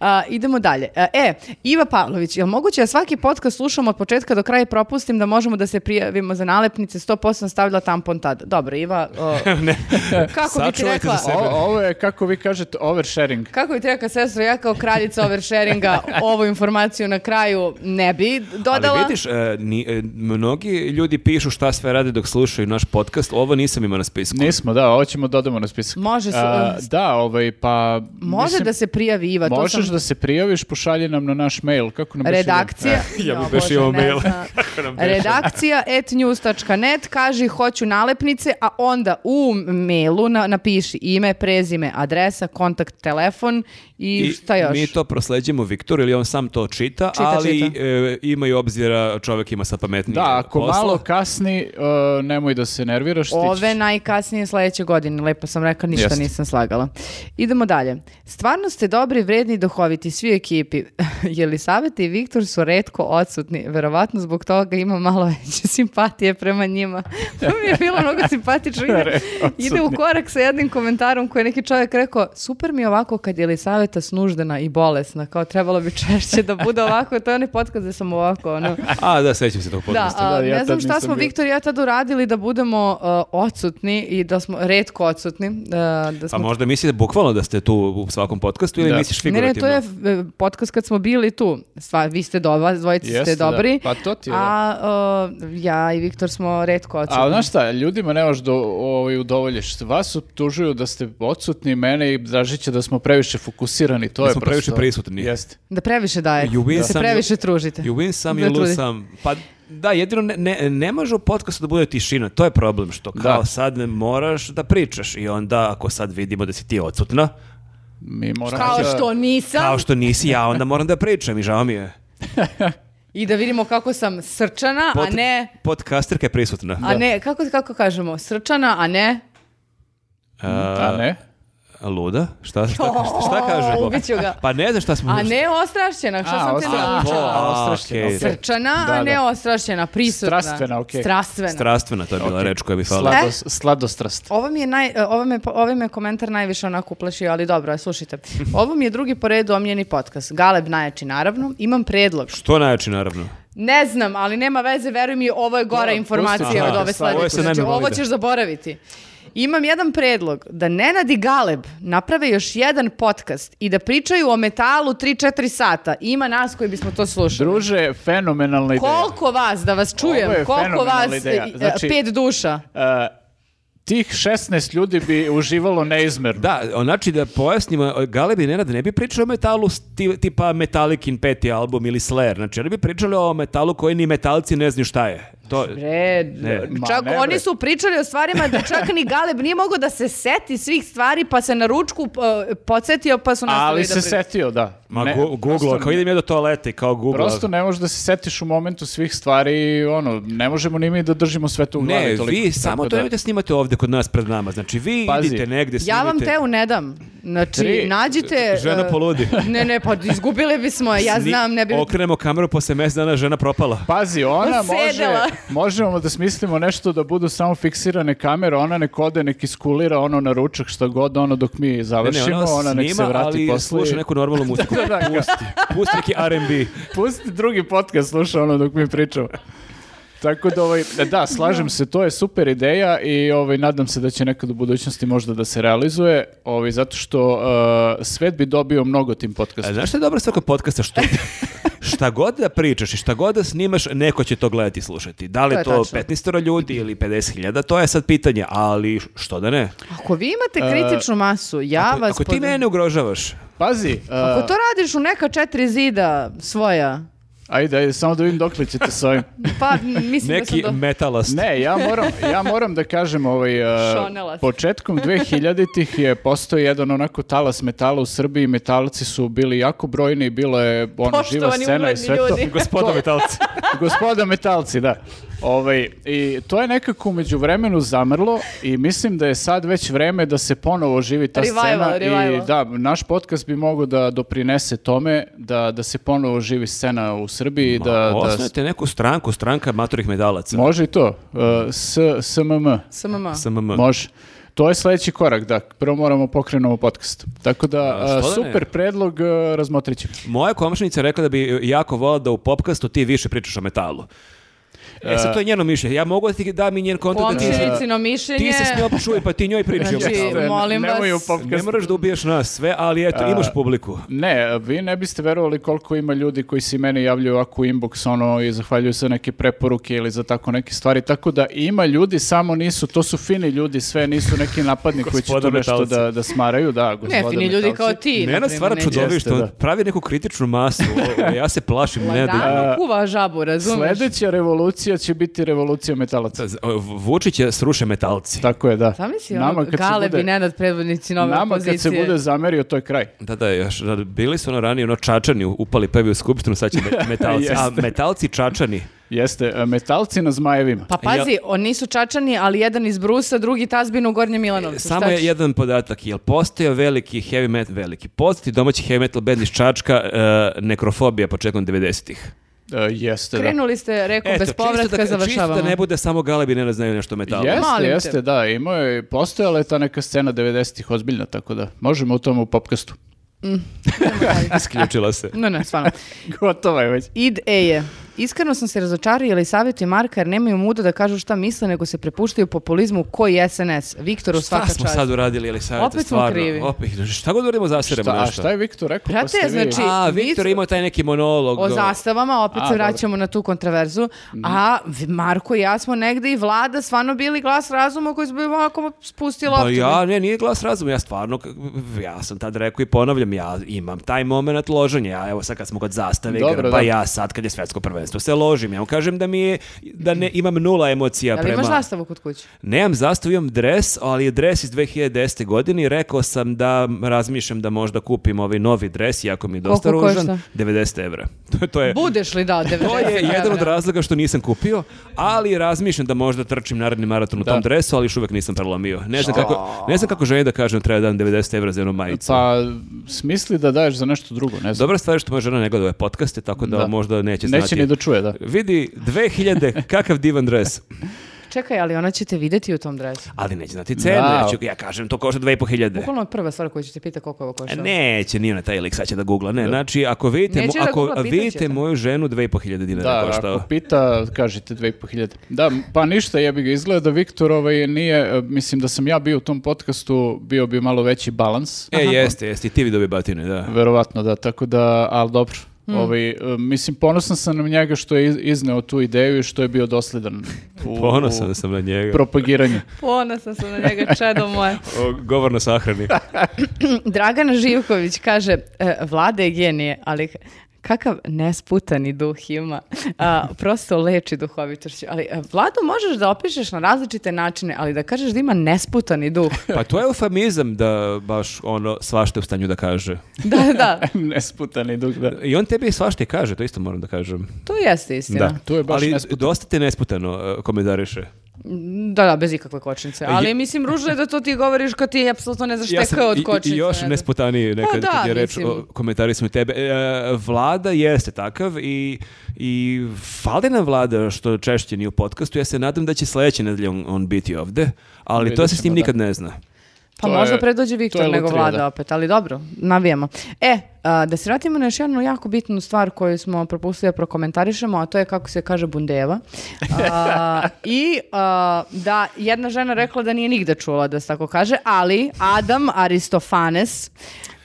Speaker 1: A, idemo dalje. A, E, Iva Pavlović, je li moguće da svaki podcast slušamo od početka do kraja i propustim da možemo da se prijavimo za nalepnice? 100% sam stavila tampon tad. Dobro, Iva, o, kako bi ti
Speaker 3: Sačuvajte
Speaker 1: rekla?
Speaker 3: za sebe.
Speaker 2: O- ovo je, kako vi kažete, oversharing.
Speaker 1: Kako bi ti rekla sestro, ja kao kraljica oversharinga ovu informaciju na kraju ne bi dodala.
Speaker 3: Ali vidiš, e, ni- e, mnogi ljudi pišu šta sve rade dok slušaju naš podcast. Ovo nisam imao na spisku.
Speaker 2: Nismo, da, ovo ćemo dodamo na spisak.
Speaker 1: Može se-
Speaker 2: A, da, ovaj, pa...
Speaker 1: Može
Speaker 2: mislim,
Speaker 1: da se prijavi Iva, Pa to
Speaker 2: Možeš
Speaker 1: sam...
Speaker 2: da se prijaviš, pošalji nam na naš mail. Kako nam beše
Speaker 1: Redakcija,
Speaker 3: e. Ja
Speaker 1: Jo,
Speaker 3: bih baš
Speaker 1: Bože,
Speaker 3: imao
Speaker 1: ne
Speaker 3: mail.
Speaker 1: znam.
Speaker 3: Kako nam beše?
Speaker 1: Redakcija etnews.net kaže hoću nalepnice, a onda u mailu na- napiši ime, prezime, adresa, kontakt, telefon i,
Speaker 3: I
Speaker 1: šta još?
Speaker 3: Mi to prosleđujemo Viktoru ili on sam to čita,
Speaker 1: Čita,
Speaker 3: ali
Speaker 1: čita.
Speaker 3: e, ima i obzira, čovjek ima sad pametnije
Speaker 2: Da, ako
Speaker 3: posla.
Speaker 2: malo kasni, uh, nemoj da se nerviraš. stići
Speaker 1: Ove
Speaker 2: ćeš.
Speaker 1: najkasnije sledeće godine, lepo sam rekla, ništa
Speaker 2: Jeste.
Speaker 1: nisam slagala. Idemo dalje. Stvarno ste dobri, vredni i duhoviti, svi u ekipi. Jelisaveta i Viktor su redko odsutni, verovatno zbog toga ima malo veće simpatije prema njima. to mi je bilo mnogo simpatično. Ide, ide u korak sa jednim komentarom koji je neki čovjek rekao, super mi je ovako kad je Jelisaveta snuždena i bolesna, kao trebalo bi češće da bude ovako, to je onaj podcast gde sam ovako, ono,
Speaker 3: A, da, sećam se tog
Speaker 1: da,
Speaker 3: podcasta.
Speaker 1: a,
Speaker 2: Da, ja
Speaker 1: ne znam
Speaker 2: tad
Speaker 1: šta
Speaker 2: nisam
Speaker 1: smo
Speaker 2: bio.
Speaker 1: Viktor i ja tad uradili da budemo uh, odsutni i da smo redko odsutni. e, da- da
Speaker 3: A
Speaker 1: smo...
Speaker 3: možda mislite Pa bukvalno da ste tu u svakom podcastu ili
Speaker 2: Da.
Speaker 3: misliš
Speaker 1: ne, ne,
Speaker 3: figurativno?
Speaker 1: to to je e, podcast kad smo bili tu. Sva, vi ste doba, dvojice
Speaker 2: Jeste,
Speaker 1: ste
Speaker 2: da.
Speaker 1: dobri.
Speaker 2: Pa to ti je,
Speaker 1: A e, ja i Viktor smo redko
Speaker 2: A
Speaker 1: odsutni.
Speaker 2: znaš šta, ljudima ne možeš da ovaj, udovoljiš. Vas optužuju da ste odsutni, mene i Dražića da smo previše fokusirani. To
Speaker 3: Da
Speaker 2: je
Speaker 3: smo
Speaker 2: prosto-
Speaker 3: previše prisutni.
Speaker 2: Jeste.
Speaker 1: Da previše daje.
Speaker 3: You win
Speaker 1: da se
Speaker 3: some,
Speaker 1: previše
Speaker 3: you-
Speaker 1: tružite.
Speaker 3: You win some, you
Speaker 1: Ne
Speaker 3: lose
Speaker 1: trudi.
Speaker 3: some. Pa da, jedino ne, ne, ne može u podcastu da bude tišina. To je problem što kao
Speaker 2: Da.
Speaker 3: sad ne moraš da pričaš i onda ako sad vidimo da si ti odsutna,
Speaker 2: Mi moramo
Speaker 1: Kao
Speaker 2: da-
Speaker 1: što nisam.
Speaker 3: kao što nisi ja, onda moram da pričam i žao mi je.
Speaker 1: I da vidimo kako sam srčana, a
Speaker 3: Pod-
Speaker 1: ne...
Speaker 3: Podcasterka je prisutna.
Speaker 1: A ne, kako, kako kažemo, srčana, a ne...
Speaker 2: A ne?
Speaker 3: Luda? Šta, šta, šta, šta kažemo?
Speaker 1: ubiću ga.
Speaker 3: Pa ne znam šta smo...
Speaker 1: A ne ostrašćena, što
Speaker 2: A,
Speaker 1: sam te
Speaker 2: ostrašćena.
Speaker 1: naučila?
Speaker 2: A,
Speaker 3: A,
Speaker 2: ostrašćena,
Speaker 3: Pa, okej.
Speaker 2: okej.
Speaker 1: Srčana,
Speaker 2: Da,
Speaker 1: a
Speaker 2: da.
Speaker 1: ne ostrašćena, prisutna.
Speaker 2: Strastvena, okej.
Speaker 1: Strastvena.
Speaker 3: Strastvena, to je bila reč koja mi fala.
Speaker 1: Sla-
Speaker 2: Slados, Sladostrast.
Speaker 1: Ovo mi je naj, e, ovo me, ovo me komentar najviše onako uplašio, ali dobro, slušajte. Ovo mi je drugi po redu omljeni podcast. Galeb najjači, naravno. Imam predlog.
Speaker 3: To najjači, naravno.
Speaker 1: Ne znam, ali nema veze, veruj mi, ovo je gora
Speaker 2: Dobro, pusti,
Speaker 1: informacija
Speaker 2: aha,
Speaker 1: od ove
Speaker 2: sad, ovo
Speaker 1: sledeće.
Speaker 2: je
Speaker 3: sad
Speaker 1: Znači,
Speaker 3: najbolje
Speaker 1: ovo
Speaker 3: bolide.
Speaker 1: ćeš zaboraviti. Imam jedan predlog, da Nenad i Galeb naprave još jedan podcast i da pričaju o metalu 3-4 sata. Ima nas koji bismo to slušali.
Speaker 2: Druže, fenomenalna ideja.
Speaker 1: Koliko vas, da vas čujem,
Speaker 2: Ovo je
Speaker 1: koliko
Speaker 2: fenomenalna
Speaker 1: vas, e,
Speaker 2: ideja.
Speaker 1: e,
Speaker 2: Znači-
Speaker 1: pet duša.
Speaker 2: E, tih 16 ljudi bi uživalo neizmerno.
Speaker 3: Da, znači da pojasnimo, Galeb i Nenad ne bi pričali o metalu sti- tipa Metallicin peti album ili Slayer. Znači, oni bi pričali o metalu koji ni metalci ne znaju šta je. To,
Speaker 1: Bre,
Speaker 2: Ma
Speaker 1: čak
Speaker 2: ne, bre.
Speaker 1: oni su pričali o stvarima da čak ni Galeb nije mogao da se seti svih stvari, pa se na ručku e, podsjetio, pa su nastavili
Speaker 2: Ali
Speaker 1: da
Speaker 2: se
Speaker 1: pričaju.
Speaker 2: setio, da.
Speaker 3: ma
Speaker 2: Ne,
Speaker 3: gu- Google,
Speaker 2: prosto-
Speaker 3: ako idem ja do toalete i kao Google.
Speaker 2: Prosto ne možeš da se setiš u momentu svih stvari, ono, ne možemo ni mi da držimo sve to u glavi.
Speaker 3: ne,
Speaker 2: toliko,
Speaker 3: vi
Speaker 2: tako
Speaker 3: samo to
Speaker 2: da-
Speaker 3: nemojte snimati ovdje kod nas pred nama. Znači, vi
Speaker 2: Pazi,
Speaker 3: idite negde, snimite.
Speaker 1: Ja vam teu ne dam. Znači,
Speaker 2: Tri.
Speaker 1: nađite...
Speaker 3: Žena
Speaker 1: e,
Speaker 3: poludi.
Speaker 1: Ne, ne, pa izgubili bismo, je, ja
Speaker 3: Sni-
Speaker 1: znam, ne bi...
Speaker 3: Okrenemo kameru posle mjesec dana, žena propala.
Speaker 2: Pazi, ona može,
Speaker 1: Sedela.
Speaker 2: možemo da smislimo nešto da budu samo fiksirane kamere, ona nek ode, nek iskulira ono na ručak šta god, ono dok mi
Speaker 3: Ne, ne,
Speaker 2: završimo,
Speaker 3: ona
Speaker 2: ona, nek se
Speaker 3: snima, ali
Speaker 2: vrati posle.
Speaker 3: sluša neku normalnu muziku.
Speaker 2: Da, da, da.
Speaker 3: pusti, pusti neki R&B.
Speaker 2: Pusti drugi podcast, sluša ono dok mi pričamo. Tako da, ovaj, da, slažem se, to je super ideja i ovaj, nadam se da će nekad u budućnosti možda da se realizuje, ovaj, zato što eh, svet bi dobio mnogo tim
Speaker 3: A
Speaker 2: podcastom.
Speaker 3: znaš što je dobro svakog podcasta? Što, šta god da pričaš i šta god da snimaš, neko će to gledati i slušati. Da li
Speaker 1: To
Speaker 3: to,
Speaker 1: je
Speaker 3: to
Speaker 1: tačno.
Speaker 3: 15 ljudi ili 50.000, to je sad pitanje, ali što da ne?
Speaker 1: Ako vi
Speaker 2: E,
Speaker 1: imate kritičnu masu, ja
Speaker 3: Ako,
Speaker 1: vas...
Speaker 3: ako ti
Speaker 1: pod-
Speaker 3: mene ugrožavaš,
Speaker 2: Pazi, eh,
Speaker 1: Ako Pa to radiš u neka četiri zida svoja,
Speaker 2: ajde, ajde, samo da vidim dok li ćete s ovim.
Speaker 1: pa m, mislim
Speaker 3: neki
Speaker 1: da sam do...
Speaker 3: metalast.
Speaker 2: Ne, ja moram, ja moram da kažem, ovaj, eh,
Speaker 1: Šonela si.
Speaker 2: početkom 2000-ih je postao jedan onako talas metala u Srbiji, metalci su bili jako brojni, bilo je ono, živa
Speaker 1: Poštovani,
Speaker 2: scena i
Speaker 1: ugledni
Speaker 2: sve to.
Speaker 1: ljudi.
Speaker 3: Gospodo metalci.
Speaker 2: Gospoda metalci, da. Ovaj, I to je nekako umeđu vremenu zamrlo i mislim da je sad već vreme da se ponovo živi ta
Speaker 1: Revival,
Speaker 2: scena.
Speaker 1: revival.
Speaker 2: I da, naš podcast bi mogao da doprinese tome da, da se ponovo živi scena u Srbiji. da, da-
Speaker 3: Osnujete neku stranku, stranka maturih medalaca.
Speaker 2: Može i to. E, S, SMM.
Speaker 1: SMM.
Speaker 3: SMM.
Speaker 2: Može. To je sledeći korak, da. Prvo moramo pokrenemo podcast. Tako da,
Speaker 3: A, što
Speaker 2: e,
Speaker 3: da ne?
Speaker 2: super predlog, e, razmotrit ćemo.
Speaker 3: Moja komšnica je rekla da bi jako volila da u popkastu ti više pričaš o metalu. E, sad to je njeno mišljenje. Ja mogu da ti dam i njen kontakt. da ti-
Speaker 1: Komšinicino mišljenje...
Speaker 3: Ti se s njom čuj, pa ti njoj pričaj o
Speaker 1: Znači,
Speaker 3: metalu.
Speaker 2: Ne,
Speaker 1: molim
Speaker 2: nemoj
Speaker 1: vas.
Speaker 2: u podcast.
Speaker 3: Ne moraš da ubiješ nas sve, ali eto, imaš publiku.
Speaker 2: Ne, vi ne biste verovali koliko ima ljudi koji se i meni javljaju ovako u inbox ono i zahvaljuju se neke preporuke ili za tako neke stvari. Tako da ima ljudi, samo nisu, to su fini ljudi, sve nisu neki napadni koji će
Speaker 3: Gospoda
Speaker 2: tu nešto
Speaker 3: metalci.
Speaker 2: da, da smaraju. Da,
Speaker 1: Ne,
Speaker 2: gospoda
Speaker 1: fini ljudi
Speaker 2: metalci.
Speaker 1: kao ti.
Speaker 3: Nenad
Speaker 1: na
Speaker 3: stvara
Speaker 1: primjer, neće.
Speaker 3: čudovište,
Speaker 2: Jeste, da.
Speaker 3: pravi neku kritičnu masu. O, Ja se plašim, ne da...
Speaker 1: Lagano ono, kuva žabu, razumeš?
Speaker 2: Sledeća revolucija će biti revolucija metalaca.
Speaker 3: Vučić je sruše metalci.
Speaker 2: Tako je, da.
Speaker 1: Zamisli ono, Galeb i Nenad predvodnici nove
Speaker 2: nama kad se
Speaker 1: opozicije.
Speaker 2: bude zamerio, to je kraj.
Speaker 3: Da, da, još, da, bili su ono ranije, ono čačani upali prvi u skupštinu, sad će me- metalci. A
Speaker 2: Jeste.
Speaker 3: metalci čačani.
Speaker 2: Jeste, e, metalci na zmajevima.
Speaker 1: Pa pazi, oni nisu čačani, ali jedan iz Brusa, drugi tazbin u Gornje Milanovcu.
Speaker 3: Samo
Speaker 1: Šta
Speaker 3: je
Speaker 1: ćeš?
Speaker 3: jedan podatak, jel postoje veliki heavy metal, veliki poznati domaći heavy metal band iz Čačka, e, nekrofobija početkom 90-ih.
Speaker 2: E, jeste, da.
Speaker 1: Krenuli ste, rekao, bez
Speaker 3: čisto
Speaker 1: povratka
Speaker 3: da, čisto
Speaker 1: završavamo.
Speaker 3: da ne bude samo galebi ne znaju nešto o metalu.
Speaker 2: Jeste,
Speaker 1: Molim te.
Speaker 2: jeste, da. Imao je, postojala je ta neka scena 90-ih ozbiljna, tako da možemo u tom u popkastu.
Speaker 3: Isključila se.
Speaker 1: Ne, ne, stvarno.
Speaker 2: Gotovo je već.
Speaker 1: Id E je. Iskreno sam se razočarila i savjetujem Marka jer nemaju muda da kažu šta misle nego se prepuštaju populizmu koji SNS. Viktoru svaka
Speaker 3: Šta
Speaker 1: čast.
Speaker 3: smo sad uradili, ili
Speaker 1: Opet smo
Speaker 3: stvarno?
Speaker 1: krivi.
Speaker 3: Opet, šta god uradimo, zasiramo
Speaker 2: Šta, a
Speaker 3: nešto.
Speaker 2: šta je Viktor rekao?
Speaker 1: Brate,
Speaker 2: pa ste vi-
Speaker 1: znači-
Speaker 3: A,
Speaker 1: Mi
Speaker 3: Viktor
Speaker 1: smo-
Speaker 3: je imao taj neki monolog. ono.
Speaker 1: O zastavama, opet
Speaker 3: A,
Speaker 1: se
Speaker 3: dobro. Mhm.
Speaker 1: vraćamo na tu kontraverzu. A v- Marko i ja smo negde i vlada stvarno bili glas razuma koji smo ovako spustili
Speaker 3: Pa
Speaker 1: loptu.
Speaker 3: ja, ne, nije glas razuma, ja stvarno, k- ja sam tad rekao i ponavljam, ja imam taj moment loženja, ja evo sad kad smo kod zastave,
Speaker 2: Dobro,
Speaker 3: igram, pa
Speaker 2: da.
Speaker 3: ja sad kad je svetsko prvenstvo se ložim, ja mu kažem da mi je, da ne, imam nula emocija
Speaker 1: Da li
Speaker 3: prema...
Speaker 1: imaš zastavu kod kuće?
Speaker 3: Nemam zastavu, imam dres, ali je dres iz 2010. godine i rekao sam da razmišljam da možda kupim ovaj novi dres, iako mi je dosta
Speaker 1: Koliko košta?
Speaker 3: ružan, 90 evra. To, to je...
Speaker 1: Budeš li da, 90
Speaker 3: To je jedan od
Speaker 1: evra?
Speaker 3: razloga što nisam kupio, ali razmišljam da možda trčim naredni maraton u tom
Speaker 2: Da.
Speaker 3: dresu, ali još uvek nisam prelomio. Ne znam kako, ne znam kako želim da kažem da treba da dam 90 evra za jednu majicu.
Speaker 2: Pa smisli da daješ za nešto drugo, ne znam.
Speaker 3: Dobra stvar je što moja žena ne gleda ove podcaste, tako da,
Speaker 2: Da.
Speaker 3: možda neće znati.
Speaker 2: Neće ni da čuje, da.
Speaker 3: Vidi, 2000, kakav divan dres.
Speaker 1: Čekaj, ali ona će te videti u tom dresu.
Speaker 3: Ali neće znati cenu,
Speaker 2: Da.
Speaker 3: ja, ću- ja kažem to košta 2500.
Speaker 1: Bukvalno je prva stvar koju će te pita koliko ovo
Speaker 3: E,
Speaker 1: košta.
Speaker 3: Neće, nije na taj lik, sad će da googla. Ne, znači, ako vidite, mo-
Speaker 1: Neće da
Speaker 3: ako
Speaker 1: googla, pitaće
Speaker 3: vidite
Speaker 1: te.
Speaker 3: moju ženu, 2500 dinara
Speaker 2: Da,
Speaker 3: košta.
Speaker 2: ako pita, kažete 2500. Da, pa ništa jebi ga izgleda da Viktor ovaj nije, e, mislim da sam ja bio u tom podcastu, bio bi malo veći balans.
Speaker 3: E, jeste, jeste, i ti vidovi batine, da.
Speaker 2: Verovatno da, tako da, ali dobro. Ovaj, e, mislim, ponosan sam na njega što je iz- izneo tu ideju i što je bio dosledan u,
Speaker 3: Ponosan
Speaker 2: u
Speaker 3: sam na njega.
Speaker 2: propagiranju.
Speaker 1: Ponosna sam na njega, čedo moje.
Speaker 3: O, Govor na sahrani.
Speaker 1: Dragana Živković kaže, e, vlada je genije, ali k- kakav nesputani duh ima. A, prosto leči duhovitošću. Ali e, vladu možeš da opišeš na različite načine, ali da kažeš da ima nesputani duh.
Speaker 3: Pa to je eufemizam da baš ono svašta je u stanju da kaže.
Speaker 1: Da, da,
Speaker 2: Nesputani dug, da.
Speaker 3: I on tebi svašta i kaže, to isto moram da kažem.
Speaker 1: to jeste istina. Da.
Speaker 2: To je baš
Speaker 3: Ali
Speaker 2: nesputano.
Speaker 3: dosta te nesputano e, komentariše.
Speaker 1: Da, bez ikakve kočnice. Ali
Speaker 3: Je-
Speaker 1: mislim, ružno je da to ti govoriš kad ti apsolutno ne znaš šta je
Speaker 3: sam
Speaker 1: K od
Speaker 3: i- i,
Speaker 1: kočnice.
Speaker 3: još
Speaker 1: ne znam.
Speaker 3: nesputaniji nekad
Speaker 1: da,
Speaker 3: kad je reč
Speaker 1: mislim.
Speaker 3: o komentarisima tebe. E, vlada jeste takav i, i fali nam vlada što češće nije u podcastu. Ja se nadam da će sledeće nedelje on, on biti ovde, ali to
Speaker 2: Vidjet
Speaker 3: se s njim
Speaker 2: ćemo, da.
Speaker 3: nikad ne zna.
Speaker 1: Pa
Speaker 2: To
Speaker 1: možda
Speaker 2: je-
Speaker 1: predođe
Speaker 2: to je
Speaker 1: Viktor nego
Speaker 2: lutrija,
Speaker 1: vlada
Speaker 2: da.
Speaker 1: opet, ali dobro, navijamo. E, a, da se vratimo na još jednu jako bitnu stvar koju smo propustili da prokomentarišemo, a to je kako se kaže bundeva. A, I a, da jedna žena rekla da nije nigde čula da se tako kaže, ali Adam Aristofanes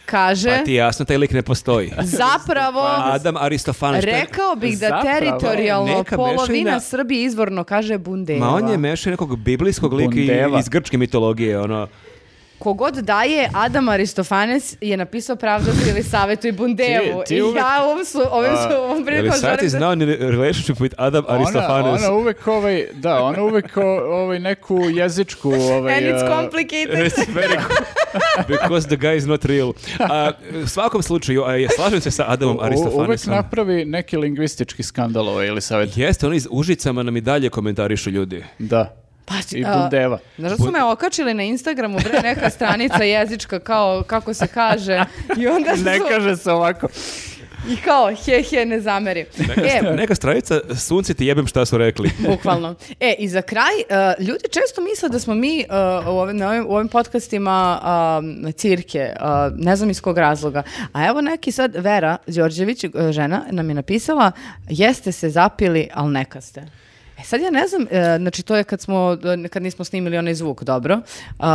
Speaker 1: kaže...
Speaker 3: Pa ti je jasno, taj lik ne postoji.
Speaker 1: Zapravo,
Speaker 3: Adam pa- Aristofanes. to je-
Speaker 1: rekao bih da
Speaker 2: Zapravo,
Speaker 1: teritorijalno
Speaker 3: neka
Speaker 1: polovina
Speaker 3: mešavina-
Speaker 1: Srbije izvorno kaže bundeva.
Speaker 3: Ma on je mešao nekog biblijskog lika i-
Speaker 2: Bundeva.
Speaker 3: iz grčke mitologije, ono.
Speaker 1: Kogod daje, Adam Aristofanes je napisao pravdati ili savetu i bundevu.
Speaker 2: Ti- ti
Speaker 1: I
Speaker 2: uvek-
Speaker 1: ja ovom su, ovim su,
Speaker 2: A,
Speaker 1: ovom
Speaker 3: Je
Speaker 1: prilikom
Speaker 3: sad ti
Speaker 1: želim da...
Speaker 3: znao ni relationship with Adam
Speaker 2: Ona,
Speaker 3: Aristofanes?
Speaker 2: ona uvek ovaj, da, ona uvek o- ovaj neku jezičku ovaj,
Speaker 1: And it's
Speaker 2: a,
Speaker 1: complicated.
Speaker 3: It's very good. Because the guy is not real. A, u svakom slučaju, a, je, slažem se sa Adamom
Speaker 2: u- uvek
Speaker 3: Aristofanesom.
Speaker 2: napravi neki lingvistički skandal ovaj, ili savjet.
Speaker 3: Jeste, oni iz Užicama nam i dalje komentarišu ljudi.
Speaker 2: Da.
Speaker 1: Pa,
Speaker 2: I
Speaker 1: a,
Speaker 2: bundeva.
Speaker 1: Znaš da su me okačili na Instagramu, bre, neka stranica jezička, kao kako se kaže. I onda su,
Speaker 2: Ne kaže se ovako.
Speaker 1: i kao, he, he, ne zameri. E,
Speaker 3: Neka stranica, sunce ti jebem šta su rekli.
Speaker 1: Bukvalno. E, i za kraj, uh, ljudi često misle da smo mi uh, u, ovim, na ovim, u ovim podcastima um, cirke, uh, ne znam iz kog razloga. A evo neki sad, Vera Đorđević, uh, žena, nam je napisala jeste se zapili, ali neka ste. E sad ja ne znam, uh, znači to je kad smo, uh, kad nismo snimili onaj zvuk, dobro. Uh,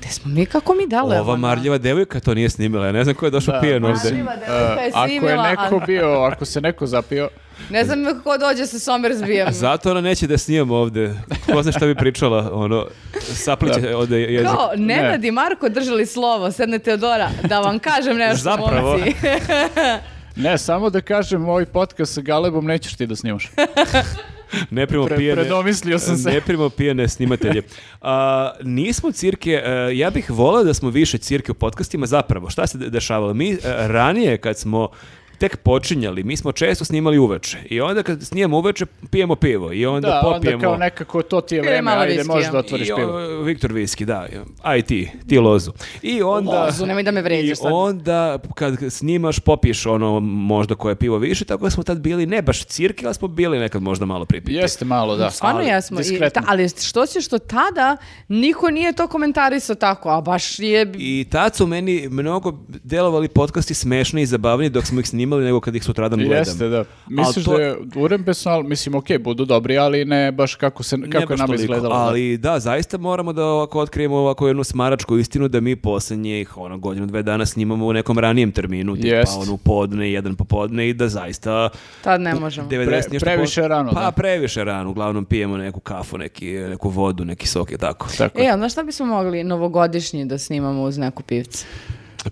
Speaker 1: gde smo mi, kako mi dalo?
Speaker 3: Ova marljiva devojka to nije snimila, ja ne znam ko je došao pijen ovde.
Speaker 2: E, ako je neko bio, ako se neko zapio,
Speaker 1: Ne znam kako dođe sa Somersbijem.
Speaker 3: Zato ona neće da snimamo ovde. Ko zna šta bi pričala, ono, sapliće ovde jezik.
Speaker 1: Kao, Nenad i Marko držali slovo, sedne Teodora, da vam kažem nešto,
Speaker 3: Zapravo.
Speaker 1: momci.
Speaker 2: ne, samo da kažem, ovaj podcast sa Galebom nećeš ti da snimaš.
Speaker 3: Ne primamo
Speaker 2: Pre-
Speaker 3: pijene.
Speaker 2: predomislio sam se.
Speaker 3: Ne primamo pijene snimatelje. A, nismo cirke, e, ja bih volao da smo više cirke u podcastima zapravo. Šta se de- dešavalo? Mi e, ranije kad smo tek počinjali, mi smo često snimali uveče. I onda kad snimamo uveče, pijemo pivo. I onda
Speaker 2: Da, onda
Speaker 3: popijemo...
Speaker 2: kao nekako to ti je
Speaker 1: Ili
Speaker 2: vreme,
Speaker 1: malo
Speaker 2: ajde,
Speaker 1: viskija.
Speaker 2: možeš da otvoriš
Speaker 3: I, ono- o,
Speaker 2: pivo.
Speaker 3: Viktor Viski, da. A i ti, ti lozu. I onda...
Speaker 1: Lozu, nemoj da me vređaš
Speaker 3: i
Speaker 1: sad.
Speaker 3: onda kad snimaš, popiješ ono možda koje pivo više, tako da smo tad bili ne baš cirke, ali smo bili nekad možda malo pripiti.
Speaker 2: Jeste malo, da.
Speaker 1: Stvarno
Speaker 2: Ali
Speaker 1: jesmo. I,
Speaker 2: diskretno.
Speaker 1: ta- ali što se što tada niko nije to komentarisao tako, a baš je...
Speaker 3: I tad su meni mnogo delovali podcasti smešni i zabavni dok smo ih imali nego kad ih sutradan gledam.
Speaker 2: Jeste, da. Misliš
Speaker 3: to-
Speaker 2: da je urembesno, ali mislim, okej, budu dobri, ali ne baš kako, se,
Speaker 3: Ne
Speaker 2: kako je
Speaker 3: baš
Speaker 2: nama
Speaker 3: toliko,
Speaker 2: izgledalo.
Speaker 3: Ali da, zaista moramo da ovako otkrijemo ovako jednu smaračku istinu da mi posljednjih ono, godinu, dve dana snimamo u nekom ranijem terminu, tipa
Speaker 2: Jest.
Speaker 3: ono u podne, jedan popodne i da zaista
Speaker 1: Tad ne možemo.
Speaker 3: 90
Speaker 2: Pre-
Speaker 3: nešto
Speaker 2: previše
Speaker 3: posto-
Speaker 2: rano,
Speaker 3: Pa
Speaker 2: da.
Speaker 3: previše rano, uglavnom pijemo neku kafu, neki, neku vodu, neki sok i tako.
Speaker 2: Tako.
Speaker 1: E, a znaš šta bismo mogli novogodišnji da snimamo uz neku pivcu?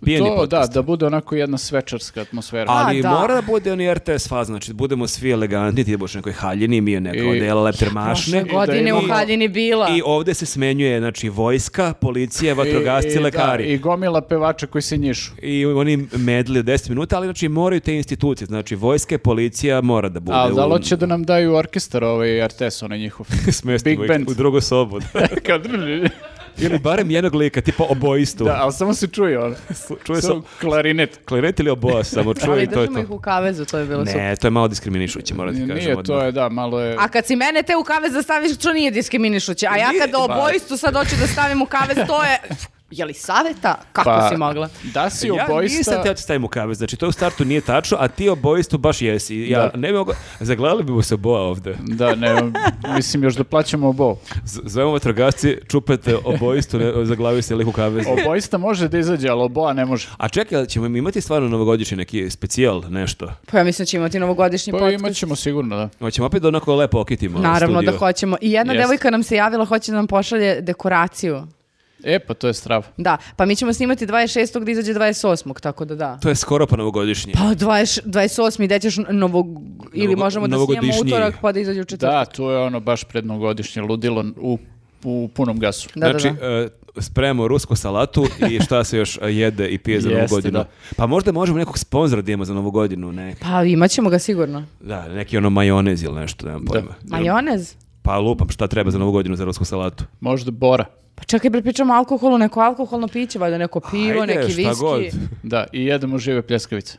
Speaker 3: Pijeni
Speaker 2: to,
Speaker 3: podcast.
Speaker 2: da, da bude onako jedna svečarska atmosfera.
Speaker 3: Ali
Speaker 1: A, da.
Speaker 3: mora da bude oni RTS faz, znači budemo svi elegantni, ti budeš u nekoj haljini, mi u nekoj
Speaker 2: I-
Speaker 3: odela lepter
Speaker 1: Prošle
Speaker 3: mašne.
Speaker 2: go-
Speaker 1: godine
Speaker 2: imamo-
Speaker 1: u haljini bila.
Speaker 3: E, I ovdje se smenjuje, znači, vojska, policija,
Speaker 2: I-
Speaker 3: vatrogasci,
Speaker 2: i, da,
Speaker 3: lekari.
Speaker 2: I gomila pevača koji se njišu.
Speaker 3: I oni medli od 10 minuta, ali znači moraju te institucije, znači vojska i policija mora da bude.
Speaker 2: A da li
Speaker 3: u-
Speaker 2: hoće da nam daju orkestar ovaj RTS, onaj njihov?
Speaker 3: smestimo
Speaker 2: Big
Speaker 3: ih
Speaker 2: band.
Speaker 3: u drugu sobu. da.
Speaker 2: Kad-
Speaker 3: ili barem jednog lika, tipa obojistu.
Speaker 2: da, ali samo se čuje on.
Speaker 3: Čuje se
Speaker 2: Samo klarinet.
Speaker 3: klarinet ili oboja, samo čuje
Speaker 1: Ali
Speaker 3: i to je
Speaker 1: držimo
Speaker 3: to.
Speaker 1: ih u kavezu, to je bilo super.
Speaker 3: Ne, to je malo diskriminišuće, moram ti kažem.
Speaker 2: Nije, to je, da, malo je...
Speaker 1: A kad si mene te u kavez da staviš, to nije diskriminišuće. A ja
Speaker 3: Nije,
Speaker 1: kad
Speaker 3: pa-
Speaker 1: obojistu sad hoću da stavim u kavez, to je... Je li saveta? Kako
Speaker 3: Pa,
Speaker 1: si mogla?
Speaker 2: Da si
Speaker 3: Ja
Speaker 2: obojista...
Speaker 3: nisam teo da ti stavim u kavez, znači to u startu nije tačno, a ti obojistu baš jesi. Ja
Speaker 2: Da.
Speaker 3: ne bi mogao, zagledali bi mu se oboja ovde.
Speaker 2: Da, ne, mislim još da plaćamo obo.
Speaker 3: Z- Zovemo vatrogasci, čupate obojistu, ne, zaglavio se liku kavez.
Speaker 2: Obojista može da izađe, ali oboa ne može.
Speaker 3: A čekaj, ali ćemo im imati stvarno novogodišnji neki specijal, nešto?
Speaker 1: Pa ja mislim da će imati novogodišnji
Speaker 2: Pa
Speaker 1: podcast.
Speaker 2: imat ćemo sigurno, da.
Speaker 3: Hoćemo opet da onako lepo okitimo
Speaker 1: Naravno
Speaker 3: studio.
Speaker 1: da hoćemo. I jedna
Speaker 2: Jeste.
Speaker 1: devojka nam se javila, hoće da nam pošalje dekoraciju.
Speaker 2: E, pa to je strava.
Speaker 1: Da, pa mi ćemo snimati 26. da izađe 28. tako da da.
Speaker 3: To je skoro pa novogodišnje.
Speaker 1: Pa 20, 28. gde ćeš novog... Ili
Speaker 3: Novogo-
Speaker 1: možemo da snijemo
Speaker 3: novogodišnji.
Speaker 1: utorak pa da izađe u četvrtak.
Speaker 2: Da, to je ono baš prednogodišnje ludilo u, u punom gasu.
Speaker 1: Da, da,
Speaker 3: znači,
Speaker 1: da.
Speaker 3: e, spremamo rusku salatu i šta se još e, jede i pije za novu
Speaker 2: Jeste,
Speaker 3: godinu.
Speaker 2: da.
Speaker 3: Pa možda možemo nekog sponzora da imamo za novu godinu, ne,
Speaker 1: Pa imat ćemo ga sigurno.
Speaker 3: da, neki ono majonez ili nešto, nemam pojma.
Speaker 1: Majonez?
Speaker 3: Pa lupam šta treba za novu godinu za rusku salatu.
Speaker 2: Možda bora.
Speaker 1: Pa čekaj, bre, pričamo o alkoholu, neko alkoholno piće, valjda neko pivo,
Speaker 3: Ajde,
Speaker 1: neki
Speaker 3: šta
Speaker 1: viski.
Speaker 3: god.
Speaker 2: Da, i jedemo žive pljeskavice.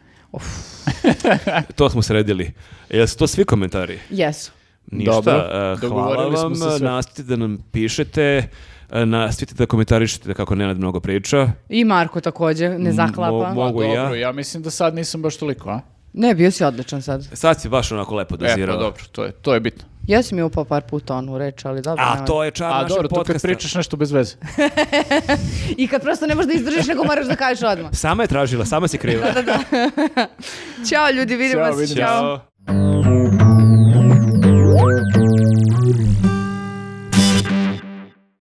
Speaker 3: To smo sredili. Jel su to svi komentari?
Speaker 1: Jesu.
Speaker 3: Ništa.
Speaker 2: Dobro,
Speaker 3: e, hvala
Speaker 2: dogovorili smo
Speaker 3: vam.
Speaker 2: se sve.
Speaker 3: Nastavite da nam pišete. e, Nastavite da komentarišete kako Nenad mnogo priča.
Speaker 1: I Marko također, ne zaklapa.
Speaker 3: mo- Mogu
Speaker 2: Pa
Speaker 3: i ja.
Speaker 2: dobro, ja mislim da sad nisam baš toliko, a?
Speaker 1: Ne, bio si odličan sad.
Speaker 3: Sad si baš onako lepo
Speaker 2: E,
Speaker 3: dozirao.
Speaker 2: pa dobro, to je, to je bitno.
Speaker 1: Ja sam je upao par puta onu reč, ali dobro.
Speaker 3: A
Speaker 1: nema
Speaker 3: to je čar
Speaker 2: A
Speaker 3: našeg
Speaker 2: dobro, to kad
Speaker 3: podcasta.
Speaker 2: pričaš nešto bez veze.
Speaker 1: veze. I kad prosto ne možeš da izdržiš, nego moraš da kažeš odmah.
Speaker 3: Sama je tražila, sama si kriva.
Speaker 1: Ćao ljudi, vidimo
Speaker 2: Ćao,
Speaker 1: se.
Speaker 2: vidimo se.
Speaker 1: Ćao.
Speaker 3: Ćao.